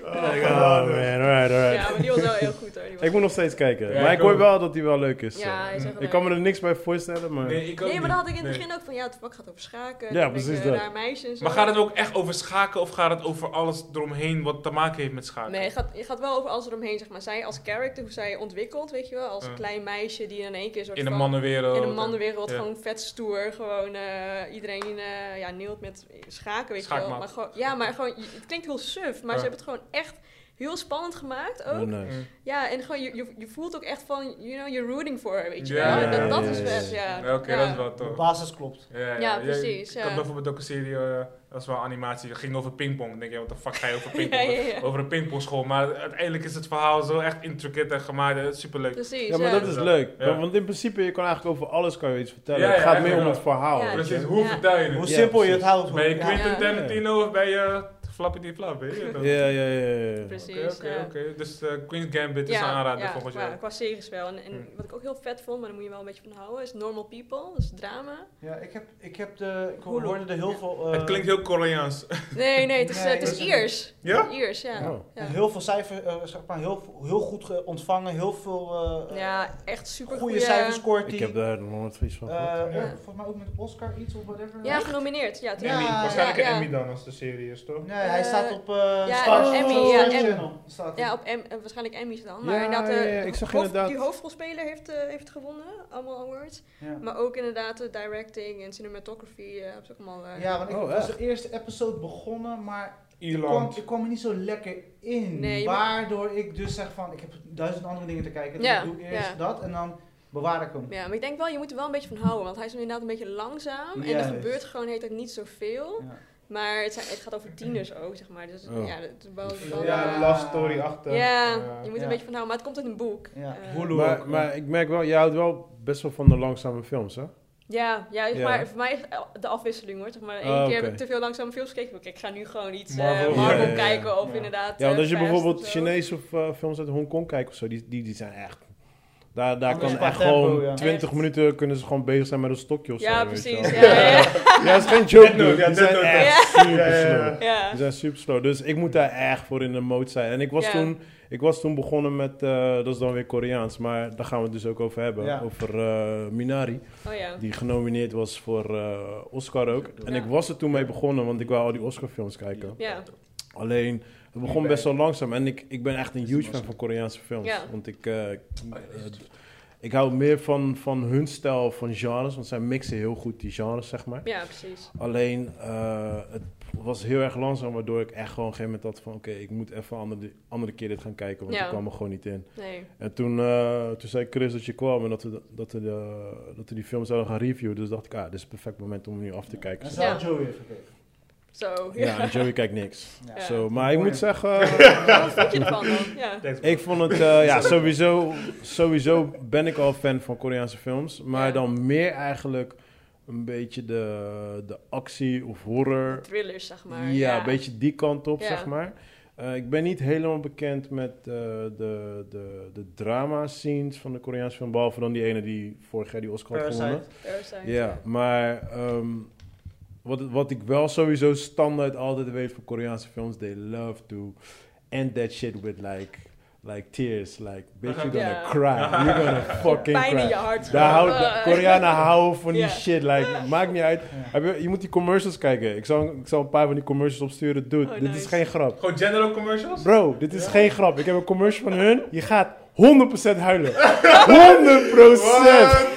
Oh man, alright, alright.
ja, maar die was wel heel goed hoor. Die was-
Ik moet nog steeds kijken.
Ja,
maar
ik
ik hoor
ook.
wel dat hij wel leuk is.
ja, hij is echt
ik
leuk.
kan me er niks bij voorstellen, maar...
Nee, ik ook
Nee, maar dan had ik in het
niet.
begin ook van ja, het vak gaat over schaken.
Ja,
dan ben ik,
precies
eh,
dat.
Naar meisjes. en zo.
Maar gaat het ook echt over schaken of gaat het over alles eromheen wat te maken heeft met schaken?
Nee, het gaat, het gaat wel over alles eromheen, zeg maar. Zij als character, hoe zij ontwikkelt, weet je wel. Als
Ja.
klein meisje die in één keer soort
in een
van-
mannenwereld.
In een mannenwereld,
Ja.
gewoon vet stoer. Gewoon eh, iedereen eh, ja, neelt met schaken, weet je wel.
Schaakmat.
Maar gewoon, ja, maar gewoon, je- het klinkt heel suf, maar
Ja.
ze hebben het gewoon echt heel spannend gemaakt ook.
Oh, nice.
Mm.
Ja, en gewoon, je, je, je voelt ook echt van, you know, you're rooting for her, weet je
Ja,
wel.
ja,
En dat, dat
ja,
is
ja,
vet,
ja.
ja.
Ja, Oké,
Ja.
dat is wel
De
tof.
basis klopt.
Ja, ja,
Ja, precies,
Ik
ja.
had bijvoorbeeld ook een serie, eh, dat is wel animatie, dat ging over pingpong. Dan denk je, wat de fuck ga je over pingpong?
Ja, ja, ja.
Over een pingpongschool. Maar uiteindelijk is het verhaal zo echt intricate en gemaakt. en Het is superleuk.
Precies,
Ja, maar dat is
Ja.
leuk.
Ja.
Want in principe, je kan eigenlijk over alles kan je iets vertellen.
Ja, ja,
het gaat meer
eigenlijk
om
wel.
het verhaal.
Ja,
weet je.
Precies, hoe
Ja.
vertel je
Hoe
het?
Ja,
simpel je het
precies.
houdt. hoe-
Ben je
ja.
Quentin
Ja.
Tarantino of ben je Flappy die Flap? weet je dat?
Ja, ja, ja. ja.
Precies,
Oké, oké,
ja.
oké. Dus eh, Queen's Gambit is een aanrader volgens
qua,
jou.
qua series wel. En, en
Hmm.
wat ik ook heel vet vond, maar daar moet je wel een beetje van houden, is Normal People. Dat is drama.
Ja, ik heb, ik heb de... Ik
Hulu.
hoorde er heel veel... eh,
het klinkt heel Koreaans.
Nee, nee, het is, eh,
Nee,
het is
dat is-
Iers.
Ja?
Iers, ja.
Oh.
Ja.
Heel veel cijfers, eh, zeg maar, heel, veel- heel goed ge- ontvangen, heel veel eh,
Ja, echt super
goede cijfers scoort
Ik
die.
heb daar nog nooit iets van gehoord.
eh,
Ja.
ook- Volgens mij ook met Oscar iets of whatever.
Ja, genomineerd. Ja,
Emmy,
ja,
Waarschijnlijk
ja,
een Emmy dan als de serie is, toch?
Nee, hij staat op eh
ja,
Stars-
Emmy,
Stars
ja,
Channel.
ja.
Staat hij.
Ja, op Em- eh, waarschijnlijk Emmys dan. Maar
Ja,
inderdaad, eh,
ja, ja, ik zag
hoofd-
inderdaad-
die hoofdrolspeler heeft, eh, heeft gewonnen, allemaal awards.
Ja.
Maar ook inderdaad de directing en cinematography, eh, hebben ze ook allemaal... eh,
Ja, want ik
Oh,
was
echt?
de eerste episode begonnen, maar ik kwam,
Ierland.
ik kwam er niet zo lekker in.
Nee, je moet-
waardoor ik dus zeg van, ik heb duizend andere dingen te kijken. Dus
Ja,
ik doe eerst
ja.
dat en dan bewaar ik hem.
Ja, maar ik denk wel, je moet er wel een beetje van houden. Want hij is inderdaad een beetje langzaam. En er
Juist.
gebeurt gewoon heet dat niet zoveel.
Ja.
Maar het, zijn- het gaat over tieners ook, zeg maar. Dus
Oh.
ja, dat is wel... wel,
Ja,
eh,
de love story achter.
ja, je moet er
Ja.
een beetje van houden. Maar het komt uit een boek.
Ja.
Eh,
Hulu ook,
Maar,
eh.
maar ik merk wel, jij houdt wel best wel van de langzame films, hè?
Ja, ja,
Ja.
maar voor mij is het de afwisseling hoor. Zeg maar, Eén
Ah,
keer
oké.
heb ik te veel langzame films gekeken. Oké, ik ga nu gewoon iets eh,
Marvel.
Marvel,
Ja, ja, ja.
kijken of
Ja.
inderdaad.
Ja, want
eh,
als je
Fast
bijvoorbeeld
of zo.
Chinees of eh, films uit Hongkong kijkt of zo, die, die, die zijn echt... Daar, daar
Ja,
kan
qua
echt
tempo,
gewoon
ja.
20
Echt.
minuten kunnen ze gewoon bezig zijn met een stokje of zo.
Ja,
weet je
precies.
wel.
Ja, ja,
Ja, dat is geen joke,
Death Note,
dude.
ja,
Die
Death
zijn
Note,
echt super slow.
ja.
Die zijn super slow. Dus ik moet daar echt voor in de mode zijn. En ik was,
Ja.
toen, ik was toen begonnen met, eh, dat is dan weer Koreaans, maar daar gaan we het dus ook over hebben.
Ja.
Over eh, Minari,
Oh ja.
die genomineerd was voor eh, Oscar ook. En
Ja.
ik was er toen mee begonnen, want ik wou al die Oscar-films kijken.
Ja.
Alleen, het begon best wel langzaam. En ik, ik ben echt een huge fan van Koreaanse films.
Ja.
Want ik, eh, ik, eh, ik hou meer van, van hun stijl van genres, want zij mixen heel goed die genres, zeg maar.
ja, precies.
Alleen, eh, het was heel erg langzaam, waardoor ik echt gewoon op een gegeven moment had van... oké, ik moet even een andere, andere keer dit gaan kijken, want
Ja.
ik kwam er gewoon niet in.
Nee.
En toen, eh, toen zei Chris dat je kwam en dat we, dat, we de- dat we die film zouden gaan reviewen. Dus dacht ik, ah, dit is het perfect moment om hem nu af te kijken. Ja,
En ze had Joey even gekeken.
Zo.
en Joey kijkt niks.
Ja.
Ja.
Zo, maar ik
Mooi.
moet zeggen,
Wat vond je ervan dan? Ja.
Thanks, man.
ik vond het... eh, ja, sowieso, sowieso ben ik al fan van Koreaanse films. Maar
Ja.
dan meer eigenlijk een beetje de, de actie of horror
Thrillers, zeg maar.
ja, een beetje die kant op,
Ja.
zeg maar. Eh, ik ben niet helemaal bekend met eh, de, de, de drama scenes van de Koreaanse film. Behalve dan die ene die vorig jaar die Oscar had gewonnen.
Parasite.
Parasite.
Ja, maar ehm, wat, wat ik wel sowieso standaard altijd weet van Koreaanse films, they love to end that shit with like, like tears. Like, bitch, you're gonna
Ja.
cry. You're gonna fucking
Pijn in
cry.
je hart.
Daar houden,
Eh,
Koreanen houden van die
Ja.
shit. Like, maakt niet uit. Heb je, je moet die commercials kijken. Ik zal, ik zal een paar van die commercials opsturen. Dude,
Oh,
dit is
nice.
geen grap.
Gewoon general commercials?
Bro, dit is
Ja.
geen grap. Ik heb een commercial van hun. Je gaat 100% huilen. 100%!
Wat?
oh,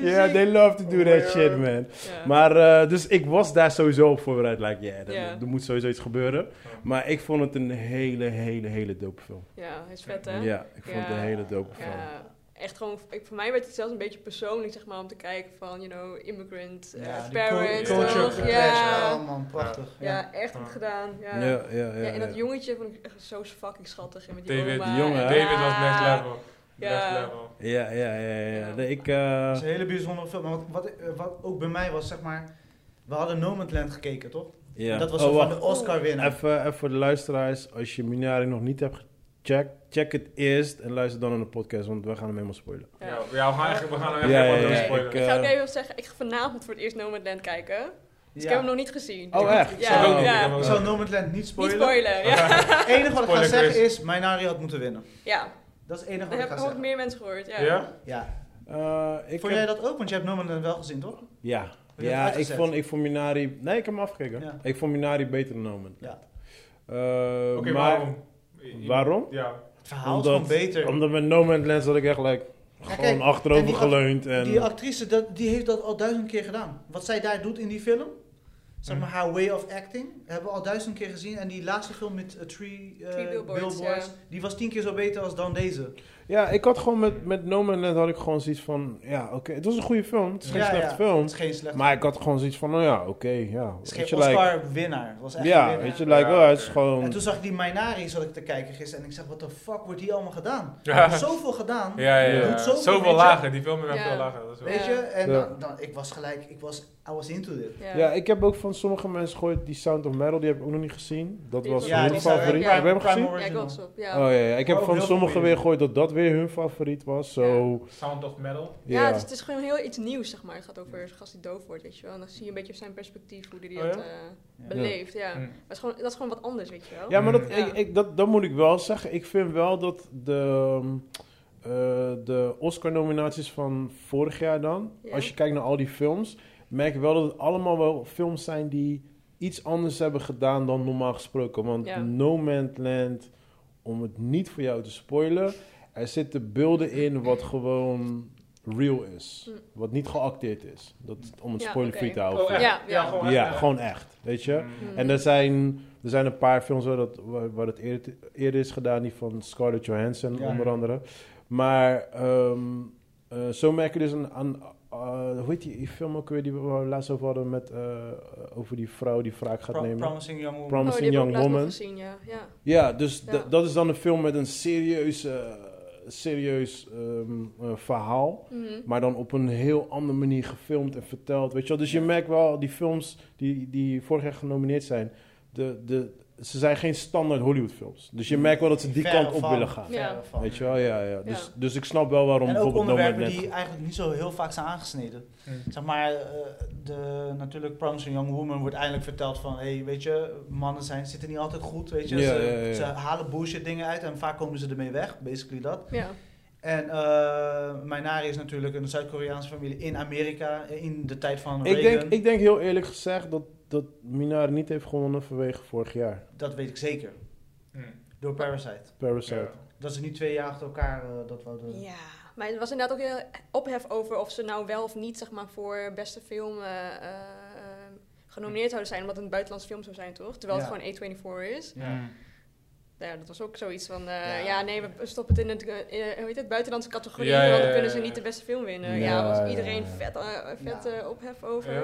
Yeah,
shit.
they love to do
Oh
that
my
shit,
God.
man.
Ja.
Maar, eh, dus ik was daar sowieso op voorbereid. Like, yeah, er-
Ja.
er moet sowieso iets gebeuren. Maar ik vond het een hele, hele, hele dope film.
Ja, hij is vet, hè?
Ja, ik vond het een
Ja.
hele dope film.
Ja, echt gewoon, ik, voor mij werd het zelfs een beetje persoonlijk, zeg maar, om te kijken van, you know, immigrant, eh,
Ja, die
parents.
cul-
toch?
culture
ja,
clash,
ja,
Oh man, prachtig. Ja.
echt goed gedaan. Ja.
Ja, ja, ja.
Ja, en dat
ja.
jongetje vond ik echt zo fucking schattig. En met die
David,
oma.
die jongen, hè?
Ja.
David was next level.
Ja.
Next level.
Ja, ja, ja, ja, ja.
Ja.
Nee, Ik, eh,
Dat is een hele bijzondere film. Maar wat, wat, eh, wat ook bij mij was, zeg maar... We hadden Nomadland gekeken, toch?
ja.
En dat was
Oh,
zo van
wacht.
de Oscar-winnaar.
Even, even voor de luisteraars, als je Minari nog niet hebt gecheckt, check het eerst en luister dan naar de podcast, want we gaan hem helemaal spoilen.
Ja.
Ja. we gaan eigenlijk, we gaan hem echt
Ja, ja,
helemaal
ja,
doorspoilen.
ik, eh,
Ik zou ook even zeggen, ik ga vanavond voor het eerst Nomadland kijken. Dus ik heb hem nog niet gezien.
Oh,
Ik moet-
echt?
Ja,
Ik ook niet,
ja.
ik heb hem
Ik zal Nomadland niet
Niet
spoilen.
spoilen. Ja,
Het enige wat ik ga
Spoiler quiz.
zeggen is, Minari had moeten winnen.
ja.
Dat is het enige
dat
wat ik
heb
ga
ik ook
zeggen.
meer mensen gehoord. Ja.
Ja?
Ja.
Eh, ik
Vond
heb-
jij dat ook? Want jij hebt Nomadland wel gezien, toch?
Ja,
Heb je
ja
het
ik,
uitgezet?
vond, ik vond Minari... Nee, ik heb hem afgekeken.
Ja.
Ik vond Minari beter dan Nomen.
Ja.
Eh, maar
Oké, waarom?
Waarom?
Ja.
Het verhaal
Omdat-
is gewoon beter.
Omdat met No Man's Land zat ik echt like, gewoon
kijk, en
achterover
die
geleund. En,
Die actrice, dat, die heeft dat al duizend keer gedaan. Wat zij daar doet in die film, zeg
Mhm.
maar haar way of acting, hebben we al duizend keer gezien. En die laatste film met eh, Three, eh,
Three Billboards,
Billboards,
ja.
die was tien keer zo beter als dan deze.
Ja, ik had gewoon met, met No Man's Land had ik gewoon zoiets van... Ja, oké, het was een goede film. Het is geen
Ja,
slechte
ja,
film.
Het is geen slecht.
Maar ik had gewoon zoiets van, nou ja, oké, ja.
het is
Weet
geen
je, like,
Oscar-winnaar. Het was echt een
ja,
winnaar.
weet je, like, oh, het is
En
gewoon...
toen zag ik die Minari, zat ik te kijken gisteren, en ik zeg, wat de fuck wordt hier allemaal gedaan?
Ja.
Er is zoveel gedaan,
Ja, ja, ja.
Doet zoveel, weet
Zoveel
je.
lager, die filmen
Ja.
hebben veel lager. Dat is wel-
weet je? En
Ja.
dan, dan- ik was gelijk, ik was, I was into dit.
Ja.
Ja, ik heb ook van sommige mensen gehoord, die Sound of Metal, die heb ik ook nog niet gezien. Dat
Die
was
is
ook- Ja,
hun
die zou-
favoriet.
ja.
Heb je hem
Prime
gezien?
Ja, ik was op. Ja.
Oh ja, ja, ik heb
Ook
van
heel
sommigen
goed.
weer gehoord dat dat weer hun favoriet was. Zo,
Sound of Metal.
Ja, dus
ja.
het, is, het is gewoon heel iets nieuws, zeg maar. Het gaat over een gast die doof wordt, weet je wel. En dan zie je een beetje zijn perspectief, hoe hij die
Oh,
het
ja?
eh,
Ja.
beleeft, ja.
Hm.
Maar het is gewoon, dat is gewoon wat anders, weet je wel. Oh,
Ja, maar dat,
Mm.
ik, ik, dat, dat moet ik wel zeggen. Ik vind wel dat de, ehm, eh, de Oscar-nominaties van vorig jaar dan,
Ja.
als je kijkt naar al die films, merk ik wel dat het allemaal wel films zijn die iets anders hebben gedaan dan normaal gesproken. Want
Ja.
No Man's Land, om het niet voor jou te spoilen, er zitten beelden in wat gewoon real is.
Hm.
Wat niet geacteerd is. Dat, om het
Ja,
spoiler-free
oké.
te houden.
Oh, echt?
Ja, ja.
gewoon
Ja,
echt, eh,
gewoon echt, weet je.
mm.
Hm.
En er zijn, er zijn een paar films waar, dat, waar, waar het eerder, eerder is gedaan, die van Scarlett Johansson
Ja.
onder andere. Maar ehm, eh, zo merk je dus een, aan, eh, hoe heet die, die film ook weer die we laatst over hadden met, eh, over die vrouw die wraak gaat
Pro-
nemen.
Promising Young Woman.
Oh, die
Promising
heb ik ook
Young
laatst nog
Woman.
gezien, ja. ja.
Ja, dus
Ja.
da- dat is dan een film met een serieus, eh, serieus ehm, eh, verhaal.
Mhm.
Maar dan op een heel andere manier gefilmd en verteld. Weet je wel? Dus je merkt wel, die films die, die vorig jaar genomineerd zijn, de, de, ze zijn geen standaard Hollywood films. Dus je merkt wel dat ze die
Verre
kant op
Mm. van,
willen gaan.
Ja.
verre van.
Weet je wel, ja, ja. Dus, dus ik snap wel waarom
En ook
bijvoorbeeld No
onderwerpen
Man's
die
Land-
eigenlijk niet zo heel vaak zijn aangesneden.
Hmm.
Mm.
Zeg maar, eh, de, natuurlijk Promising Young Woman wordt eindelijk verteld van... hey, weet je, mannen zijn, zitten niet altijd goed, weet je.
Ja,
ze,
ja, ja, ja.
ze halen bullshit dingen uit en vaak komen ze ermee weg, basically dat.
Ja.
En eh Minari is natuurlijk een Zuid-Koreaanse familie in Amerika eh, in de tijd van
Ik
Reagan.
denk, ik denk heel eerlijk gezegd dat, dat Minari niet heeft gewonnen vanwege vorig jaar.
Dat weet ik zeker,
Mm.
door Parasite.
Parasite.
Dat ze niet twee jaar achter elkaar eh, dat wouden...
Ja, maar het was inderdaad ook heel ophef over of ze nou wel of niet zeg maar, voor beste film eh, eh, eh, genomineerd zouden zijn, omdat het een buitenlandse film zou zijn, toch? Terwijl
Ja.
het gewoon A24 is.
Ja.
Nou Ja, dat was ook zoiets van, eh,
Ja.
ja. nee, we stoppen het in het, eh, eh, hoe heet het buitenlandse categorie,
Ja, ja,
want
ja,
dan kunnen ze
ja.
niet de beste film winnen.
Ja,
Ja, daar
ja,
was iedereen
ja.
vet, eh, vet
Ja.
eh, ophef over. Ja.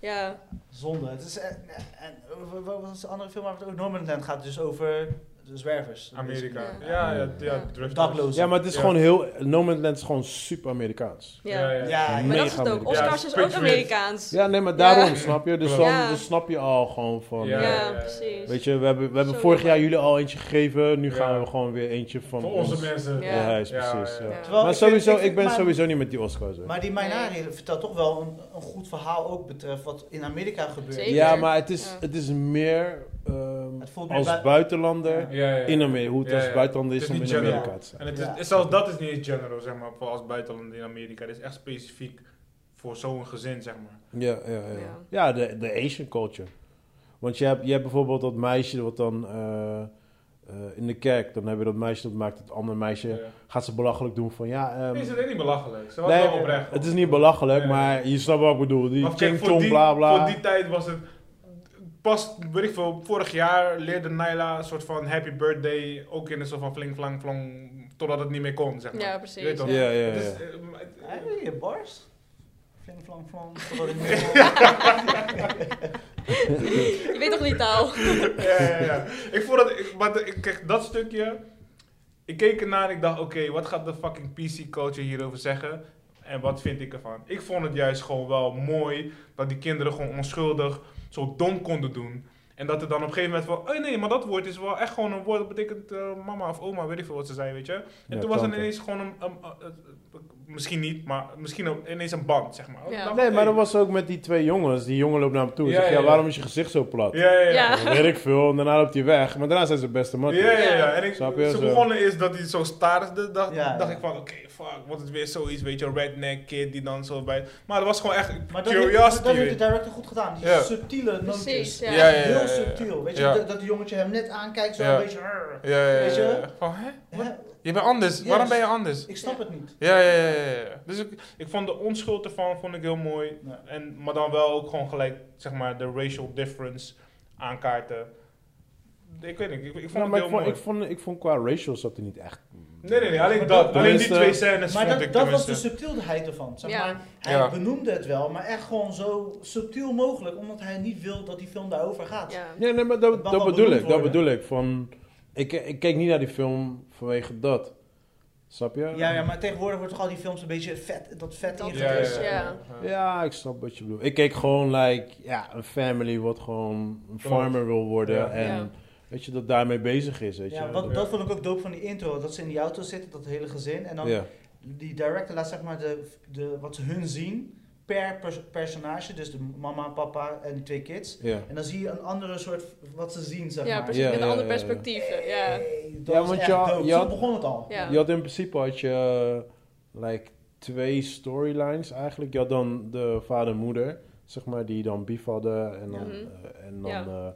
Ja.
eh, Zonde. Het is, en, en, en- wat was de andere film waar we het ook Normanland gaat? Dus over de zwervers.
Amerika. Ja,
Ja.
ja, ja,
Ja.
drugs.
Daklozen.
Ja, maar het is
Ja.
gewoon heel... Nomadland is gewoon super Amerikaans.
Ja.
ja.
Ja,
Maar dat is het
Mega
ook.
Amerikaans.
Oscars
Ja,
is ook
Patriots.
Amerikaans.
Ja, nee, maar daarom,
Ja.
snap je? Dus
Ja.
dan, dan snap je al gewoon van...
Ja.
eh,
Ja, precies.
Weet je, we hebben, we hebben
Zo
vorig
leuk.
jaar jullie al eentje gegeven. Nu
Ja.
gaan we gewoon weer eentje van
Voor onze
ons.
mensen.
Ja,
Ja.
is
Ja,
precies.
ja,
ja.
ja.
Terwijl
Maar
ik vind-
sowieso,
ik vind-
ik ben
maar-
sowieso niet met die Oscars. hè.
Maar die Mainari vertelt toch wel een, een goed verhaal ook betreft wat in Amerika gebeurt.
Zeker.
Ja, maar het is,
Ja.
het is meer ehm,
Het voelt meer
als
bui-
buitenlander
Ja.
Ja, ja.
in Amerika. Hoe het
Ja,
als
ja.
buitenlander
Het
is
is
om
niet
in
general.
Amerika te zijn.
En het
Ja.
is, zelfs dat is niet eens general, zeg maar, voor als buitenlander in Amerika. Dit is echt specifiek voor zo'n gezin, zeg maar.
Ja, ja, ja. ja.
Ja.
de, de Asian culture. Want je hebt, je hebt bijvoorbeeld dat meisje wat dan eh, eh, in de kerk, dan heb je dat meisje dat maakt het andere meisje,
Ja.
gaat ze belachelijk doen van ja. ehm,
Nee, ze deed niet belachelijk. Ze was
nee,
wel oprecht.
het is niet belachelijk,
Nee.
maar je snapt wat ik bedoel. Die
Maar kijk,
King
voor
Tong,
die-
bla bla.
Voor die tijd was het. Pas, weet ik veel, vorig jaar leerde Naila een soort van happy birthday ook in een soort van fling flang flong, totdat het niet meer kon, zeg maar.
Ja,
Je
precies.
weet toch?
Ja, ja,
Het is,
ja.
eh, maar het-
Hé, je bars? Fling, flang, flang.
Je weet toch niet taal?
ja, ja, ja. Ik vond dat, ik, maar de- ik kreeg dat stukje. Ik keek ernaar en ik dacht, oké, wat gaat de fucking PC-culture hierover zeggen? En wat vind ik ervan? Ik vond het juist gewoon wel mooi dat die kinderen gewoon onschuldig zo dom konden doen. En dat er dan op een gegeven moment van, oh nee, maar dat woord is wel echt gewoon een woord dat betekent eh, mama of oma, weet ik veel wat ze zijn, weet je. En
Ja,
toen was er
tante.
ineens gewoon een, een- een- een- misschien niet, maar misschien ook ineens een band, zeg maar.
Ja.
Ik dacht,
Nee, maar
hey.
dat was ook met die twee jongens. Die jongen loopt naar hem toe en
Ja,
zegt, ja,
ja, ja.
waarom is je gezicht zo plat?
Ja, ja, ja.
Ja.
Dat weet ik veel. En daarna loopt hij weg. Maar daarna zijn ze beste matten.
Ja, ja, ja. En ik,
Snap je?
ze
Zo.
begonnen is dat hij zo staarde. Dacht,
Ja,
dacht
ja.
ik van, oké, fuck, wordt het weer zoiets, weet je, redneck kid die dan zo bij... Maar dat was gewoon echt
Maar dat heeft,
curiosity.
dat heeft de director goed gedaan. Die
Ja.
subtiele nootjes.
Precies, ja.
Ja, ja, ja, ja.
Heel subtiel. Weet je,
Ja.
dat, dat die jongetje hem net aankijkt, zo
Ja.
een beetje... "Rrr."
ja, ja,
Weet je?
Van, hè? Wat?
Hè?
Je bent anders.
Yes.
Waarom ben je anders?
Ik snap het niet.
Ja, ja, ja, ja, ja. Dus ik, ik vond de onschuld ervan vond ik heel mooi.
Ja.
En, maar dan wel ook gewoon gelijk, zeg maar, de racial difference aankaarten. Ik weet niet, ik, ik vond
Nou,
het
maar
heel
ik vond,
mooi.
ik, vond, ik vond qua racial zat hij niet echt.
nee, nee, nee, alleen,
Maar
dat, eh,
dat-
alleen die
tenminste-
twee scènes
Maar
vond
dat,
ik
dat was
tenminste...
de subtielheid ervan. Zeg
Ja.
maar, hij
Ja.
benoemde het wel, maar echt gewoon zo subtiel mogelijk. Omdat hij niet wil dat die film daarover gaat.
Ja.
Ja, nee, maar
Het
dat,
mag
dat
wel
bedoel
benoemd
ik. Dat
worden.
bedoel ik. Van, ik, ik keek niet naar die film vanwege dat. Snap je?
Ja, ja, maar tegenwoordig wordt toch al die films een beetje vet, dat vet
Dat
in
ja, ja, ja,
Ja.
Ja, ik snap wat je bedoelt. Ik keek gewoon, like, ja, een family wat gewoon een farmer wil worden.
Ja.
En
Ja.
weet je, dat daarmee bezig is. Weet je?
Ja,
Dat-
wat, dat vond ik ook dope van die intro. Dat ze in die auto zitten, dat hele gezin. En dan
ja.
die director laat zeg maar de, de, wat ze hun zien per pers- personage. Dus de mama, papa en die twee kids.
Ja.
En dan zie je een andere soort wat ze zien, zeg
ja,
maar.
precies.
Ja,
Met
ja,
een ander
ja, ja.
perspectief. eh, Ja.
Hey,
Ja,
dat is
want
echt
je had-
dope.
je
Zo
had-
begon het al.
Ja.
Je had in principe had je, eh, like, twee storylines eigenlijk. Je had dan de vader en moeder, zeg maar, die dan beef hadden. En dan,
Mhm.
eh, en dan
Ja.
eh,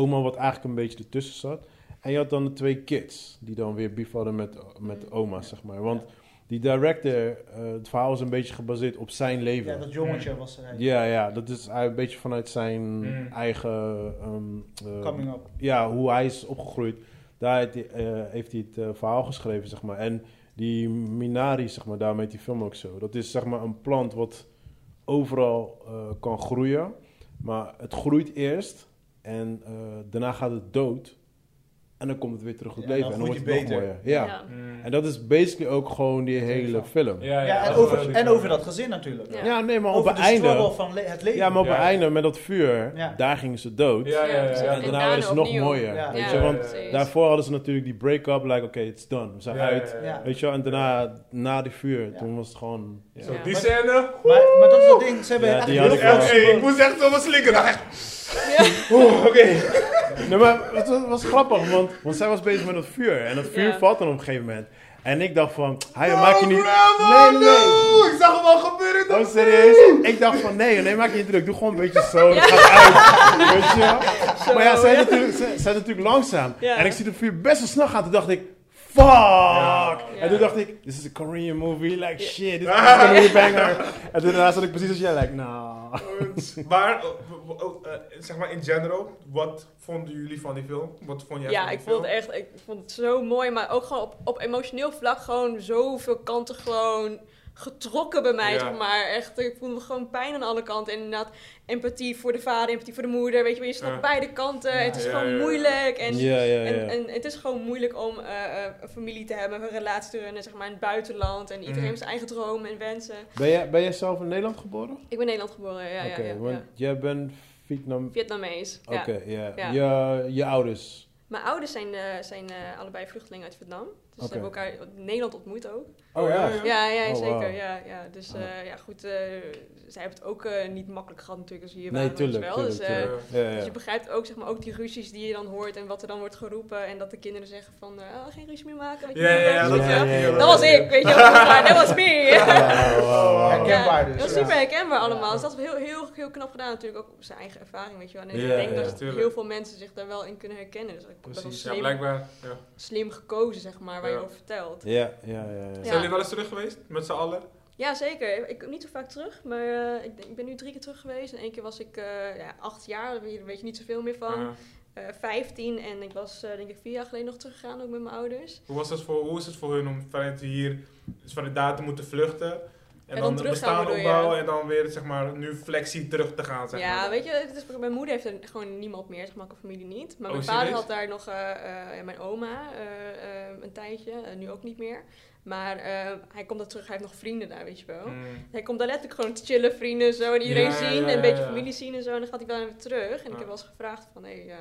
oma, wat eigenlijk een beetje ertussen zat. En je had dan de twee kids, die dan weer beef hadden met, met
Mhm.
oma, zeg maar. Want die director, eh, het verhaal is een beetje gebaseerd op zijn
Ja,
leven.
dat jongetje was er. eigenlijk.
Ja, ja, dat is eigenlijk een beetje vanuit zijn
Mhm.
eigen... ehm, eh,
Coming up.
ja, hoe hij is opgegroeid, daar heeft hij, eh, heeft hij het eh, verhaal geschreven, zeg maar. En die Minari, zeg maar, daarmee die film ook zo. Dat is zeg maar een plant wat overal eh, kan groeien, maar het groeit eerst en eh, daarna gaat het dood. En dan komt het weer terug op
Ja,
leven en
dan
dan wordt
groeit
het
hij
nog
beter.
mooier. Ja.
Ja.
Mm.
En dat is basically ook gewoon die
Dat is
hele
wel.
film. Ja,
Ja, ja,
Ja, en
dat is
over,
wel-
en over dat gezin natuurlijk.
Ja.
nee, maar op
Over
het
de struggle
einde...
van le- het leven.
Ja, maar op het
Ja.
einde met dat vuur,
Ja.
daar gingen ze dood.
Ja, ja, ja.
precies.
ja,
En daarna is het nog
opnieuw.
mooier.
Ja.
Weet
Ja,
je, want
precies.
Daarvoor hadden ze natuurlijk die break-up, like, oké, it's done, we zijn uit.
ja, ja.
Weet je wel, en daarna, na die vuur,
Ja.
toen was het gewoon... Ja.
Zo,
Ja.
die
Maar-
scène.
Maar, maar dat is het ding, ze hebben
Ja,
echt
die
heel
had ik
veel
wel.
Echt, hey, ik
gesproken.
moest echt zo wat slikken.
Ja.
Oeh, oké.
Nee, maar het was, was grappig, want, want zij was bezig met dat vuur. En dat vuur
Ja.
valt dan op een gegeven moment. En ik dacht van, hij
Oh,
maak je niet... nee,
bravo,
nee.
no. Ik zag hem al gebeuren.
Oh, serieus? Ik dacht van, nee, nee, maak je niet druk. Doe gewoon een beetje zo, het gaat uit. Weet je wel? Maar ja, zij is natuurlijk, zij, zij is natuurlijk langzaam.
Ja.
En ik zie dat vuur best wel snel gaan. Toen dacht ik, fuck! En toen dacht ik, this is a Korean movie, like shit, this is a Korean banger. En toen daarna zat ik precies als jij, like, nah.
Maar, eh, w- w- eh, zeg maar in general, wat vonden jullie van die film? Wat vond jij
Ja,
van die
ik vond het
film?
echt, ik vond het zo mooi, maar ook gewoon op, op emotioneel vlak gewoon zoveel kanten gewoon getrokken bij mij,
Ja.
zeg maar. Echt, ik voelde me gewoon pijn aan alle kanten. En inderdaad, empathie voor de vader, empathie voor de moeder. Weet je, maar je snapt
Ja.
beide kanten.
Ja.
Het is
Ja,
gewoon
ja, ja.
moeilijk. En,
ja, ja, ja.
en, en het is gewoon moeilijk om eh, eh, een familie te hebben, een relatie te runnen, zeg maar, in het buitenland. En iedereen
Mhm.
heeft zijn eigen dromen en wensen.
ben, jij, ben jij zelf in Nederland geboren?
Ik ben Nederland geboren, ja, ja,
Oké,
ja, ja.
want jij bent Vietnam...
Vietnamees.
Oké,
Ja.
ja.
Ja.
Je, je ouders.
Mijn ouders zijn, eh, zijn eh, allebei vluchtelingen uit Vietnam. Dus
Oké.
ze hebben elkaar in Nederland ontmoet ook.
Oh ja.
Ja, ja,
Oh,
zeker.
wauw.
Ja, ja. Dus
Ah.
eh, ja, goed, eh, zij hebben het ook eh, niet makkelijk gehad natuurlijk als we hier
Nee,
waren. weet je
tuurlijk.
wel.
tuurlijk,
dus, eh,
tuurlijk. Ja, ja.
dus je begrijpt ook, zeg maar, ook die ruzies die je dan hoort en wat er dan wordt geroepen. En dat de kinderen zeggen van, eh, oh, geen ruzie meer maken. Weet je,
Ja, ja, ja,
wel, weet
dat,
je
Ja,
wel.
ja, ja.
Dat was ik, weet je wel. Maar Dat was me.
Wauw, wauw, wauw.
Herken- Herkenbaar dus,
Dat was
ja.
super herkenbaar allemaal.
Ja.
Dus dat is heel, heel, heel knap gedaan natuurlijk. Ook op zijn eigen ervaring, weet je wel. En
Ja,
ik denk
ja.
dat
Tuurlijk.
heel veel mensen zich daar wel in kunnen herkennen. Dus ik ben wel
Precies.
Ja,
slim,
blijkbaar. Ja.
slim gekozen, zeg maar, waar je
Ja.
over vertelt.
Ja, ja, ja. ja.
Zijn jullie wel eens terug geweest? Met z'n allen?
Ja, zeker. Ik kom niet zo vaak terug, maar eh, ik, denk- ik ben nu drie keer terug geweest. En één keer was ik eh, ja, acht jaar, daar weet je- weet je niet zoveel meer van.
Ja.
Eh, vijftien en ik was eh, denk ik vier jaar geleden nog teruggegaan, ook met mijn ouders.
Hoe, was dat voor, hoe is het voor hun om vanuit hier, dus vanuit daar te moeten vluchten? En,
dan
dan het
terug gaan,
bestaan
bedoel je?
opbouwen en dan weer, zeg maar, nu flexie terug te gaan, zeg
ja,
maar.
weet je, het is, mijn moeder heeft er gewoon niemand meer, zeg maar, mijn familie niet. Maar
Oh,
mijn vader
serieus?
had daar nog eh, eh, ja, mijn oma eh, eh, een tijdje, eh, nu ook niet meer. Maar eh, hij komt daar terug, hij heeft nog vrienden daar, weet je wel.
Mm.
Hij komt daar letterlijk gewoon te chillen, vrienden zo, en iedereen
Ja,
zien,
ja,
en
ja,
een beetje
ja.
familie zien en zo. En dan gaat hij wel weer terug. En ik
Ja.
heb wel eens gevraagd van, hé, ja,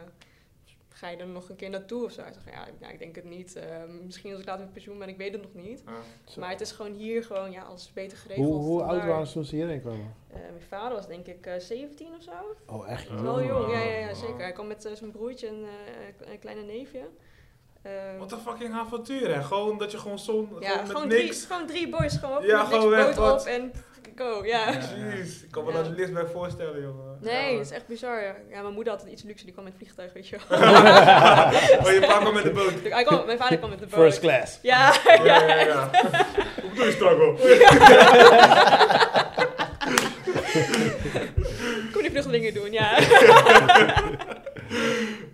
ga je er nog een keer naartoe of zo? Hij zegt, ja, ik- ja, ik denk het niet. Eh, misschien als ik later met pensioen ben, ik weet het nog niet.
Ja.
Zo.
Maar het is gewoon hier gewoon, ja, alles beter geregeld.
Hoe, hoe oud
Vandaar.
waren ze toen ze hierheen kwamen?
Eh, mijn vader was denk ik eh, 17 of zo.
Oh, echt?
Oh.
Wel jong, ja, ja,
Wauw.
ja, zeker. Hij kwam met eh, zijn broertje en eh, een kleine neefje. Eh,
Wat een fucking avontuur, hè? Gewoon dat je gewoon zon,
ja,
gewoon
gewoon
met
drie,
niks.
gewoon drie boys, gewoon op,
Ja,
met niks,
gewoon weg,
boot
wat?
op en go, ja.
Jeez, ik kan me
Ja.
dat licht bij voorstellen, jongen.
Nee,
Ja.
dat is echt bizar. Ja. Ja, mijn moeder had het iets luxe, die kwam met het vliegtuig, weet je wel.
oh, je papa met de boot.
Hij kwam- mijn vader kwam met de boot.
First class.
Ja,
Ja, ja, ja. Hoe bedoel je struggle?
ik kon die vluchtelingen doen, ja.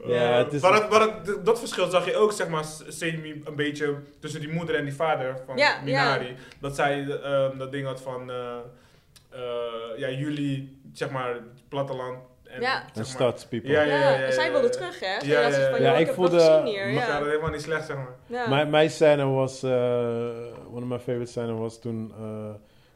Ja, het is-
Eh, maar dat, maar dat, dat verschil zag je ook, zeg maar, semi een beetje tussen die moeder en die vader van
Ja,
Minari. Dat zij ehm, dat ding had van, eh, eh, ja, jullie, zeg maar, platteland. En,
Ja.
zeg
Een
maar-
stadspeople.
Ja,
Ja,
ja, ja, ja,
en zij
ja,
wilde
ja.
terug, hè?
Ja,
Zodat ze
ja, ja.
van,
Ja,
joh,
ik
ik heb wat
voelde-
gezien hier.
Ja, dat
Ja.
was helemaal niet slecht, zeg maar.
Ja.
Mijn, mijn scène was, eh, one of my favorite scène was toen eh,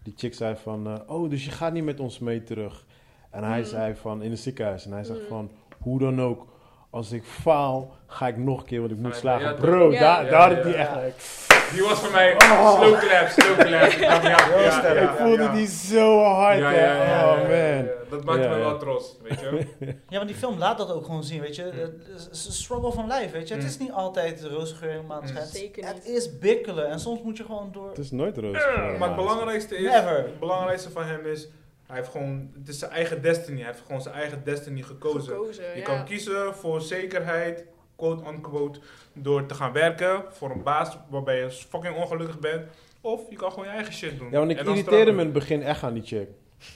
die chick zei van, eh, oh, dus je gaat niet met ons mee terug. En hij
Mm.
zei van, in het ziekenhuis. En hij zegt
Mm.
van, hoe dan ook, als ik faal, ga ik nog een keer, want ik moet
Ja,
slagen.
ja,
Bro,
ja.
daar,
Ja,
daar
ja,
had hij
ja.
echt... like,
Die was voor mij
Oh.
slow clap, slow clap. Ja, ja, ja,
Heel sterk.
ik voelde
ja.
die zo hard,
Ja,
hè.
ja, ja, ja,
oh
ja,
man.
ja, ja. Dat maakt
Ja,
me
ja.
wel trots, weet je.
Ja, want die film laat dat ook gewoon zien, weet je. Het is een struggle van lijf, weet je. Het
Mm.
is niet altijd de roze geur helemaal
Mm.
Zeker
Het
niet.
is bikkelen en soms moet je gewoon door...
Het is nooit roze.
Maar het belangrijkste is,
Never.
het belangrijkste van hem is, hij heeft gewoon, het is zijn eigen destiny. Hij heeft gewoon zijn eigen destiny gekozen.
Gekozen,
Je
Eh, ja.
kan kiezen voor zekerheid, quote unquote, door te gaan werken voor een baas waarbij je fucking ongelukkig bent. Of je kan gewoon je eigen shit doen.
Ja, want ik
En dan
irriteerde me in
straffen.
het begin echt aan die chick.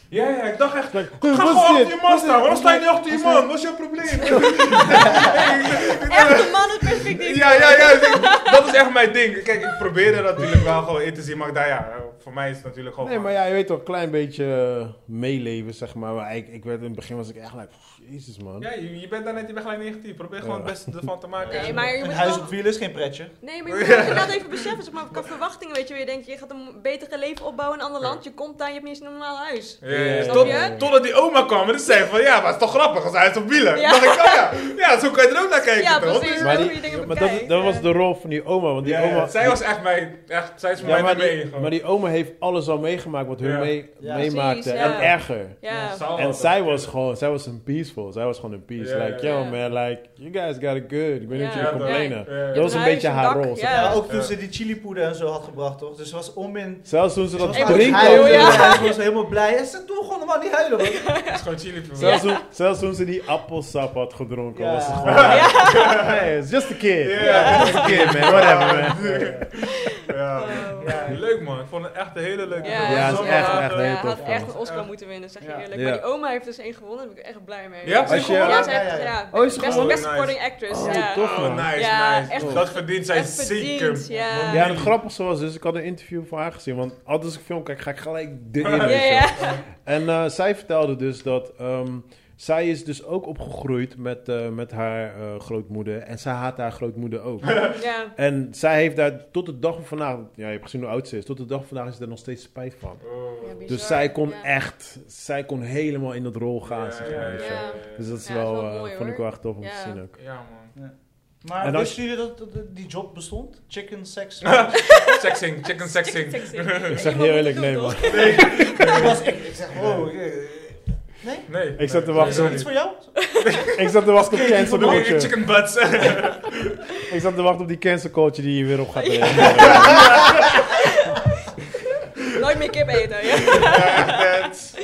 Ja, ja, ik dacht echt,
Like,
ga
wat
gewoon
is
achter
dit?
je
Wat
man
is
staan.
dit?
Waarom sta je niet achter je
Wat is
man? Wat is jouw probleem?
Echte mannen perfect ding.
Ja, ja, ja. ik- Dat is echt mijn ding. Kijk, ik probeerde natuurlijk wel gewoon in te zien, maar ik dacht, ja, voor mij is het natuurlijk gewoon...
Nee, maar ja, je weet toch, een klein beetje eh, meeleven, zeg maar. Maar ik, ik werd in het begin was ik echt like, pff, jezus man.
Ja, je, je bent daar net, je bent gelijk negatief. Probeer gewoon
Ja.
het beste ervan te maken.
Nee, maar je
Een
moet
huis op
wel...
wielen is geen pretje.
Nee, maar je moet wel inderdaad even beseffen, zeg maar, qua verwachtingen, weet je, je denkt, je gaat een betere leven opbouwen in een ander land, je komt daar, je hebt niet eens een normaal huis.
Ja, ja, ja.
Snap
Tot,
je?
totdat die oma kwam en dus zei van, ja, maar het is toch grappig als hij is op wielen.
Ja.
dacht ik, oh ja, ja, zo kan je er ook naar kijken.
Ja,
toch?
precies.
Maar,
hoe
die,
je dingen
maar dat,
bekijkt,
dat
ja.
was de rol van die oma. Want die
Ja, ja,
oma
Zij was echt mijn, echt, zij is voor
Ja,
mij
maar,
de enige.
die, maar die oma heeft alles al meegemaakt wat hun
Ja.
mee,
Ja.
meemaakte.
Precies, ja.
En erger.
Ja.
Zal
En
wel.
zij was gewoon, zij was een peaceful. Zij was gewoon een peace.
Ja,
like,
ja,
yo
ja.
man, like, you guys got it good. Ik ben
Ja.
niet
Ja,
jullie
toch?
complainen.
Ja, ja.
Dat was een
Huis,
beetje
een
haar
dak,
rol. zeg
ja.
maar.
Ja, ook toen
Ja.
ze die chilipoeder en zo had gebracht, toch? Dus ze was onmin...
Zelfs toen ze
Ze
dat
was
En
aan het
drinken...
huilen,
over-
ja.
en Ze was helemaal blij. En ze doen gewoon normaal niet huilen, man.
Het is gewoon chili voor mij.
Zelfs, toen, zelfs toen ze die appelsap had gedronken,
Ja.
was ze gewoon... Hey, it's just a kid.
Ja.
Just a kid, man. Whatever, man.
Ja.
Oh,
man. Leuk man, ik vond het echt een hele leuke
Ja,
film.
het is
Zo
echt,
gaaf,
echt
eh.
heel
ja,
tof,
had
man.
echt een Oscar moeten winnen, zeg je
Ja.
eerlijk.
Ja.
Maar die oma heeft dus één gewonnen, daar ben ik echt blij mee.
Ja?
ze
Als
heeft
je-
gewonnen, ze
Ja,
heeft
ja, ja.
ja,
Oh, is ze
best,
gewonnen?
best supporting actress.
Oh,
ja.
tof.
Oh,
man.
nice,
Ja,
nice.
echt
Dat verdient zij
Echt
zeker.
verdiend, ja.
man.
Ja, en het grappige was dus, ik had een interview van haar gezien. Want altijd als ik film kijk, ga ik gelijk dit in.
Ja,
weet je.
ja.
En eh, zij vertelde dus dat ehm, zij is dus ook opgegroeid met, eh, met haar eh, grootmoeder. En zij haat haar grootmoeder ook.
ja.
en zij heeft daar tot de dag van vandaag, ja, je hebt gezien hoe oud ze is. Tot de dag van vandaag is ze daar nog steeds spijt van.
Oh.
Ja, bizar.
Dus zij kon
Ja.
echt, zij kon helemaal in dat rol gaan. zeg maar, weet je.
ja.
Dus dat is
Ja,
wel,
dat is wel
eh,
mooi,
vond ik
hoor.
wel echt tof om
Ja.
te zien ook.
Ja, man.
Maar
En als-
wisten jullie dat, dat- dat die job bestond? Chicken sex.
Sexing, chicken sexing.
Ik zeg heel eerlijk, nee man.
dat was ik. Ik zeg, wow. eh, Nee?
Nee.
Ik zat te
Is
wachten
dat
op-
iets voor jou?
Ik zat te wachten op cancel
Doe ik
culture.
chicken butts.
Ik zat te wachten op die cancel culture die hier weer op gaat reageren.
Nooit meer kip eten, ja.
Butts.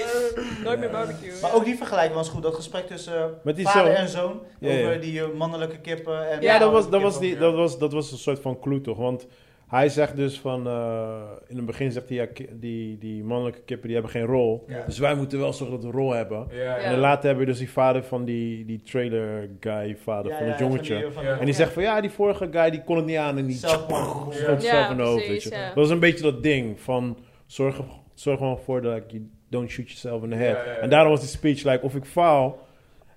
Nooit meer barbecue.
Maar ook die vergelijking was goed. Dat gesprek tussen eh,
Met die
vader
zoon.
en zoon.
Ja, ja.
over die eh, mannelijke kippen. En
Ja, dat was, dat,
vrouwelijke
was die,
ja.
dat, was, dat was een soort van clue toch? Want hij zegt dus van... eh, in het begin zegt hij, ja, ki- die, die mannelijke kippen die hebben geen rol.
Ja.
Dus wij moeten wel zorgen dat we een rol hebben.
Ja,
En
ja.
dan later hebben we dus die vader van die, die trailer guy vader,
kippen. Ja,
van
ja,
het jongetje.
van die- eh, van
Ja.
die-
En die zegt van, ja, die vorige guy die kon het niet aan en die...
Zelfmoord.
Ja.
schoot
Ja,
zelf in de hoofd,
precies,
weet je.
ja.
Dat was een beetje dat ding van... Zorg, er- zorg gewoon voor dat je don't shoot yourself in the head.
Ja, ja, ja.
En daarom was die speech like, of ik faal...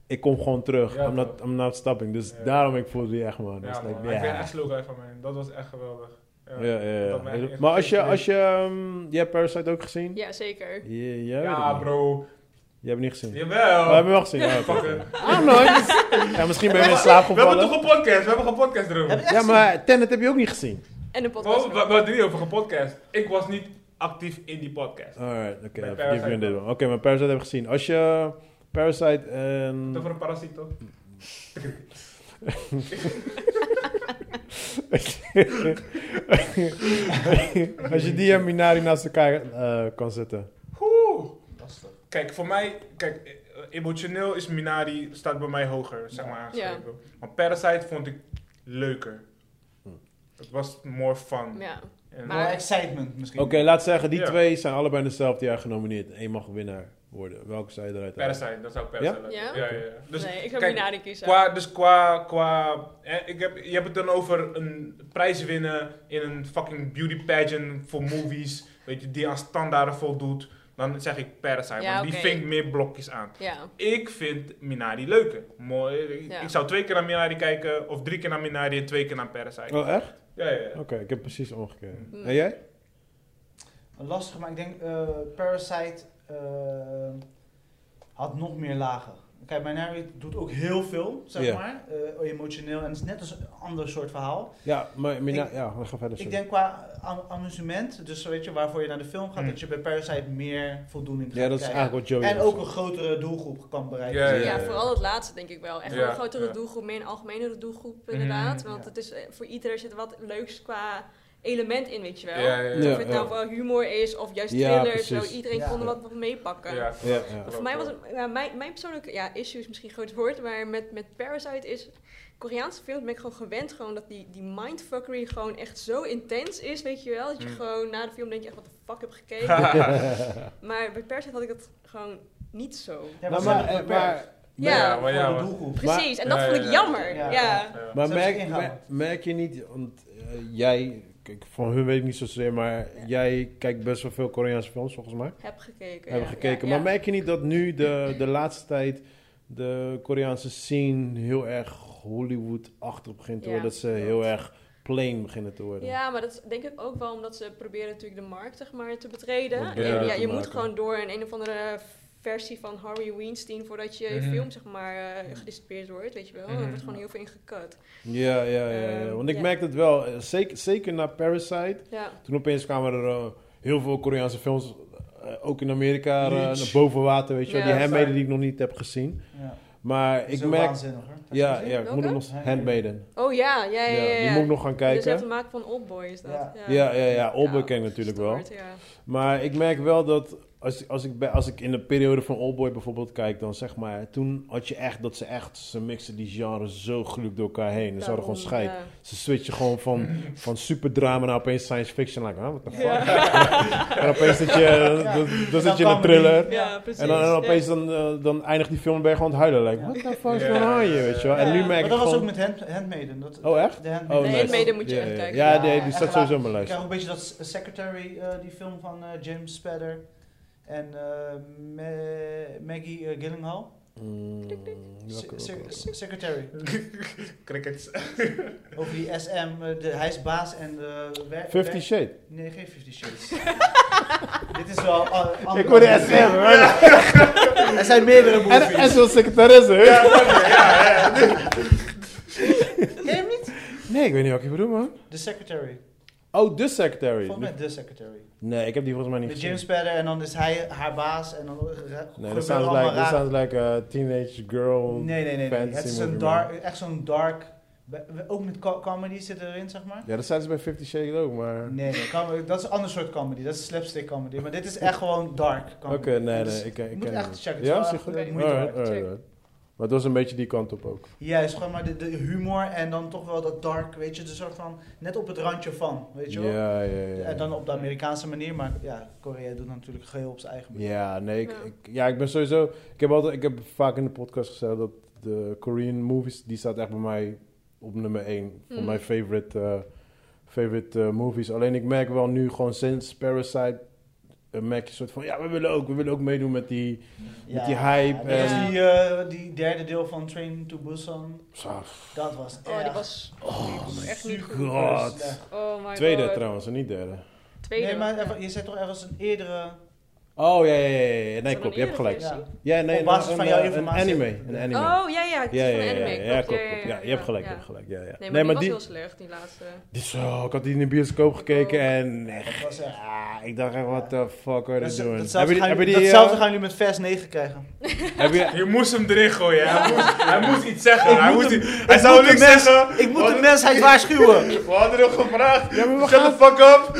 Ik kom gewoon terug.
Ja,
I'm, not, I'm not stopping. Dus
Ja.
daarom ik voelde die echt, man. Dat
Ja,
was
man.
like,
Ik ben
ja.
echt slow van mij. Dat was echt geweldig.
Ja, ja, ja.
Dat mij echt
Maar als je,
geïnspireerd.
als je, ehm, je hebt Parasite ook gezien?
Ja, zeker.
Je, jij weet het
Ja,
niet.
bro.
Je hebt het niet gezien. Oh, we
Jawel.
hebben wel gezien. Ja, oké.
Fucker.
Ah, nooit. Ja, misschien ben je in slaap
We hebben toch
gevallen.
een podcast? We hebben een podcast erover.
Heb je echt
Ja,
gezien?
maar Tenet heb je ook niet gezien.
En een
We
podcast.
we- we hadden niet over een podcast. Ik was niet actief in die podcast.
Alright, oké.
Bij
dan
Parasite
vergeef je me dit
wel.
wel. Oké, maar Parasite heb ik gezien. Als je Parasite en...
Dat voor een parasiet toch?
Als je die en Minari naast elkaar eh, kan zetten.
Oeh.
Lastig.
Kijk, voor mij, kijk, eh, emotioneel is Minari staat bij mij hoger, zeg maar. aangeschreven. Maar Parasite vond ik leuker.
Hm.
Het was more fun.
Ja.
En-
Maar-
More excitement misschien.
Oké, laat zeggen, die
Ja.
twee zijn allebei dezelfde jaar genomineerd. Eén mag winnaar worden. Welke zou je eruit halen?
Parasite, dat zou ik Parasite
Ja?
laten.
Ja?
Ja, ja, ja. Dus
nee, ik zou
kijk,
niet naar die kiezen.
qua, dus qua, qua eh, ik heb, je hebt het dan over een prijs winnen in een fucking beauty pageant voor movies, weet je, die aan standaarden voldoet. Dan zeg ik Parasite,
Ja,
want die
oké.
vinkt meer blokjes aan.
Ja.
Ik vind Minari leuker. Mooi. Ik-
Ja.
Ik zou twee keer naar Minari kijken, of drie keer naar Minari en twee keer naar Parasite.
Oh, echt?
Ja, ja, ja.
Oké, ik heb precies omgekeerd.
Mm.
En jij?
Lastig, maar ik denk eh, Parasite eh, had nog meer lagen. Kijk, Binary doet ook heel veel, zeg
Ja.
maar, eh, emotioneel. En het is net als een ander soort verhaal.
Ja, maar Minari...
Ik-
ja, we gaan verder.
Ik
sorry.
denk qua am- amusement, dus weet je, waarvoor je naar de film gaat,
Hm.
dat je bij Parasite meer voldoening gaat
Ja, dat is
krijgen.
eigenlijk wat Joey
en
heeft
ook een
gezegd.
grotere doelgroep kan bereiken.
Ja,
Ja,
ja, ja.
vooral het laatste denk ik wel. Echt
Ja,
een grotere
ja.
doelgroep, meer een algemenere doelgroep inderdaad.
Mhm,
want
ja.
het is, eh, voor iedereen zit wat leuks qua element in, weet je wel.
Ja, ja,
Ja.
Of het nou wel humor is of juist
Ja,
thriller,
precies.
zo iedereen
Ja.
kon er wat nog meepakken.
Ja,
Ja, ja.
Voor mij was het, ja, mijn, mijn persoonlijke ja, issue is misschien een groot woord, maar met, met Parasite is Koreaanse film ben ik gewoon gewend gewoon dat die, die mindfuckery gewoon echt zo intens is, weet je wel. Dat je
Mm.
gewoon na de film denk je echt wat de fuck heb gekeken. maar bij Parasite had ik dat gewoon niet zo.
Ja,
Nou,
maar,
maar,
zijn
eh, maar,
Ja,
Ja,
voor
maar ja,
de
maar-
doelgroep.
Precies, en dat
Ja,
vond
ja,
ik
ja.
jammer.
Ja.
Ja.
Ja.
maar
Zou je
merk,
het ingaan?
mer- merk je niet... Want eh, jij... Kijk, van hun weet ik niet zozeer, maar jij kijkt best wel veel Koreaanse films, volgens mij.
Heb gekeken.
hebben
ja,
gekeken.
ja,
Maar merk je niet dat nu de, de laatste tijd de Koreaanse scene heel erg Hollywood-achtig begint te
Ja.
worden? Dat ze heel erg plain beginnen te worden.
Ja, maar dat is denk ik ook wel omdat ze proberen natuurlijk de markt zeg maar, te betreden.
Wat
En
breder
ja,
te
je moet
maken.
gewoon door een een of andere versie van Harvey Weinstein voordat je
Mhm.
film zeg maar eh, gedistribueerd wordt, weet je wel.
Mhm.
Er wordt gewoon heel veel ingekut.
Ja, ja, ja. ja.
Ehm,
Want ik
ja.
merk het wel. eh, Zeker, zeker na Parasite.
Ja.
Toen opeens kwamen er eh, heel veel Koreaanse films, eh, ook in Amerika, eh,
Reach.
naar boven water. Weet je, wel.
Ja,
die handmaiden
fijn.
die ik nog niet heb gezien.
Ja.
Maar
Ik
ik
zo
merk...
waanzinnig hoor. Heb je
Ja,
gezien?
ja, ik moet hem nog...
Welke?
Handmaiden.
Oh ja, ja, ja,
Ja,
ja. ja.
die moet ik nog gaan
Dus het
kijken.
maken van Oldboy is dat.
Ja.
Ja, ja, ja. Olbe ken ik natuurlijk wel.
Stoort, ja.
Maar ik merk wel dat als, als, ik bij, als ik in de periode van Oldboy bijvoorbeeld kijk, dan zeg maar, toen had je echt dat ze echt, ze mixen die genres zo gelukkig door elkaar heen. Ze hadden
Daarom,
gewoon scheid.
ja.
Ze switchen gewoon van, van superdrama naar opeens science fiction. Like, huh, what the fuck? En opeens zit je, dan, dan zit je in een
comedy.
thriller.
Ja, precies.
En dan, en dan
ja.
opeens dan, eh, dan eindigt die film en ben je gewoon aan het huilen. Like, what the fuck is
Ja.
going on here, weet je wel? En
Ja.
nu
Maar
merk ik
Maar dat was ook
gewoon...
met hand, Handmaiden. Dat,
Oh, echt?
De Handmaiden.
Oh,
Nee,
nice.
Handmaiden moet je
Ja,
echt
ja,
kijken.
Ja,
Ja,
die, die
echt
staat
waar.
sowieso op mijn
Ik
lijst.
krijg ook een beetje dat S- Secretary, eh, die film van eh, James Spader en eh, Ma- Maggie eh, Gyllenhaal.
Mm,
Se-
welke-
se-
welke-
se- secretary.
Crickets.
Over die SM, eh, de, hij is baas en de... wer-
Fifty
wer-
Shade.
Nee, geen Fifty Shades. Dit is wel... a- andere-
Ik hoorde SM. hè?
Er zijn meerdere
En
movies.
en zo'n secretaresse. hè?
Ken je hem niet?
Nee, ik weet niet wat ik bedoel, man.
The Secretary.
Oh, The Secretary.
Volgens mij The Secretary.
Nee, ik heb die volgens mij niet
Met
gezien.
James Spader en dan is hij haar baas en dan... eh,
Nee,
Nee,
dat sounds like, that sounds like a teenage girl.
Nee, nee, nee. nee.
fantasy
Het is
movie,
een
man.
dark, echt zo'n dark... Ook met co- comedy zit erin, zeg maar.
Ja, dat zijn ze bij Fifty Shades ook, maar...
Nee, nee com- eh, dat is een ander soort comedy. Dat is slapstick comedy. Maar dit is echt gewoon dark
Oké,
comedy.
nee,
Dus
nee, ik, ik
je moet
ken
echt
het.
checken. Het
Ja,
is
is
wel
die
echt,
goed? Alright,
eh, moeite
alright,
waard. Check.
alright. Maar het was een beetje die kant op ook.
Juist, gewoon maar de, de humor en dan toch wel dat dark, weet je. De soort van, net op het randje van, weet je wel.
Ja, ja, ja.
En dan op de Amerikaanse manier, maar ja, Korea doet natuurlijk geheel op zijn eigen manier.
Ja, nee, ik,
Ja.
ik, ja, ik ben sowieso... Ik heb, altijd, ik heb vaak in de podcast gezegd dat de Korean movies... die staat echt bij mij op nummer 1 van
Mm.
mijn favorite, eh, favorite eh, movies. Alleen ik merk wel nu gewoon sinds Parasite... eh, merk je soort van... ja, we willen ook, we willen ook meedoen met die... Met die hype
net als
en-
die, eh, die derde deel van Train to Busan, dat was echt...
Oh, die was, die was echt niet goed.
super. God.
slecht.
Oh my
Tweede
god.
trouwens, en niet derde.
Tweede.
Nee, maar even- je zei toch ergens een eerdere...
Oh, ja, ja, ja, ja.
Van
Nee, klopt, je
een
hebt gelijk.
eerdere
Ja.
versie?
Ja, nee, nou,
Op basis
een- eh,
van jouw
een-
informatie.
Een anime, een anime.
Oh, ja, ja.
ja, ja, ja,
anime.
ja, ja, klopt, klopt. Ja, je hebt gelijk, je hebt gelijk. Ja, ja.
Nee, maar die was heel slecht, die laatste.
die zo, ik had die in de bioscoop gekeken
Oh.
en
Dat was echt...
Ah, ik dacht echt, what the fuck are
Dat-
they doing?
Datzelfde
Hebben
gaan,
jullie- eh, hebben
datzelfde
die,
gaan jullie met vers 9 krijgen.
eh, hebben jullie-
Je moest hem erin gooien. Hij moest, hij moest iets zeggen. Hij,
moet
moest, i- hij zou niks zeggen.
Ik moet
Wat?
de mensheid waarschuwen.
We hadden hem gevraagd.
Ja, maar we
Shut the fuck up.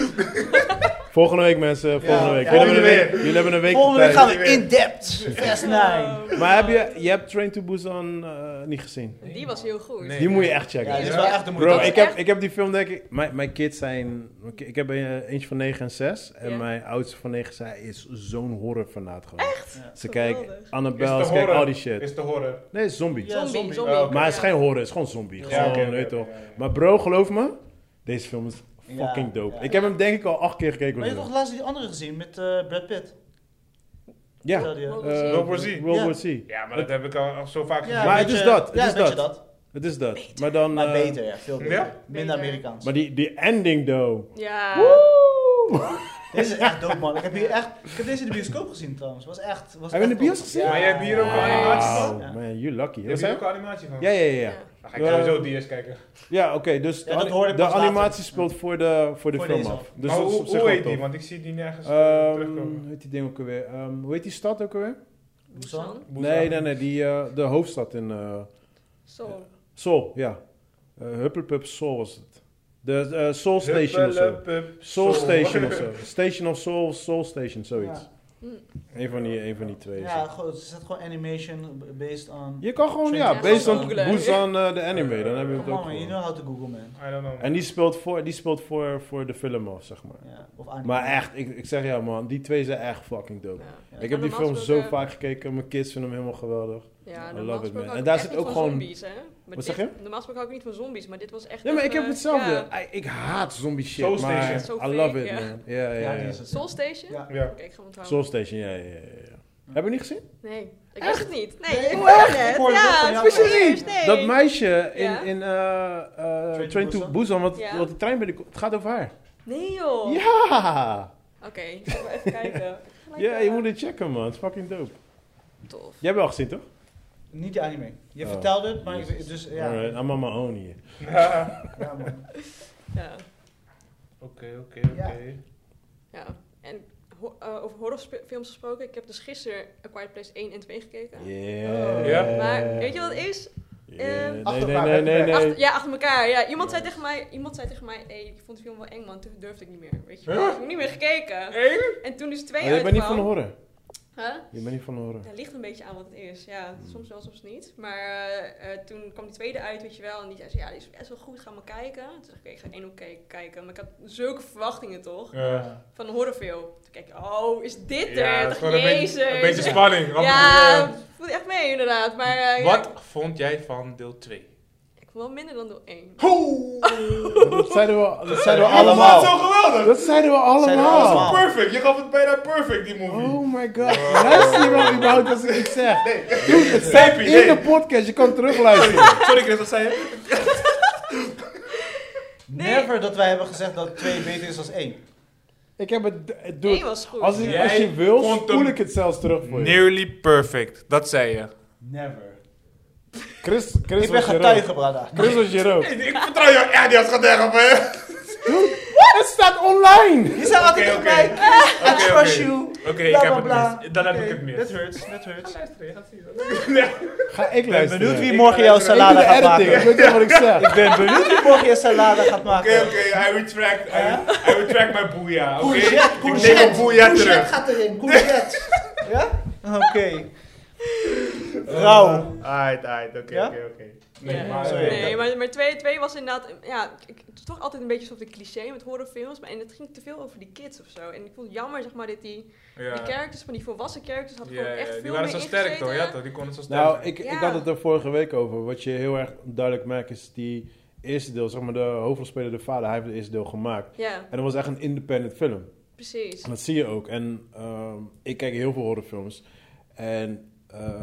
Volgende week mensen, volgende
Ja,
week.
ja.
jullie, hebben een
Volgende
week jullie hebben een week
Volgende week
tijd.
gaan we in depth. Vers 9.
Oh.
Maar heb je, je hebt Train to Busan eh, niet gezien?
Die was heel goed.
Nee.
Die moet je echt checken.
Ja, dit is
Ja.
wel echt de moeite.
Bro,
Dat is
ik heb,
echt-
ik heb die film denk ik... Mijn, mijn kids zijn... mijn ki- Ik heb een, eentje van 9 en 6. En
Ja.
mijn oudste van 9 zij is zo'n horrorfanaat gewoon. Echt? Ze
Geweldig.
kijkt
Is
Annabelle,
de
ze kijkt
horror.
al die shit.
Is te horen.
Nee, het is zombie.
Ja,
zombie,
zombie.
zombie.
Oh, oké.
Maar het is geen horror, het is gewoon zombie. Gewoon,
oké, oké,
weet toch.
oké, oké.
Maar bro, geloof me, deze film is
Ja,
fucking dope.
ja.
Ik heb hem denk ik al acht keer gekeken.
Maar
of
je
zo.
hebt toch laatst die andere gezien met eh, Brad Pitt?
Ja.
Vertelde je.
Wow.
Eh,
World War Z.
World
Ja.
War Z.
Ja, maar dat heb ik al al zo vaak
Ja,
gezien.
Maar
een
het is
beetje-
dat, het
Ja,
is
een beetje
dat. Het is dat. Maar dan...
Maar
eh,
beter, ja. Veel beter.
Ja?
Minder
Beter.
Amerikaans.
Maar die, die ending, though.
Ja.
Dit is echt dope, man. Ik heb, hier echt, ik heb deze in de bioscoop gezien, trouwens. Was echt...
Hebben
Was
we
echt
in de bios
dope.
gezien?
Maar jij hebt hier ook een animatie van?
Wow,
Ja.
man, you lucky.
Heb je hier ook een animatie van?
Ja, ja, ja. ja.
Ja.
Dan ga ik sowieso die eens kijken.
Ja, oké, dus de,
dat
ani-
hoorde ik
de
pas later.
animatie speelt voor de, voor de
Voor
film
deze
af.
af.
Dus
maar
dat is
hoe,
op zich
hoe
wel
heet
tof.
die? Want ik zie die nergens eh,
Ehm,
terugkomen.
hoe heet die ding ook alweer? Ehm, hoe heet die stad ook alweer?
Busan?
Nee, nee, nee, die, eh, de hoofdstad in eh,
Zo.
Seoul, ja. Eh Huppelpup Seoul was het. De eh, Seoul Station of zo.
Huppelepup
Soul
Soul.
Station of zo. Station of Soul, Soul Station, zoiets.
Ja.
Eén van die, één van die twee. is
Ja,
het.
goed. Ze zet gewoon animation based on...
Je kan gewoon,
Ja,
ja,
gewoon
based on
googlen.
Busan, eh, de anime, dan heb je het
Come
ook
on, man. You
gewoon.
know how to Google, man.
I don't know.
En die speelt voor, die speelt voor, voor de film af, zeg maar.
Ja, of anime.
Maar echt, ik, ik zeg ja man, die twee zijn echt fucking dope.
Ja.
Ja.
Ik heb
Maar
die
normaal
film zo
gesproken-
vaak gekeken, mijn kids vinden hem helemaal geweldig.
Ja,
I
normaal
love it,
gesproken
man.
hou
En
ik
daar
echt
zit
niet
ook
van
gewoon-
Zombies, hè? Maar
Wat zeg
dit-
je?
Normaal gesproken hou ik niet van zombies, maar dit was echt...
Ja, maar ik
even-
heb hetzelfde.
eh, ja.
I- ik haat zombie shit,
Soul
maar
Station.
Zo
I love
fake,
it
ja.
man. Ja, ja,
Ja,
ja.
die is het.
Soul Station?
Ja.
Ja.
Oké, ik ga hem
Soul
onthouden.
Station, ja, ja, ja. ja. Heb je niet gezien?
Nee, ik wist het niet. Nee,
Nee,
ik
oh,
hoorde
echt?
het.
Ik hoorde het
Ja,
van
het
jou.
is voor
Nee.
het eerst, nee.
Dat meisje in,
Ja.
in eh, eh,
Train to
Train to
Busan?
Busan, want
Ja.
want die trein binnenkomt, het gaat over haar.
Nee joh.
Oh Ja!
Oké, ik ga maar even kijken.
Ja, je moet het checken man, het is fucking dope.
Tof.
Jij hebt wel gezien toch?
Niet de anime. Je
Oh.
vertelde het, maar ik, dus ja.
Alright, I'm on my own hier.
Ja, man.
Ja.
Oké, oké,
Ja.
oké.
ja. En ho- eh, over horrorfilms gesproken,
Oh.
ik heb dus gisteren A Quiet Place 1 en 2 gekeken.
Yeah.
Ja.
Maar weet je wat het is? Ehm,
nee,
achter
nee,
elkaar,
nee, nee,
weg,
nee.
Achter- ja, achter elkaar. Ja. Iemand, zei tegen mij, iemand zei tegen mij, hey, ik vond de film wel eng man, toen durfde ik niet meer. Weet je wel.
Huh?
Ik heb niet meer gekeken.
Eén?
En toen dus twee
Maar Oh, je bent niet van
uitkwam-
horen.
Huh?
Je bent niet van horen.
Dat ligt een beetje aan wat het is. Ja, soms wel, soms niet. Maar eh, eh, toen kwam die tweede uit, weet je wel. En die zei, ze, ja, die is best wel goed, ga maar kijken. Toen dacht ik, oké, ik ga één ook ke- kijken. Maar ik had zulke verwachtingen toch,
Ja.
van een horrorfilm. Toen keek ik, oh, is dit
Ja,
er? Ik
het is
dacht,
gewoon een beetje,
jezus.
een beetje spanning. Wat-
Ja, voel je echt mee inderdaad. Maar eh, ja,
eh, Wat vond jij van deel 2?
ik vond wel minder dan deel 1.
Dat zeiden we, dat zeiden we
Allemaal zo
allemaal.
geweldig!
Dat zeiden we
Zeiden we
allemaal.
allemaal.
Perfect, je gaf het bijna perfect die movie.
Oh my god. Luister je wel überhaupt als ik iets zeg? Dude, het staat
Nee,
in
nee.
de podcast. Je kan terugluisteren.
Sorry Chris, wat zei je?
Never dat wij hebben gezegd dat 2 beter is dan 1.
Ik heb het... het-
Eén
Dude,
was goed.
als, ik, als je
Jij
wil,
vond hem-
spoel ik het zelfs terug voor je.
Nearly perfect, dat zei je.
Never.
Chris, Chris
ik ben
was je rood.
getuige, brada.
Chris was je rood.
Ik vertrouw jou echt niet als getuige, hè?
Het staat online.
Je zei altijd tegen mij,
oké.
Ah,
I
Oké,
trust
oké.
you.
Oké, ik
Bla,
heb het
bla, bla.
mis. Dan heb ik het
Oké,
mis.
That hurts, that hurts.
Luister, je gaat zien. Nee.
Ga ik
Ik ben
luisteren.
benieuwd wie
Ik
morgen
ga
jouw
luisteren.
Ik doe
salade
de
gaat
editing. Ik
maken.
weet niet wat ik zeg.
Ik ben benieuwd wie morgen je salade gaat
Oké,
maken.
oké, I retract. I, I retract mijn boeia. Oké,
Courgette,
ik neem
courgette.
mijn boeia
Courgette
terug.
gaat erin, courgette. Ja? Oké. Eh, Rauw.
Alright, alright, oké,
Ja?
oké, oké.
Ja.
Nee, maar. eh,
Sorry.
Nee, maar, maar twee, twee was inderdaad... Ja, ik- ik- het is toch altijd een beetje zo'n cliché met horrorfilms. Maar en het ging te veel over die kids of zo. En ik vond het jammer, zeg maar, dat die...
Ja.
Die characters van die volwassen characters had
Ja,
gewoon echt
ja,
veel
die waren
meer
zo sterk
ingezeten.
toch? Ja, toch? Die konden zo sterk
Nou,
zijn.
ik, ik
Ja.
had het er vorige week over. Wat je heel erg duidelijk merkt is die eerste deel. Zeg maar de hoofdrolspeler, de vader, hij heeft het eerste deel gemaakt.
Ja,
En dat was echt een independent film.
precies.
En dat zie je ook. En ehm, ik kijk heel veel horrorfilms. En eh,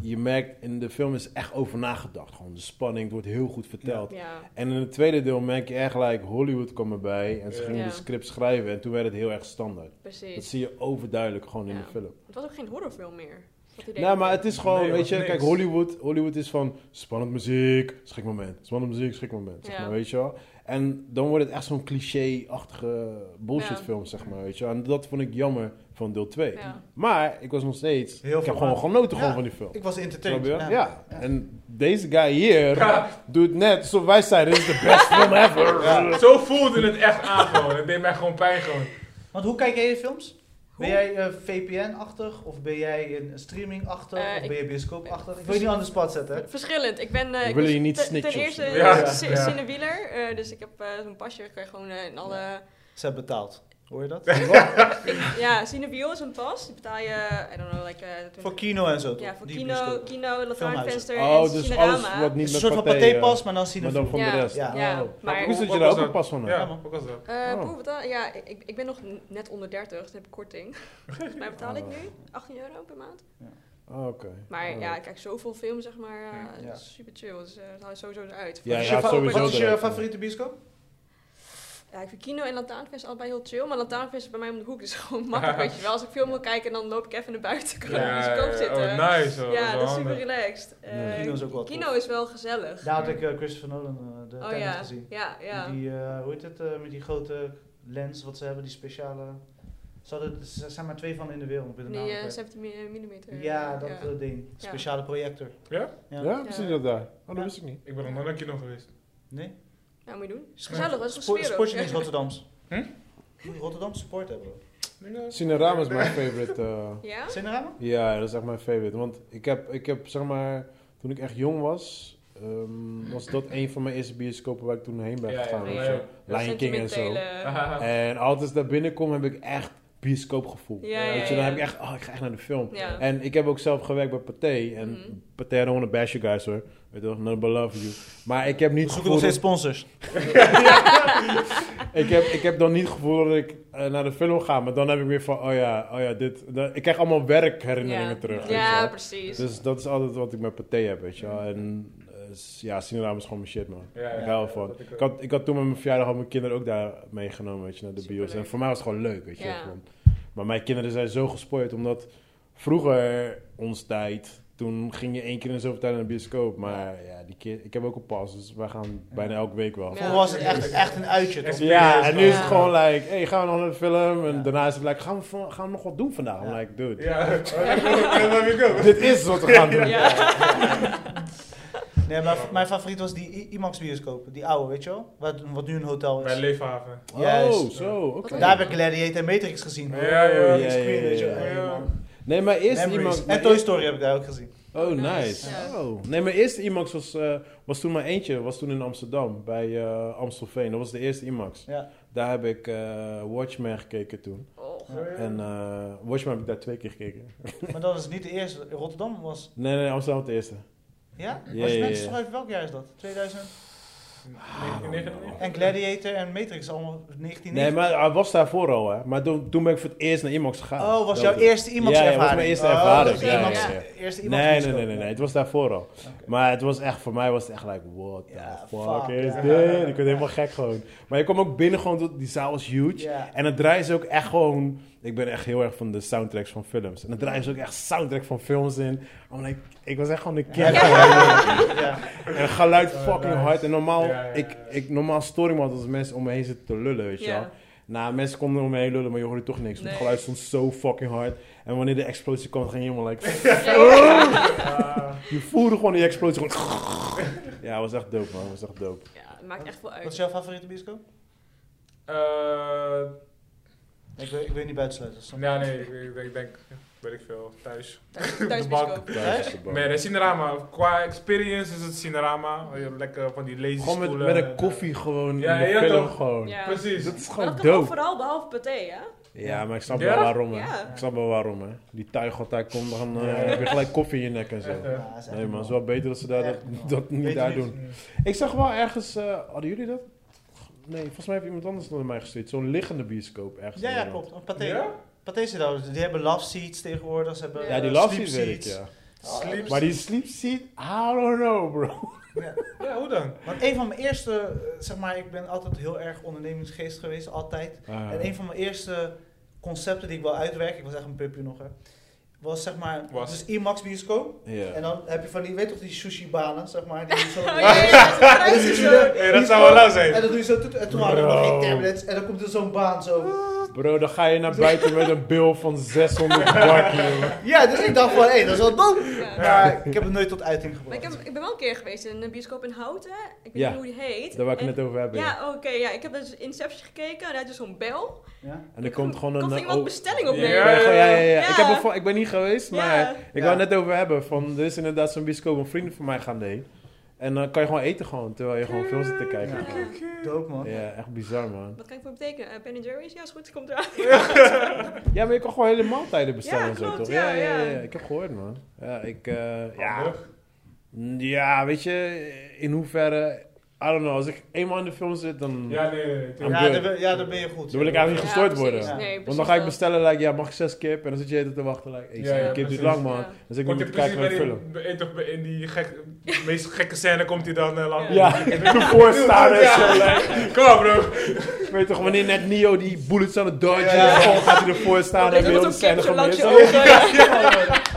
je merkt in de film is echt over nagedacht. Gewoon de spanning, het wordt heel goed verteld.
Ja,
En in het tweede deel merk je echt gelijk Hollywood kwam erbij. En ze
Ja.
gingen
Ja.
de script schrijven. En toen werd het heel erg standaard. Dat
precies.
zie je overduidelijk gewoon in
Ja.
de film.
Het was ook geen horrorfilm meer. Dat idee
Nou, maar het is gewoon,
Nee,
weet
was
je,
niks.
kijk, Hollywood, Hollywood is van spannend muziek, schrik moment, spannend muziek, schrik moment, zeg
Ja.
maar, weet je wel. En dan wordt het echt zo'n cliché-achtige bullshit
Ja.
film, zeg maar, weet je wel. En dat vond ik jammer van deel 2.
Ja.
Maar ik was nog steeds,
Heel
ik heb gewoon
verbaasd.
genoten gewoon
Ja.
van die film.
Ik was
Snap
entertained.
je? Ja.
Ja.
En deze guy hier doet net alsof wij zeiden, dit is de best film ever.
Ja. Zo voelde het echt aan gewoon. Het deed mij gewoon pijn gewoon.
Want hoe kijk jij je films? Ben
Hoe?
jij eh, VPN-achtig? Of ben jij een streaming-achtig?
Eh,
of
ik-
ben je bioscoop-achtig? Ik wil je niet aan de spot zetten. hè?
Verschillend. Ik ben... eh,
We
ik
willen
was
je niet
ten-
snitchen
Ten
of
eerste
zo.
Ja,
eh, si-
ja.
Cinewieler. eh, dus ik heb eh, zo'n pasje. Kan je gewoon eh, in alle...
Ze hebben betaald. Hoor je dat?
Ja, Cinebiel is een pas. Die betaal je... I don't know, like... eh,
voor kino en zo.
Ja, voor
Die
kino,
bioscopen.
kino
Filmhuizen.
Lantaarnvenster
Oh,
en
dus
Cinerama.
alles wat
Het
niet
is een
met
soort van
paté,
paté-pas,
pas
maar dan zien
maar
we
dan van de
Ja.
rest.
Ja.
Ja,
Oh.
maar-
Hoe is dat
Wat
je daar
was
ook een
dat?
pas van hebt?
Ja, maar ook als dat.
Eh,
Oh.
Boer betaal- ja, ik, ik ben nog n- net onder 30, dus heb ik korting. Volgens mij betaal ik nu 18 euro per maand.
Oh, Oké.
Maar
Oh.
ja, ik kijk zoveel film, zeg maar. eh,
Ja.
Super chill, dus eh dat haal je sowieso eruit. Dus
Ja,
Wat is
je
je
gaat
fa-
sowieso
Wat is je
eruit.
favoriete bioscoop?
Ja, ik vind kino en lantaarnvis allebei heel chill, maar lantaarnvis is bij mij om de hoek, dus gewoon makkelijk, weet je wel. Als ik film wil kijken, dan loop ik even naar buiten, kan ik in de bioscoop zitten.
Oh, nice. hoor.
ja,
Wel
dat is super
handig.
relaxed.
Ja,
Eh,
kino is ook wel
kino
tof.
is wel gezellig.
Daar had ik eh, Christopher Nolan eh, de
oh
tijdens
ja,
gezien.
ja, ja.
Met Die, eh, hoe heet het, eh, met die grote lens wat ze hebben, die speciale... Ze hadden, er zijn maar twee van in de wereld. ik ben de naam
Die eh,
kwijt.
70 mm.
ja, dat
ja.
eh, ding.
Ja.
Speciale projector.
Ja?
Ja,
Ja?
hoe zit dat daar? Oh, dat
Ja.
wist ik niet.
Ik ben nog nooit naar kino geweest.
Nee?
Ja, Nou, moet je doen. Is gezellig, dat is een
Sport,
sfeer
sportje
ook.
is Rotterdams.
Hm?
Moet je Rotterdamse sport hebben. hoor.
Cinerama is mijn favorite. eh,
Ja?
Cinerama?
ja, dat is echt mijn favorite. Want ik heb, ik heb zeg maar, toen ik echt jong was, ehm, was dat een van mijn eerste bioscopen waar ik toen heen ben
Ja, ja,
gegaan.
ja,
weet
ja.
je. Lion King en zo.
Sentimentele-
En altijd als ik daar binnenkom heb ik echt bioscoopgevoel.
Ja,
ja,
weet je, dan
ja.
heb ik echt, oh, ik ga echt naar de film.
Ja.
En ik heb ook zelf gewerkt bij Pathé. En
Mhm.
Pathé, I don't want to bash you guys hoor. Weet je wel, not love you. Maar ik heb niet
We zoeken
gevoel
nog steeds sponsors.
ik, heb, ik heb dan niet het gevoel dat ik eh, naar de film ga, maar dan heb ik weer van, oh ja, oh ja, dit. dat- ik krijg allemaal werkherinneringen terug. weet je
Ja,
wel.
precies.
Dus dat is altijd wat ik met Pathé heb, weet je wel. En eh, s- ja, Cinerama is gewoon mijn shit, man.
Ja, ja,
ik hou
ja,
ervan.
dat ik ook.
Ik had, ik had toen met mijn verjaardag al mijn kinderen ook daar meegenomen, weet je, naar de bios.
Superleuk.
En voor mij was het gewoon leuk, weet je.
Ja.
gewoon. Maar mijn kinderen zijn zo gespoord, omdat vroeger, ons tijd, toen ging je één keer in de zoveel tijd naar de bioscoop. Maar ja, die keer, ik heb ook een pas, dus wij gaan bijna elke week wel.
Ja.
Vroeger was het echt, echt een uitje. Toch?
Ja, en nu is het
Ja.
gewoon like, hey, gaan we nog naar de film? En
Ja.
daarna is het like, gaan we, van- gaan we nog wat doen vandaag? I'm
Ja.
like, dude,
Ja, daar heb ik ook.
dit is wat we gaan doen.
Ja.
Nee, maar v- mijn favoriet was die I- IMAX bioscoop. Die oude, weet je wel? Wat, wat nu een hotel
Bij
is.
Leefhaven.
Oh,
Juist.
zo, oké.
Wat
Daar heb ik Gladiator en Matrix gezien.
Ja, ja, ja,
Die screen,
ja,
weet je
ja,
wel.
ja.
Hey, man.
Nee, maar eerst
Memories.
iemand...
En Toy Story heb ik daar ook gezien.
Oh,
Oh, nice.
nice.
Ja.
Oh. Nee, mijn eerste IMAX was, eh, was toen maar eentje. Was toen in Amsterdam, bij eh Amstelveen. Dat was de eerste IMAX.
Ja.
Daar heb ik eh, Watchmen gekeken toen.
Oh,
En eh, Watchmen heb ik daar twee keer gekeken.
Maar dat was niet de eerste. Rotterdam was...
Nee, nee, Amsterdam was de eerste.
Ja?
Ja,
was
ja,
mensen
ja.
toch uit welk jaar is dat? 2000?
In
Ah.
99?
En Gladiator en Matrix allemaal 1990.
Nee, maar hij was daarvoor al, hè. Maar toen, toen ben ik voor het eerst naar IMAX gegaan.
Oh, was
Dat
jouw
het.
eerste IMAX
Ja, ja,
ervaring?
was mijn eerste
Oh,
ervaring.
was
Ja, ja,
IMAX-
ja.
Eerste IMAX
Nee, nee,
bioscoop.
nee, nee, nee. Het was daarvoor al.
Oké.
Maar het was echt, voor mij was het echt like, what the
Ja,
fuck,
fuck,
is
ja.
dit? Ik werd helemaal gek gewoon. Maar je kwam ook binnen gewoon, tot- die zaal was huge.
Ja.
En dan draaien ze ook echt gewoon... Ik ben echt heel erg van de soundtracks van films. En dan draaien ze ook echt soundtrack van films in. I'm like, ik was echt gewoon een kind.
Ja.
En het geluid
Oh,
fucking
nice.
hard. En normaal,
Ja, ja, ja.
Ik, ik, normaal stoor ik me altijd als mensen om me heen zitten te lullen, weet je
Ja.
wel. Nou, mensen konden om me heen lullen, maar je hoorde toch niks. want
Nee.
Het geluid stond zo fucking hard. En wanneer de explosie kwam, ging je helemaal like...
Ah,
Je voelde gewoon die explosie. Gewoon... Ja, het was echt dope, man. Het was echt dope.
ja, het maakt echt veel
Wat is
uit.
jouw favoriete bioscoop?
eh,
Ik wil, ik wil je niet buitensluiten. snap je?
nou, nee, ik, ik, ik denk, weet ik veel, thuis.
Thuis,
De bak.
thuisbioscoop.
Thuis is de bar.
Nee, de Cinerama. Qua experience is het Cinerama. Lekker van die lazy
Gewoon met,
stoelen
met
en,
een
eh,
koffie gewoon
Ja,
in de
ja,
film
toch?
gewoon.
Ja.
Precies.
Dat is
Maar
gewoon
dat kan ook
dope.
vooral behalve paté, hè?
Ja, maar ik snap
Ja?
wel waarom, hè.
Ja.
Ik snap wel waarom, hè. Die tuig wat daar komt, dan eh,
Ja.
heb je gelijk koffie in je nek en zo.
Echt, hè.
Ja, dat is echt
Nee, maar het is
normaal.
wel beter dat ze daar dat,
Echt normaal.
dat niet
Beter
daar
niet.
doen. Ik zag wel ergens... eh, hadden jullie dat? Nee, volgens mij heeft iemand anders naar mij gestuurd. Zo'n liggende bioscoop ergens.
Ja,
in
ja,
Nederland.
klopt. Want Pathé,
Ja?
Pathé zit daar. Die hebben love seats tegenwoordig. Ze hebben,
Ja, die
eh,
last
sleep
seat weet ik,
seats.
ja.
Oh,
Sleep
Maar die sleep seat, I don't know, bro.
Ja, hoe dan?
Want een van mijn eerste, eh, zeg maar, ik ben altijd heel erg ondernemingsgeest geweest, altijd. En een van mijn eerste concepten die ik wil uitwerken, ik was echt een pupje nog, hè, was zeg maar,
Was.
dus IMAX bioscoop.
Ja.
En dan heb je van die, weet toch, die sushi-banen, zeg maar. Die zo,
Oh, ja, ja, ja,
En dan
thuis
zit je
is ook-
er-
Hey,
die
dat zou wel lauw zijn.
En dan doe je zo, toet- en toen hadden we nog geen
Bro.
tablets. En dan komt er zo'n baan zo.
Bro, dan ga je naar buiten met een bil van 600 bark, jongen.
Ja, dus ik dacht van, hé, dat is wel dom.
Ja.
Maar ik heb het nooit tot uiting
Maar
gebracht.
ik, heb, ik ben wel een keer geweest in een bioscoop in Houten. Ik weet
Ja,
niet hoe die heet.
Daar wou ik
En-
het net over hebben. ja.
Ja, oké. ja. Ik heb dus Inception gekeken. En daar is zo'n bel.
Ja.
En er komt gewoon
Komt
een...
er iemand
oh,
bestelling
ja,
op
ja,
nemen?
ja, ja, ja, ja.
Ja.
Ik, heb er van- ik ben niet geweest,
Ja.
maar ik wou
Ja.
het net over hebben. Van, er is inderdaad zo'n bioscoop, een vriend van mij gaan heen. En dan kan je gewoon eten gewoon, terwijl je gewoon film zit te kijken.
Ja. Dope,
Ja,
man.
echt bizar, man.
Wat kan ik voor betekenen? Eh, ben Jerry's? Ja, is goed. Komt eraan.
Ja, maar je kan gewoon hele maaltijden bestellen
Ja,
en zo,
klopt,
toch?
ja, ja.
Ik heb gehoord, man. Ja, ik... eh, ja,
Handig.
ja, weet je, in hoeverre... I don't know, als ik eenmaal in de film zit, dan...
Ja, nee, nee, nee. tuurlijk.
I'm
Ja,
good.
daar ben, ja, daar ben je goed.
Dan wil ik eigenlijk niet gestoord
Ja,
worden.
precies. Nee,
Want
precies
dan ga ik
wel.
bestellen, like, ja, mag ik zes kip? En dan zit je eten te wachten, like, hey,
Ja, ja,
die kip duurt
precies.
lang, man.
Ja.
Dan zit ik
Komt
niet
hij
te kijken naar de
precies
film.
bij die, in, in die gek, meest gekke scène komt hij dan eh, lang.
Ja, ik doe voorstaan en zo.
Kom op, bro.
Ik weet toch, wanneer net Neo die bullets aan het dodgen
Ja.
is, gewoon gaat hij ervoor staan en
Ik
wil
moet
de
zo'n
scène
kipje langs
gemist.
je ogen.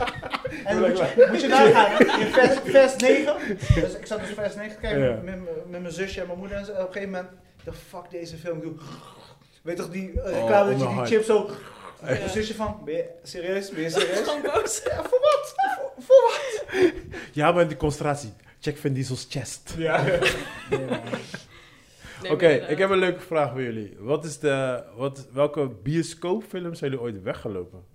Ja.
En moet je, moet je nagaan, in vers, vers 9, dus ik zat dus vers 9 te kijken
Ja.
met, mijn- met mijn zusje en mijn moeder en zo, en op een gegeven moment, ik dacht, fuck deze film, ik doe, weet toch die eh,
Oh,
reclame dat je die
onderhand.
chips zo,
Ja.
en mijn zusje van, ben je serieus, ben je serieus?
Gewoon boos.
Ja, maar die concentratie. Check Vin Diesel's chest.
Ja.
Nee,
Oké,
maar, eh,
ik heb een leuke vraag voor jullie. Wat is de, wat, welke bioscoopfilm zijn jullie ooit weggelopen?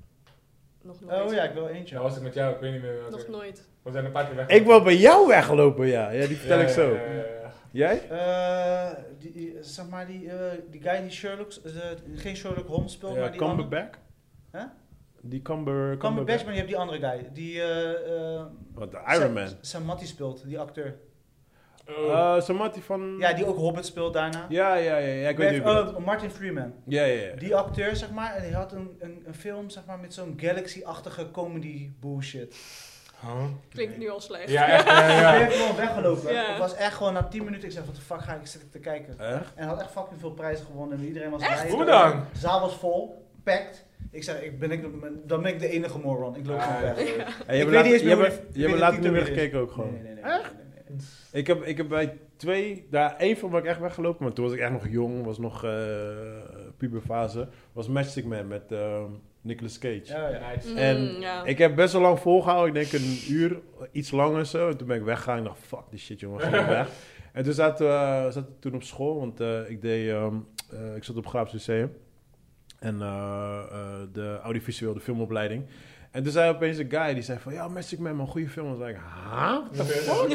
Nog nooit.
Oh ja, ik wil eentje.
Ja, was ik met jou? Ik weet niet meer. welke.
Nog nooit.
We zijn een paar keer weg.
Ik wil bij jou weglopen, ja. Ja, die vertel
Ja,
ik
ja,
zo.
ja, ja, ja.
Jij?
Eh, die, die- zeg maar die, eh, die guy die Sherlock, eh, geen Sherlock Holmes speelt,
Ja,
maar die andere-
Cumberbatch?
Huh?
Die Cumber...
Cumberbatch, maar je hebt die andere guy, die eh, eh,
Wat, de Iron
Sam-
Man?
Sam Matty speelt, die acteur.
Oh.
Eh Samati van...
Ja, die ook Hobbit speelt daarna.
Ja, ja, ja, ja, ik weet
Met,
niet wie dat-
eh, Martin Freeman.
Ja, ja, ja.
Die acteur, zeg maar, en die had een, een, een film, zeg maar, met zo'n Galaxy-achtige comedy bullshit.
Eh.
Huh?
Klinkt nu al slecht.
Ja, echt. Ja,
Ik
ja.
ben gewoon weggelopen.
Ja.
Ik was echt gewoon na 10 minuten, ik zeg, wat de fuck ga ik zitten te kijken?
Echt?
En had echt fucking veel prijzen gewonnen en iedereen was blij.
Hoe dan?
De zaal was vol, packed. Ik zeg, ik ben ik, dan ben ik de enige moron. Ik loop gewoon
Ah,
weg.
Hey, je
Ik
hebt
weet
laat-
niet eens
je
meer
hebt-
hoe die-
Je
ik
hebt
weet
later
niet
niet meer
hoe die
gekeken ook
Nee,
gewoon.
nee, nee. nee, nee, nee.
Ik heb, ik heb bij twee, daar één van ben ik echt weggelopen. Maar toen was ik echt nog jong, was nog eh, puberfase. Was Matchstick Man met ehm, Nicolas Cage.
Ja, ja.
nice.
Mm,
En
ja.
Ik heb best wel lang volgehouden. Ik denk een uur, iets langer zo. En toen ben ik weggegaan. Ik dacht, fuck die shit, jongen. Ga ik weg. En toen zaten we eh, zaten we toen op school. Want eh, ik, deed, ehm, eh, ik zat op Graafs Lyceum. En eh, eh, de audiovisueel, de filmopleiding. En toen zei opeens een guy, die zei van... Ja, Magic Man, man, goede film. En toen zei ik, ha?
Hm.
What the fuck?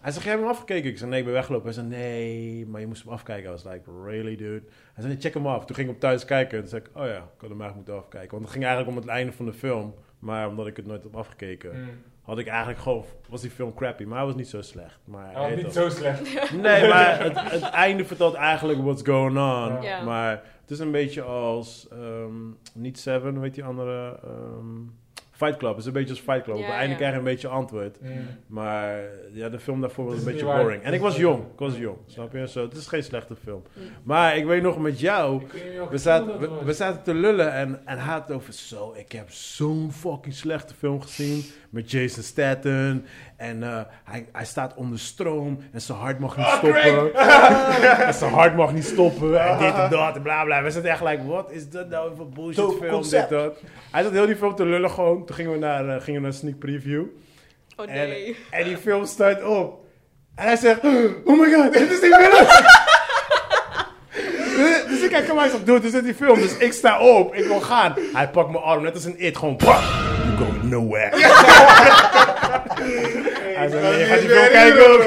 Hij zei, jij hebt hem afgekeken? Ik zei, nee, ik ben weggelopen. Hij zei, nee, maar je moest hem afkijken. I was like, really, dude? Hij zei, nee, check hem af. Toen ging ik op thuis kijken. En toen zei ik, oh ja, ik had hem eigenlijk moeten afkijken. Want het ging eigenlijk om het einde van de film. Maar omdat ik het nooit heb afgekeken,
Mm.
had ik eigenlijk gewoon... Was die film crappy, maar hij was niet zo slecht. Maar
Hij was
heet
niet
dat-
zo slecht.
Nee, maar het, het einde vertelt eigenlijk what's going on.
Ja.
Maar het is een beetje als, ehm, niet Seven, weet die andere, ehm, Fight Club. Het is een beetje als Fight Club. Op
Ja,
het einde
ja.
krijg je een beetje antwoord.
Mm.
Maar ja, de film daarvoor was
Het
een
is
beetje
niet waar.
boring. En ik was jong, ik was jong, snap je? Zo, het is geen slechte film.
Hm.
Maar ik weet nog met jou,
Ik weet niet welke
we
film
zaten,
dat
we,
was.
we zaten te lullen en, en hij had het over zo. Ik heb zo'n fucking slechte film gezien met Jason Statham. En eh, hij, hij staat onder stroom en zijn hart mag
Ah,
niet stoppen. en zijn hart mag niet stoppen. En dit en dat en bla bla. We zaten echt like, wat is dat nou voor bullshit
Dope
film?
concept.
Dit, dat. Hij zat heel die film te lullen gewoon. Toen gingen we naar, eh, gingen we naar sneak preview.
Oh
En,
nee.
en die film start op. En hij zegt, oh my god, dit is die film. Dus- dus ik kijk hem aan en zeg, dude, dit is die film. Dus ik sta op, ik wil gaan. Hij pakt mijn arm, net als een it, gewoon, pak. You go nowhere. hij zegt, nee, je gaat die film kijken ook.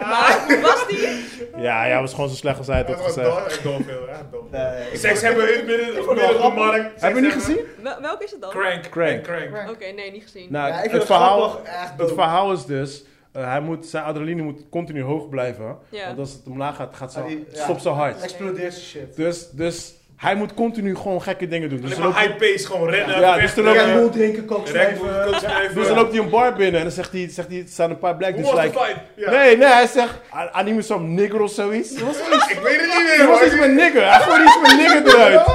Ah.
Maar hoe was die?
Ja, ja, was gewoon zo slecht als hij het had
Dat was
gezegd.
dom, echt dom film, echt dom.
Nee.
Seks hebben in het midden, op midden op de markt.
Heb je niet
Seks
gezien?
Wel- welke is het dan?
hebben- Crank.
Crank.
Crank.
Oké, nee, niet gezien.
Nou,
Ja, ik vind
het,
het
verhaal,
grappig, echt
het
dope.
verhaal is dus... eh, hij moet, zijn adrenaline moet continu hoog blijven.
Ja.
Want als het omlaag gaat, gaat
Ah, die-
zijn,
ja.
stopt zijn hart.
Explodeert die shit.
Dus, dus hij moet continu gewoon gekke dingen doen. Dus
Alleen
dan
maar
loopt,
high pace, gewoon rennen.
Ja, dus toen ook- Red
wegrennen,
Bull
drinken, kook
Red Bull, coach even.
dus dan loopt hij een bar binnen en dan zegt hij, zegt hij er staan een paar black
Hoe
dudes
was de
like...
fight? Ja.
Nee, nee, hij zegt, I, I need some nigger of zoiets. Er was,
Ik weet het niet meer,
er was
hoor.
iets met nigger, hij gooide iets met nigger eruit.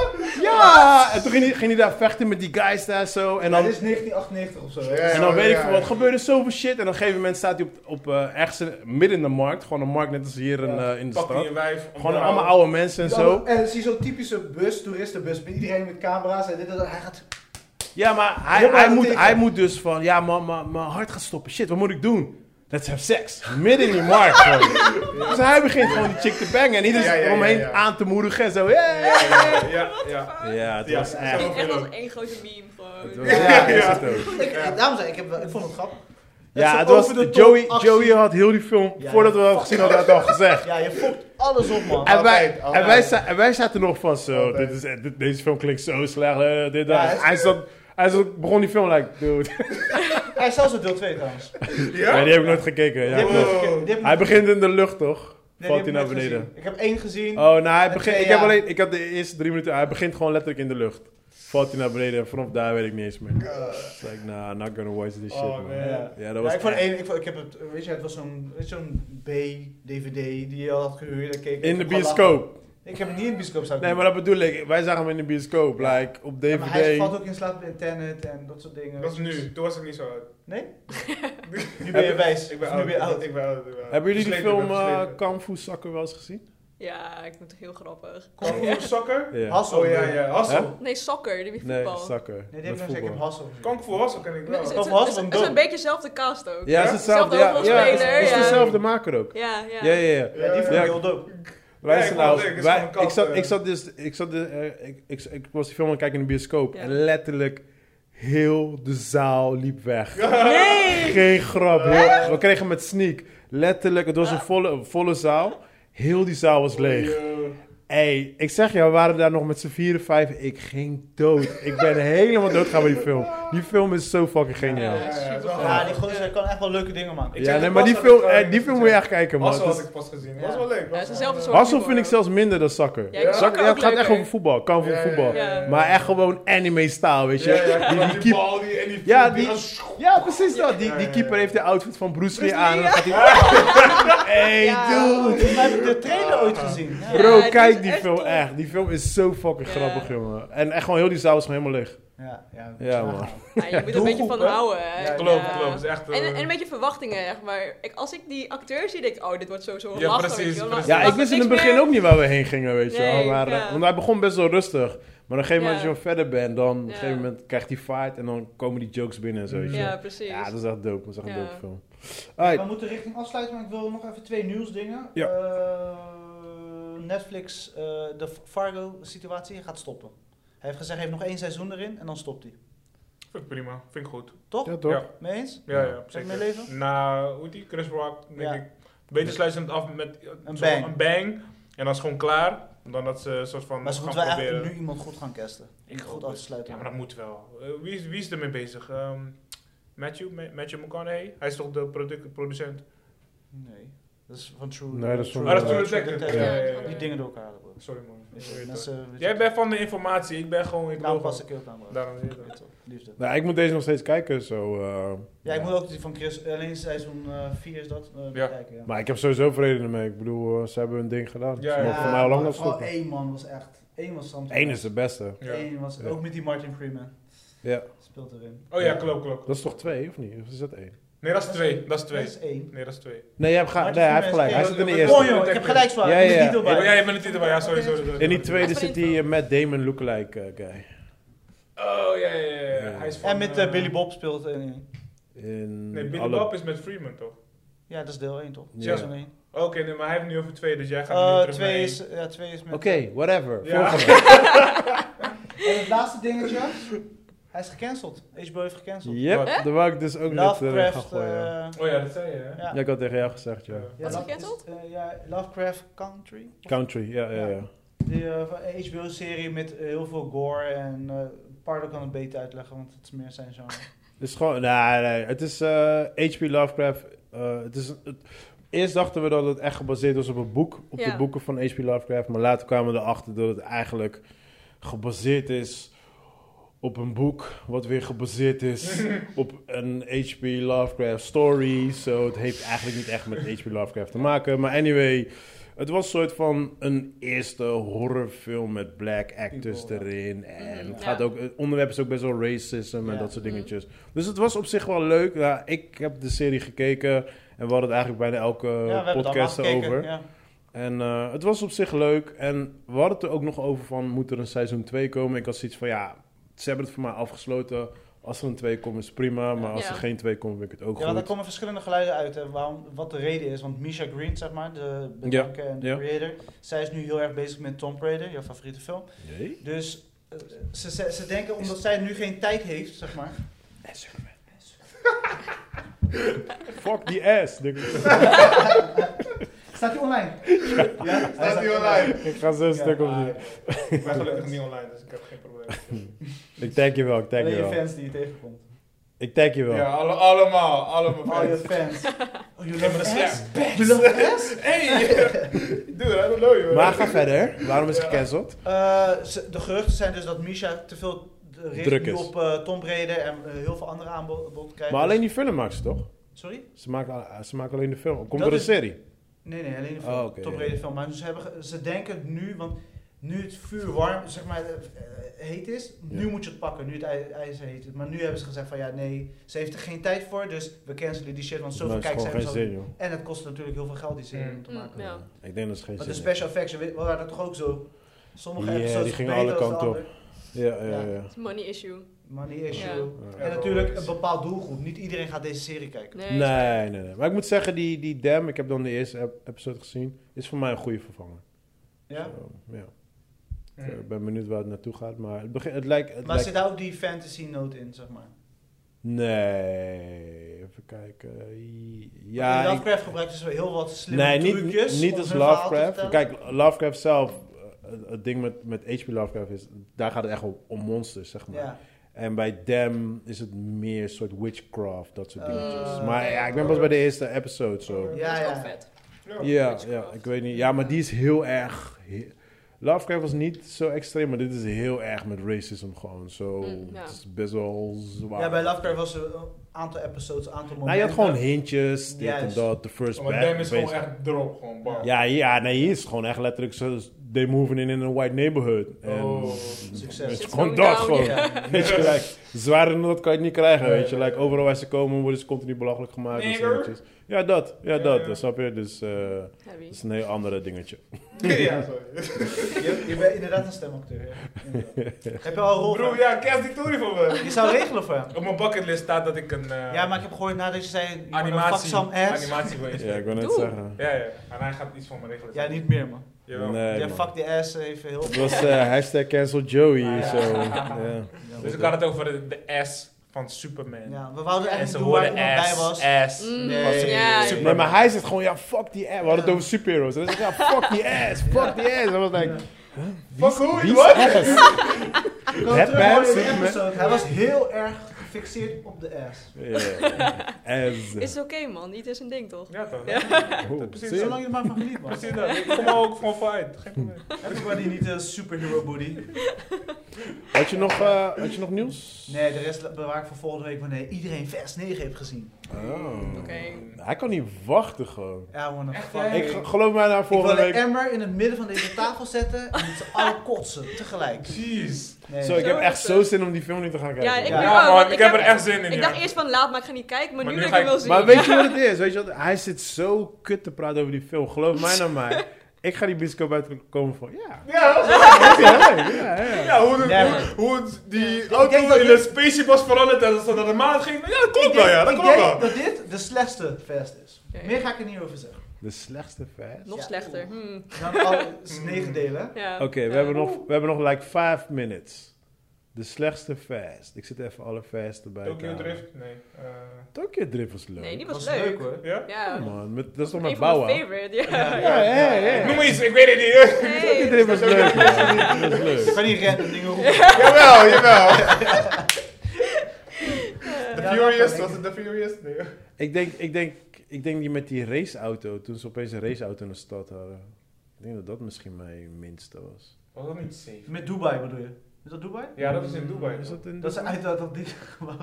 Ja, en toen ging hij, ging hij daar vechten met die guys daar zo. En dan,
is 1998 of zo. hè?
Ja,
en dan
ja,
weet ik
ja,
veel
ja.
wat, er gebeurde zoveel shit. En op een gegeven moment staat hij op, op eh, ergens in- midden in de markt, gewoon een markt net als hier in, eh, in de
Pakt hij
stad.
een wijf.
Gewoon
omdraaien.
allemaal oude mensen en
Die
zo.
andere- En zie je zo'n typische bus, toeristenbus, met iedereen met camera's en dit en dat. Hij gaat...
Ja, maar hij,
Helemaal
hij, moet,
tegen.
hij moet dus van, ja, mijn- mijn mijn hart gaat stoppen. Shit, wat moet ik doen? Let's have sex. Midden in die markt gewoon. Dus hij begint gewoon die chick te bangen en iedereen
Ja, ja, ja,
omheen
ja.
aan te moedigen en zo. Yeah.
Ja, ja, ja.
Ja, het
Ja,
was
zo.
echt...
Het ging echt als één grote meme gewoon.
het was- ja, is het ook.
Ik, Daarom zei ik, ik, heb, wel- ik vond het grappig.
ja,
is
het
een
was,
over de top
Joey,
actie.
Joey had heel die film,
Ja,
voordat we
ja.
hem gezien hadden, had hij al gezegd.
Ja, je fokt alles op, man.
En wij,
Altijd,
en, wij
altijd.
za- en wij zaten nog van zo,
Altijd.
dit is, dit- deze film klinkt zo slecht, eh, dit, dat.
Ja, hij is-
hij, zat, hij zat, begon die film like, dude.
Hij is zelfs op deel 2 trouwens.
Nee, die heb ik nooit gekeken. Ja,
Die heb ik
klopt.
nooit gekeken. Die heb ik
Hij
nooit-
begint in de lucht, toch?
nee, die
Valt
heb
hij naar
ik nooit
beneden?
gezien. Ik heb één gezien.
Oh, nou, hij begint.
Oké,
Ik, heb
ja.
alleen, ik had de eerste drie minuten. Hij begint gewoon letterlijk in de lucht. Valt hij naar beneden en vanaf daar weet ik niet eens meer. It's like, nah, not gonna watch this
Oh,
shit, man.
man.
Ja.
Ja, dat
Ja,
was.
ik, vond
echt-
één, ik, vond, ik heb het, weet je, het was zo'n weet je, zo'n B-DVD die je al had gehuurd. daar keek ik
in de
gewoon
bioscoop.
lachen. Ik heb hem niet in de bioscoop staan.
Nee, maar dat bedoel ik. Wij zagen hem in de bioscoop. Like, op
Ja, maar hij
DVD.
valt ook in slaap bij Tenet en dat soort dingen. Dus
Dat is nu. Toen was ik niet zo oud.
Nee? nu ben je wijs.
Ik ben
Of nu
oud.
ben je oud.
Ik ben oud. ik ben oud.
Hebben jullie die
Versleten, ik
film
ben
eh,
versleten.
Kung Fu Soccer wel eens gezien?
Ja, ik vind het heel grappig.
Kung Fu Soccer?
Ja.
Hassel.
Oh ja, ja.
Hè?
Hassel.
Nee, soccer, die
Nee,
voetbal.
Soccer.
Nee, die
Met
heb ik nog gezien. Ik heb
voetbal.
Hassel gezien.
Kung Fu Hassel ken ik
Nee, het is-
wel.
het is-
Of was
het is-
het
het is
een
een beetje dezelfde cast ook.
Ja, het is hetzelfde. Ja,
Zelfde
ja, het is- het is
hoofdrolspeler, ja.
dezelfde maker ook.
Ja, ja.
Ja, ja, ja.
Ja, die vond ik
Ja.
heel dope.
Luister
Ja, ik wou
nou,
zeggen, het is
wij-
gewoon een
ik, zat,
kant,
ik
eh.
zat dus, ik zat dus, eh, ik, ik, ik was die film aan het kijken in de bioscoop
Ja.
en letterlijk heel de zaal liep weg.
Nee!
Geen grap, heel, we kregen met Sneak, letterlijk, het was
Ah.
een volle, volle zaal, heel die zaal was
Oh,
leeg. Ey, ik zeg je, we waren daar nog met z'n vieren, vijf, ik ging dood. Ik ben helemaal doodgaan bij die film. Die film is zo fucking geniaal.
Ja.
Ja, die gozer kan echt wel leuke dingen maken.
Ik
Ja,
zeg
nee,
het
maar
pas
die
dat ik,
film,
eh,
eh, die film moet je echt kijken, man.
Hassel
Het
had
is-
ik pas gezien.
Ja.
Was wel leuk.
Ja, het is dezelfde soort
Hassel
humor.
vind ik zelfs minder dan Soccer.
Ja, ik vind
Soccer-
Soccer
ja,
ook
het gaat echt
leuker.
over voetbal, kan voor
Ja, ja,
voetbal.
ja, ja, ja.
Maar echt gewoon anime-staal, weet je.
Ja,
die,
ja, klopt,
die
die
keep-
bal die en die
Ja,
die
die-
als-
ja, precies dat. Die,
Ja,
die
ja,
keeper
ja.
heeft de outfit van Bruce Lee
Bruce
aan. En
Lee,
dan gaat hij... Hey, dude.
Volgens mij heb ik de trailer ooit gezien. Ja.
Bro,
dit
kijk
is
die
echt
film
tof.
echt. Die film is zo fucking
Ja.
grappig, jongen. En echt gewoon heel die zaal is gewoon helemaal leeg.
Ja, ja,
Ja,
we
man.
gaan.
Ja, Ah, je moet er een beetje van
hè?
houden. hè.
Ja,
En,
Klopt,
eh,
klopt. Is echt, eh,
En,
Ehm.
en een beetje verwachtingen, zeg maar. Ik, als ik die acteurs zie, denk ik, oh, dit wordt sowieso
Ja,
lachen. weet
precies,
je wel.
precies.
Dan
Ja,
mag
ik wist in het
niks
begin
meer.
ook niet waar we heen gingen, weet je wel.
Nee,
Maar, eh,
ja.
Want hij begon best wel rustig. Maar op een gegeven moment,
Ja.
als je wat verder bent, dan op een
Ja.
gegeven moment krijgt hij vaart en dan komen die jokes binnen en zo. weet je wel.
Ja, precies.
ja, dat is echt dope. Dat is echt een
Ja.
dope film. Alright.
We moeten richting afsluiten, maar ik wil nog even twee nieuwsdingen.
Ja.
Eh, Netflix, eh, de Fargo-situatie gaat stoppen. Hij heeft gezegd, hij heeft nog één seizoen erin en dan stopt hij.
Vind ik prima, vind ik goed.
Toch?
Ja, toch?
Ja.
Mee eens?
Ja,
Ja.
ja,
Zeg
zeker.
mijn leven?
Na, hoe heet die? Chris Rock, denk
Ja.
ik. Beter sluitend af met eh,
Een
zo'n-
bang.
een bang. En dan is gewoon klaar. Dan dat ze een soort van
Maar ze
gaan
moeten wel
proberen.
eigenlijk nu iemand goed gaan casten.
Ik
goed
hoop
af
het.
te sluiten.
Ja, maar dat moet wel. Eh, wie, is- wie is ermee bezig? Ehm, Matthew, Ma- Matthew McConaughey? Hij is toch de produ- producent?
Nee, dat is van True
Nee, dat is van-
Ah, dat is
True
True Detective.
Ja.
Ja, ja, ja.
Die dingen door elkaar halen, bro.
Sorry man. Ik weet het.
Mensen, weet
Jij
je-
bent van de informatie, ik ben gewoon... Ik
Daarom
wil
Nou, pas
gewoon-
ik heel aan, bro.
Daarom zie je
Weet
dat.
je wel, Liefde.
Nou, ik moet deze nog steeds kijken, zo. eh,
Ja, ik moet ook die van Chris, eh, alleen seizoen 4 is dat, eh,
Ja.
kijken. Ja.
Maar ik heb sowieso vrede ermee. Ik bedoel, eh, ze hebben hun ding gedaan.
Ja,
ze
ja.
mogen voor mij al lang
maar
afstoppen.
Vooral één man was echt, één was Samson.
Eén is de beste.
Ja.
Eén was,
Ja.
ook met die Martin Freeman.
Ja.
Speelt erin.
Oh ja, klopt, klopt.
Dat is toch twee, of niet? Of is dat één?
Nee, dat is twee. Dat is
Dat
twee.
is één.
Nee, dat is twee.
Nee, jij hebt ga-
Maar
nee hij
het
heeft
is
gelijk. Hij
één.
zit in de
Oh,
eerste.
Oh joh, ik heb gelijk zwaar.
Ja,
Ja,
ja, ja.
ja,
Oh, jij bent het niet erbij. Ja, sorry, sorry. sorry.
In die tweede
Dat is
zit die eh, Matt Damon lookalike eh, guy.
Oh, ja, ja, ja, ja. Hij is van,
En met eh,
eh,
Billy Bob speelt er één.
In
Nee, Billy
alle-
Bob is met Freeman, toch? Oh,
Ja, dat is deel 1 toch?
Ja.
Seizoen 1.
Oké, nee, maar hij heeft nu over twee, dus jij gaat nu
Eh
terug naar
twee,
één.
is, ja, twee is met...
Oké, whatever.
Ja.
Volgende.
En het laatste dingetje. Hij is gecanceld. HBO heeft gecanceld.
Yep,
Hè?
daar wou ik dus ook net eh, gaan
Lovecraft.
gooien. ja.
eh,
Oh ja, dat zei je, hè?
ja.
ik had tegen jou gezegd, ja.
Ja.
Ja,
Wat
Love-
gecanceld?
is- eh, ja, Lovecraft Country.
Country, ja, ja, ja.
Die eh, HBO-serie met eh, heel veel gore en... eh Pardo kan het beter uitleggen, want het is meer zijn
Eh,
genre.
Het is gewoon, nee, nee. Het is eh, H.P. Lovecraft. eh, het is, het- eerst dachten we dat het echt gebaseerd was op een boek, op
Ja.
de boeken van H.P. Lovecraft. Maar later kwamen we erachter dat het eigenlijk gebaseerd is op een boek, wat weer gebaseerd is op een H.P. Lovecraft story. So het heeft eigenlijk niet echt met H.P. Lovecraft te maken. Maar anyway, het was een soort van een eerste horrorfilm met black actors
People, ja.
erin. En het
Mhm, Ja.
gaat ook, het onderwerp is ook best wel racism en
Ja.
dat soort dingetjes. Dus het was op zich wel leuk. Ja, ik heb de serie gekeken en we hadden het eigenlijk bijna elke podcast
allemaal
over.
Ja.
En eh, het was op zich leuk. En we hadden het er ook nog over van, moet er een seizoen 2 komen? Ik had zoiets van, ja, ze hebben het voor mij afgesloten. Als er een 2 komt, is prima. Maar als
Ja.
er geen 2 komt, vind ik het ook
Ja, want er
goed.
komen verschillende geluiden uit, hè, waarom, wat de reden is. Want Misha Green, zeg maar, de bedenker en de
ja.
creator, zij is nu heel erg bezig met Tomb Raider, jouw favoriete film.
Nee?
Dus eh, ze, ze, ze denken, omdat zij nu geen tijd heeft, zeg maar.
Fuck die ass. denk ik.
Staat hij online? Ja, hij
Staat hij online?
ik ga zo een
Ja,
stuk op
Ah,
die.
ik ben gelukkig niet online, dus ik heb geen probleem.
Ik tag je wel, ik tag
Alleen
je
je
wel.
fans die je tegenkomt.
Ik tag je wel.
Ja, alle, allemaal, allemaal.
Al je fans. Oh, you love
maar dat is
ass?
echt
You love ass?
Hey! Dude, I don't know you.
Maar ga verder. Waarom is het
Ja.
gecanceld?
Eh, ze- de geruchten zijn dus dat Misha te veel eh, richt
Druk
nu
is.
op eh Tomb Raider en eh, heel veel andere aanbod krijgt.
Maar alleen die film maakt ze toch?
Sorry?
Ze maken, eh, ze maken alleen de film. Komt
Dat
er een
is-
serie?
Nee, nee, alleen de film.
Oh, oké,
Tom
ja.
Brady film. Maar ze, hebben, ge- ze denken nu, want nu het vuur warm, zeg maar, eh, eh, heet is, nu
Ja.
moet je het pakken, nu het ij- ijzer heet is. Maar nu hebben ze gezegd van ja, nee, ze heeft er geen tijd voor, dus we cancelen die shit, want zoveel
Nee, het is gewoon
kijkcijfers
geen
hadden-
zin, joh.
En het kost natuurlijk heel veel geld die serie
Mm.
te
Mm,
maken.
ja.
Ik denk dat het geen
Want
zin
de
is.
special effects, we- waren dat toch ook zo? Sommige
Ja, die
episodes
gingen
beter
alle
dan de
kanten op.
andere.
Ja, ja,
Ja.
ja.
Het is money issue.
Money issue.
Ja.
Ja.
En natuurlijk een bepaald doelgroep. Niet iedereen gaat deze serie kijken.
Nee.
Nee, nee, nee. Maar ik moet zeggen, die, die Dam, ik heb dan de eerste ep- episode gezien, is voor mij een goede vervanger.
Ja?
Zo, ja.
Hmm.
Ik eh, ben benieuwd waar het naartoe gaat, maar het, begin, het lijkt... Het
Maar
lijkt
zit daar ook die fantasy note in, zeg maar?
Nee, even kijken.
Ja,
Ja,
in
ik-
Lovecraft gebruikt dus wel heel wat slimme
nee, niet,
trucjes.
niet
om
als
hun verhaal te
Lovecraft.
vertellen.
Kijk, Lovecraft zelf, eh, het- het ding met, met H.P. Lovecraft is, daar gaat het echt om, om monsters, zeg maar.
Ja.
En bij Dam is het meer een soort witchcraft, dat soort
Eh,
dingetjes.
Oh.
oké.
Maar ja, ik ben pas bij de eerste episode zo.
Oké.
Ja,
dat is ook
ja.
vet.
Ja, ja,
Witchcraft.
ik weet niet. Ja, maar die is heel erg. he- Lovecraft was niet zo extreem, maar dit is heel erg met racism gewoon. Zo,
Mm, ja.
het is best wel zwaar.
ja, bij Lovecraft was er een aantal episodes, een aantal momenten.
Nou, je had gewoon hintjes, dit en
Juist.
dat, de first
Maar
back.
Dem is gewoon
basic.
echt drop, gewoon bam.
Ja, ja, nee, hier is het gewoon echt letterlijk zo they moving in in a white neighborhood. En
Oh,
succes.
Het is
It's
gewoon
going
dat
down,
gewoon.
Oh, ja.
Weet je, like, zwaarder dan dat kan je het niet krijgen,
Nee,
weet je.
nee,
Like,
nee.
overal waar ze komen worden ze continu belachelijk gemaakt. en
Nigger.
dingetjes. Ja, dat. Ja,
Ja,
dat.
ja.
Dat snap je. Dus eh,
Heavy.
dat is een heel andere dingetje.
ja, sorry.
Je, je bent inderdaad een stemacteur. ja. Inderdaad. heb je al een rol?
Broer, ja, kerst die toerie voor me.
Je zou regelen voor hem.
Op mijn bucketlist staat dat ik een eh,
Ja, maar ik heb gehoord nadat je zei... you wanna Fuck
animatie,
some ass.
animatie wil
Ja, ik
instellen.
wil net
Doe.
zeggen.
Ja, ja. En hij gaat iets van me regelen.
Ja, niet meer man.
Jawel.
Nee,
Jij
man.
fuck die ass even heel...
Het was eh, hashtag cancel Joey.
Ah,
zo.
ja.
ja.
Dus ik had het over de, de ass van Superman.
Ja, we wouden
En ze
eigenlijk doen waar
hoorden
iemand bij was.
ass, ass.
Mm,
Nee.
ja,
Super-
Nee, maar hij zegt gewoon, ja, fuck die ass. We hadden het over superheroes. En hij zegt, ja, fuck die ass, fuck die ass. En was like,
Fuck who,
wie is
what?
ass?
Kom
Het
terug,
band,
hoor, in de
Superman.
episode. Hij was heel erg gefixeerd op de ass.
Ja, ass.
Is oké man, niet is een ding toch?
Ja, toch?
Oh,
precies
zie je?
Zolang je er maar van geniet, man.
Precies dat. Ik kom er ook gewoon voor uit. Geen probleem.
Everybody niet een superhero booty.
Had je nog, eh, had je nog nieuws?
Nee, de rest bewaar ik voor volgende week wanneer iedereen Vers 9 heeft gezien.
Oh.
Oké.
Hij kan niet wachten gewoon.
Ja, man, een
Echt,
fuck.
hè?
Ik,
Ik ge- geloof mij naar
ik wil
volgende
een
week.
emmer in het midden van deze tafel zetten en met z'n allen kotsen tegelijk.
Jeez.
Nee.
Zo, ik heb
Zo
echt
is
zo
het.
zin om die film nu te gaan kijken.
Ja, ik
Ja,
nu
man,
ook, want
ik heb er echt zin in,
Ik
ja.
dacht eerst van laat, maar ik ga niet kijken, maar,
Maar
nu,
nu
dat ik
ga
hem
ik-
wil
Maar
zien.
weet je wat het is? Weet je wat? Hij zit zo kut te praten over die film. Geloof mij naar mij. Ik ga die bioscoop uitkomen van, ja.
Ja, dat is-
Ja, ja, ja.
ja, hoe, de-
Nee,
hoe,
maar-
hoe het- die
denk
auto
dat
in
dit-
een spaceship was veranderd en dat ze naar de maan ging. Ja, dat
Ik
klopt
denk-
wel, ja. Dat
ik
klopt
denk
wel.
dat dit de slechtste Vers is.
Oké.
Meer ga ik er niet over zeggen.
De slechtste vers.
Nog
Ja.
slechter. Hmm,
Dan al het is negen delen. hè?
ja.
Oké, we,
Ja.
hebben nog, we hebben nog like 5 minutes. De slechtste fast. Ik zit even alle fasten bij
Tokyo
elkaar.
Drift? Nee. eh,
Tokyo Drift was leuk.
Nee, die
Dat
was
is
leuk.
leuk hoor.
Ja?
Ja,
Ja,
man, met, dat is toch
een
met
van
Bauer.
mijn
Ja,
favorite, ja.
ja, ja.
Noem maar iets, ik weet het niet.
Tokyo
Hey.
Drift was leuk. man. Dat was
Ik
leuk.
kan niet random dingen roepen.
jawel, jawel. The
Ja,
Furious,
dat
was het The Furious? Nee.
Ik denk, ik, denk, ik denk die met die raceauto, toen ze opeens een raceauto in de stad hadden. Ik denk dat dat misschien mijn minste was.
Was dat niet safe?
Met Dubai bedoel je? Is dat Dubai?
Ja, dat is in Dubai.
Is dat in
Dat is
Dubai?
uit dat op dit gebouw.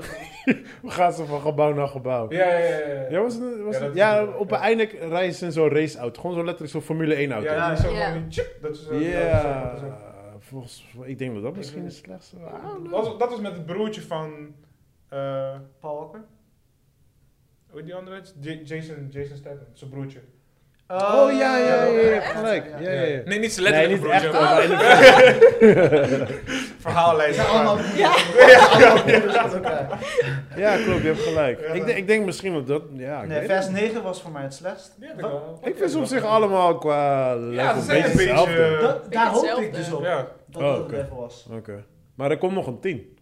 We gaan ze van gebouw naar gebouw.
Ja, ja, ja.
Ja, was het, was
Ja,
het-
dat is in
ja
Dubai,
op
ja.
een einde rijden ze in zo'n raceauto. Gewoon zo letterlijk zo'n Formule 1 auto.
Ja,
Ja.
die is zo
Ja.
van die tjip, dat is zo-
Ja,
dat is zo- dat is
volgens, ik denk dat dat misschien de slechtste was. I don't
zo.
know.
Dat was- Dat was met het broertje van... eh
Paul Walker?
hoe heet die andere? J- Jason, Jason Statham, zijn broertje.
Oh ja, ja, ja, ja,
ja,
gelijk. Ja, ja, ja.
Nee, niet zijn
Nee,
letterlijke
niet echt.
broertje.
maar in de film.
Ze
Verhaallijst.
zijn allemaal broers.
Ja.
Allemaal broers uit elkaar.
Ja, klopt, je hebt gelijk.
Ja,
Ik,
maar-
denk- ik denk misschien dat dat. Ja, ik,
Nee,
weet
vers
het.
9 was voor mij het slechtst.
Ja, dat wel.
ik vind ze op zich allemaal qua level
ze
een
zijn
beetje
een beetje,
hetzelfde.
eh,
Dat, daar hoopte ik
hetzelfde.
dus op.
Ja,
Dat
Oh,
dat het
oké.
level was.
Oké. Maar er komt nog een 10.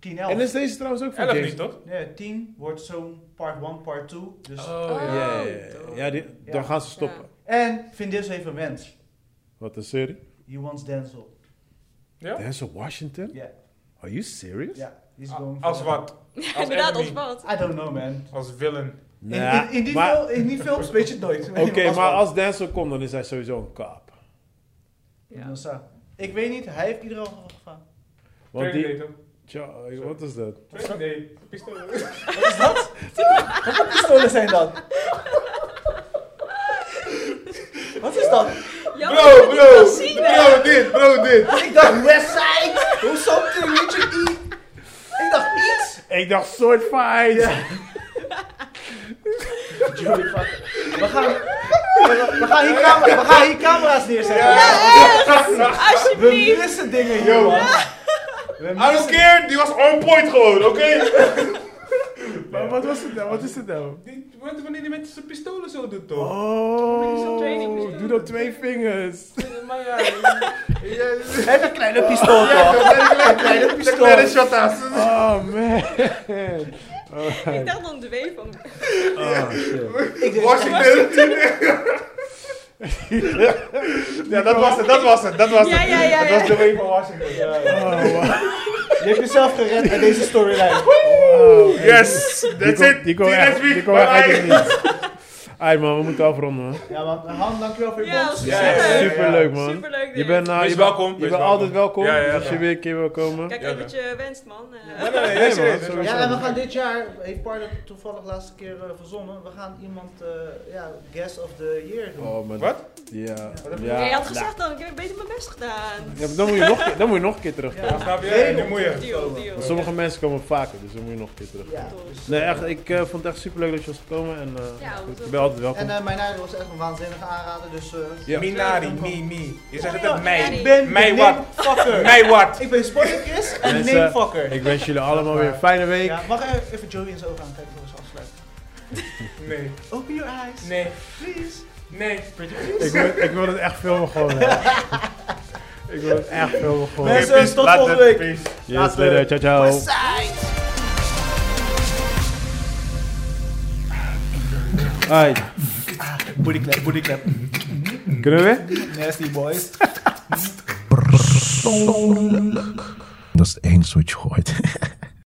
10,
En
11.
is deze trouwens ook van
11
James?
niet, toch?
Nee, 10 wordt zo'n part 1, part 2. Dus.
Oh,
Ja,
ja.
ja, ja. Ja, die-
Ja.
dan gaan ze stoppen.
En Vin Diesel heeft een wens.
Wat een serie?
He wants Denzel.
Ja?
Denzel Washington?
Ja.
Are you serious?
Ja. He's going
Als
for-
wat?
Ja, inderdaad,
enemy.
als wat.
I don't know man.
Als villain.
In,
Nah,
in, in die
maar-
fil- in die films weet je het nooit.
Oké, maar als Denzel komt, dan is hij sowieso een kap.
Ja.
Dan zou- Ik weet niet, hij heeft iedereen al gevraagd.
Want
Tweede
die...
date, hoor.
Tja, wat is dat?
Tweede date. Pistool.
Wat is dat? Wat pistolen zijn dat? Wat is dat?
Ja,
Bro,
maar-
bro,
Dat zie je.
bro, dit, bro, dit.
Ik dacht Westside! Hoe something weet je iets? Ik dacht iets!
Ik dacht soort fight!
Joey, fuck. We gaan, we, we gaan hier camera, we gaan hier camera's neerzetten. We
Alsjeblieft.
missen dingen hier, man. We
I don't
missen...
care, die was on point gewoon, oké?
Maar wat was het nou? Wat is het nou?
Die- wat- Wanneer die met zijn pistolen zo doet, toch?
Oh,
training
doe dat twee vingers.
Maar ja, ja, ja,
Heb een kleine pistool, toch?
ja,
kleine pistool.
kleine shotta's.
Oh man.
Ik dacht dan de W van...
Oh shit.
Ik denk,
Washington. Ja, dat was het, dat was het, dat was het.
Ja, ja, ja,
Dat was
ja.
de way van Washington. ja, ja.
Oh, wow.
je hebt jezelf gered met deze storyline.
Wow.
Yes,
Die
that's
komt-
it.
Die komt
See
echt,
you next week.
die komt echt uit
Bye.
het niets. Ai man, we moeten afronden man.
Ja, man, Han, dankjewel voor je
Ja, was
komst.
Ja, ja, ja, ja.
Superleuk man.
Superleuk, weer.
Je bent, eh,
Wees
je bent-
welkom,
Je
wees
bent altijd welkom.
Ja, ja, ja.
Als je weer een keer wil komen.
Kijk
Ja,
uit
ja.
wat je wenst, man. Eh,
Nee, nee, nee,
Nee,
nee,
man,
serieus.
sowieso.
Ja,
Ja, en we gaan dit jaar, heeft Pardo toevallig de laatste keer eh, verzonnen, we gaan iemand, eh, ja, guest of the year doen.
Oh, maar
Wat?
Ja.
heb je-
ja, je had
nou,
gezegd dan, ik heb beter mijn best gedaan.
ja, dan, moet je nog, dan moet je nog een keer terugkomen.
Ja.
Snap je?
Nee,
Nu moet je.
Deal, deal.
Want sommige mensen komen vaker, dus dan moet je nog een keer terugkomen.
Ja,
Tof.
dus,
Nee,
eh,
echt, ik eh, vond het echt superleuk dat je was gekomen. En eh,
Ja, dat was
ik
ook
ben altijd welkom.
En eh, mijn eigen was echt een waanzinnige aanrader, dus... eh,
Ja.
Minari, mi, mi. Je zegt
ja,
het mij.
Minari.
Ik ben
Mij
de
wat?
namefucker.
Mij wat?
Ik ben Spartacus en
Mensen,
namefucker.
ik wens jullie allemaal weer een fijne week.
eh, Ja, mag ik even Joey in zijn ogen aankijken voor we afsluiten?
Nee,
Open your eyes,
nee,
please.
nee.
Ik, wil, ik wil het echt filmen gewoon. hè. ik wil het echt filmen gewoon.
Mensen, tot volgende week.
Yes, later. Ciao, ciao.
Westside.
Alright,
Booty clap, booty clap.
kunnen we weer?
Nasty boys.
Dat is het enige wat je hoort.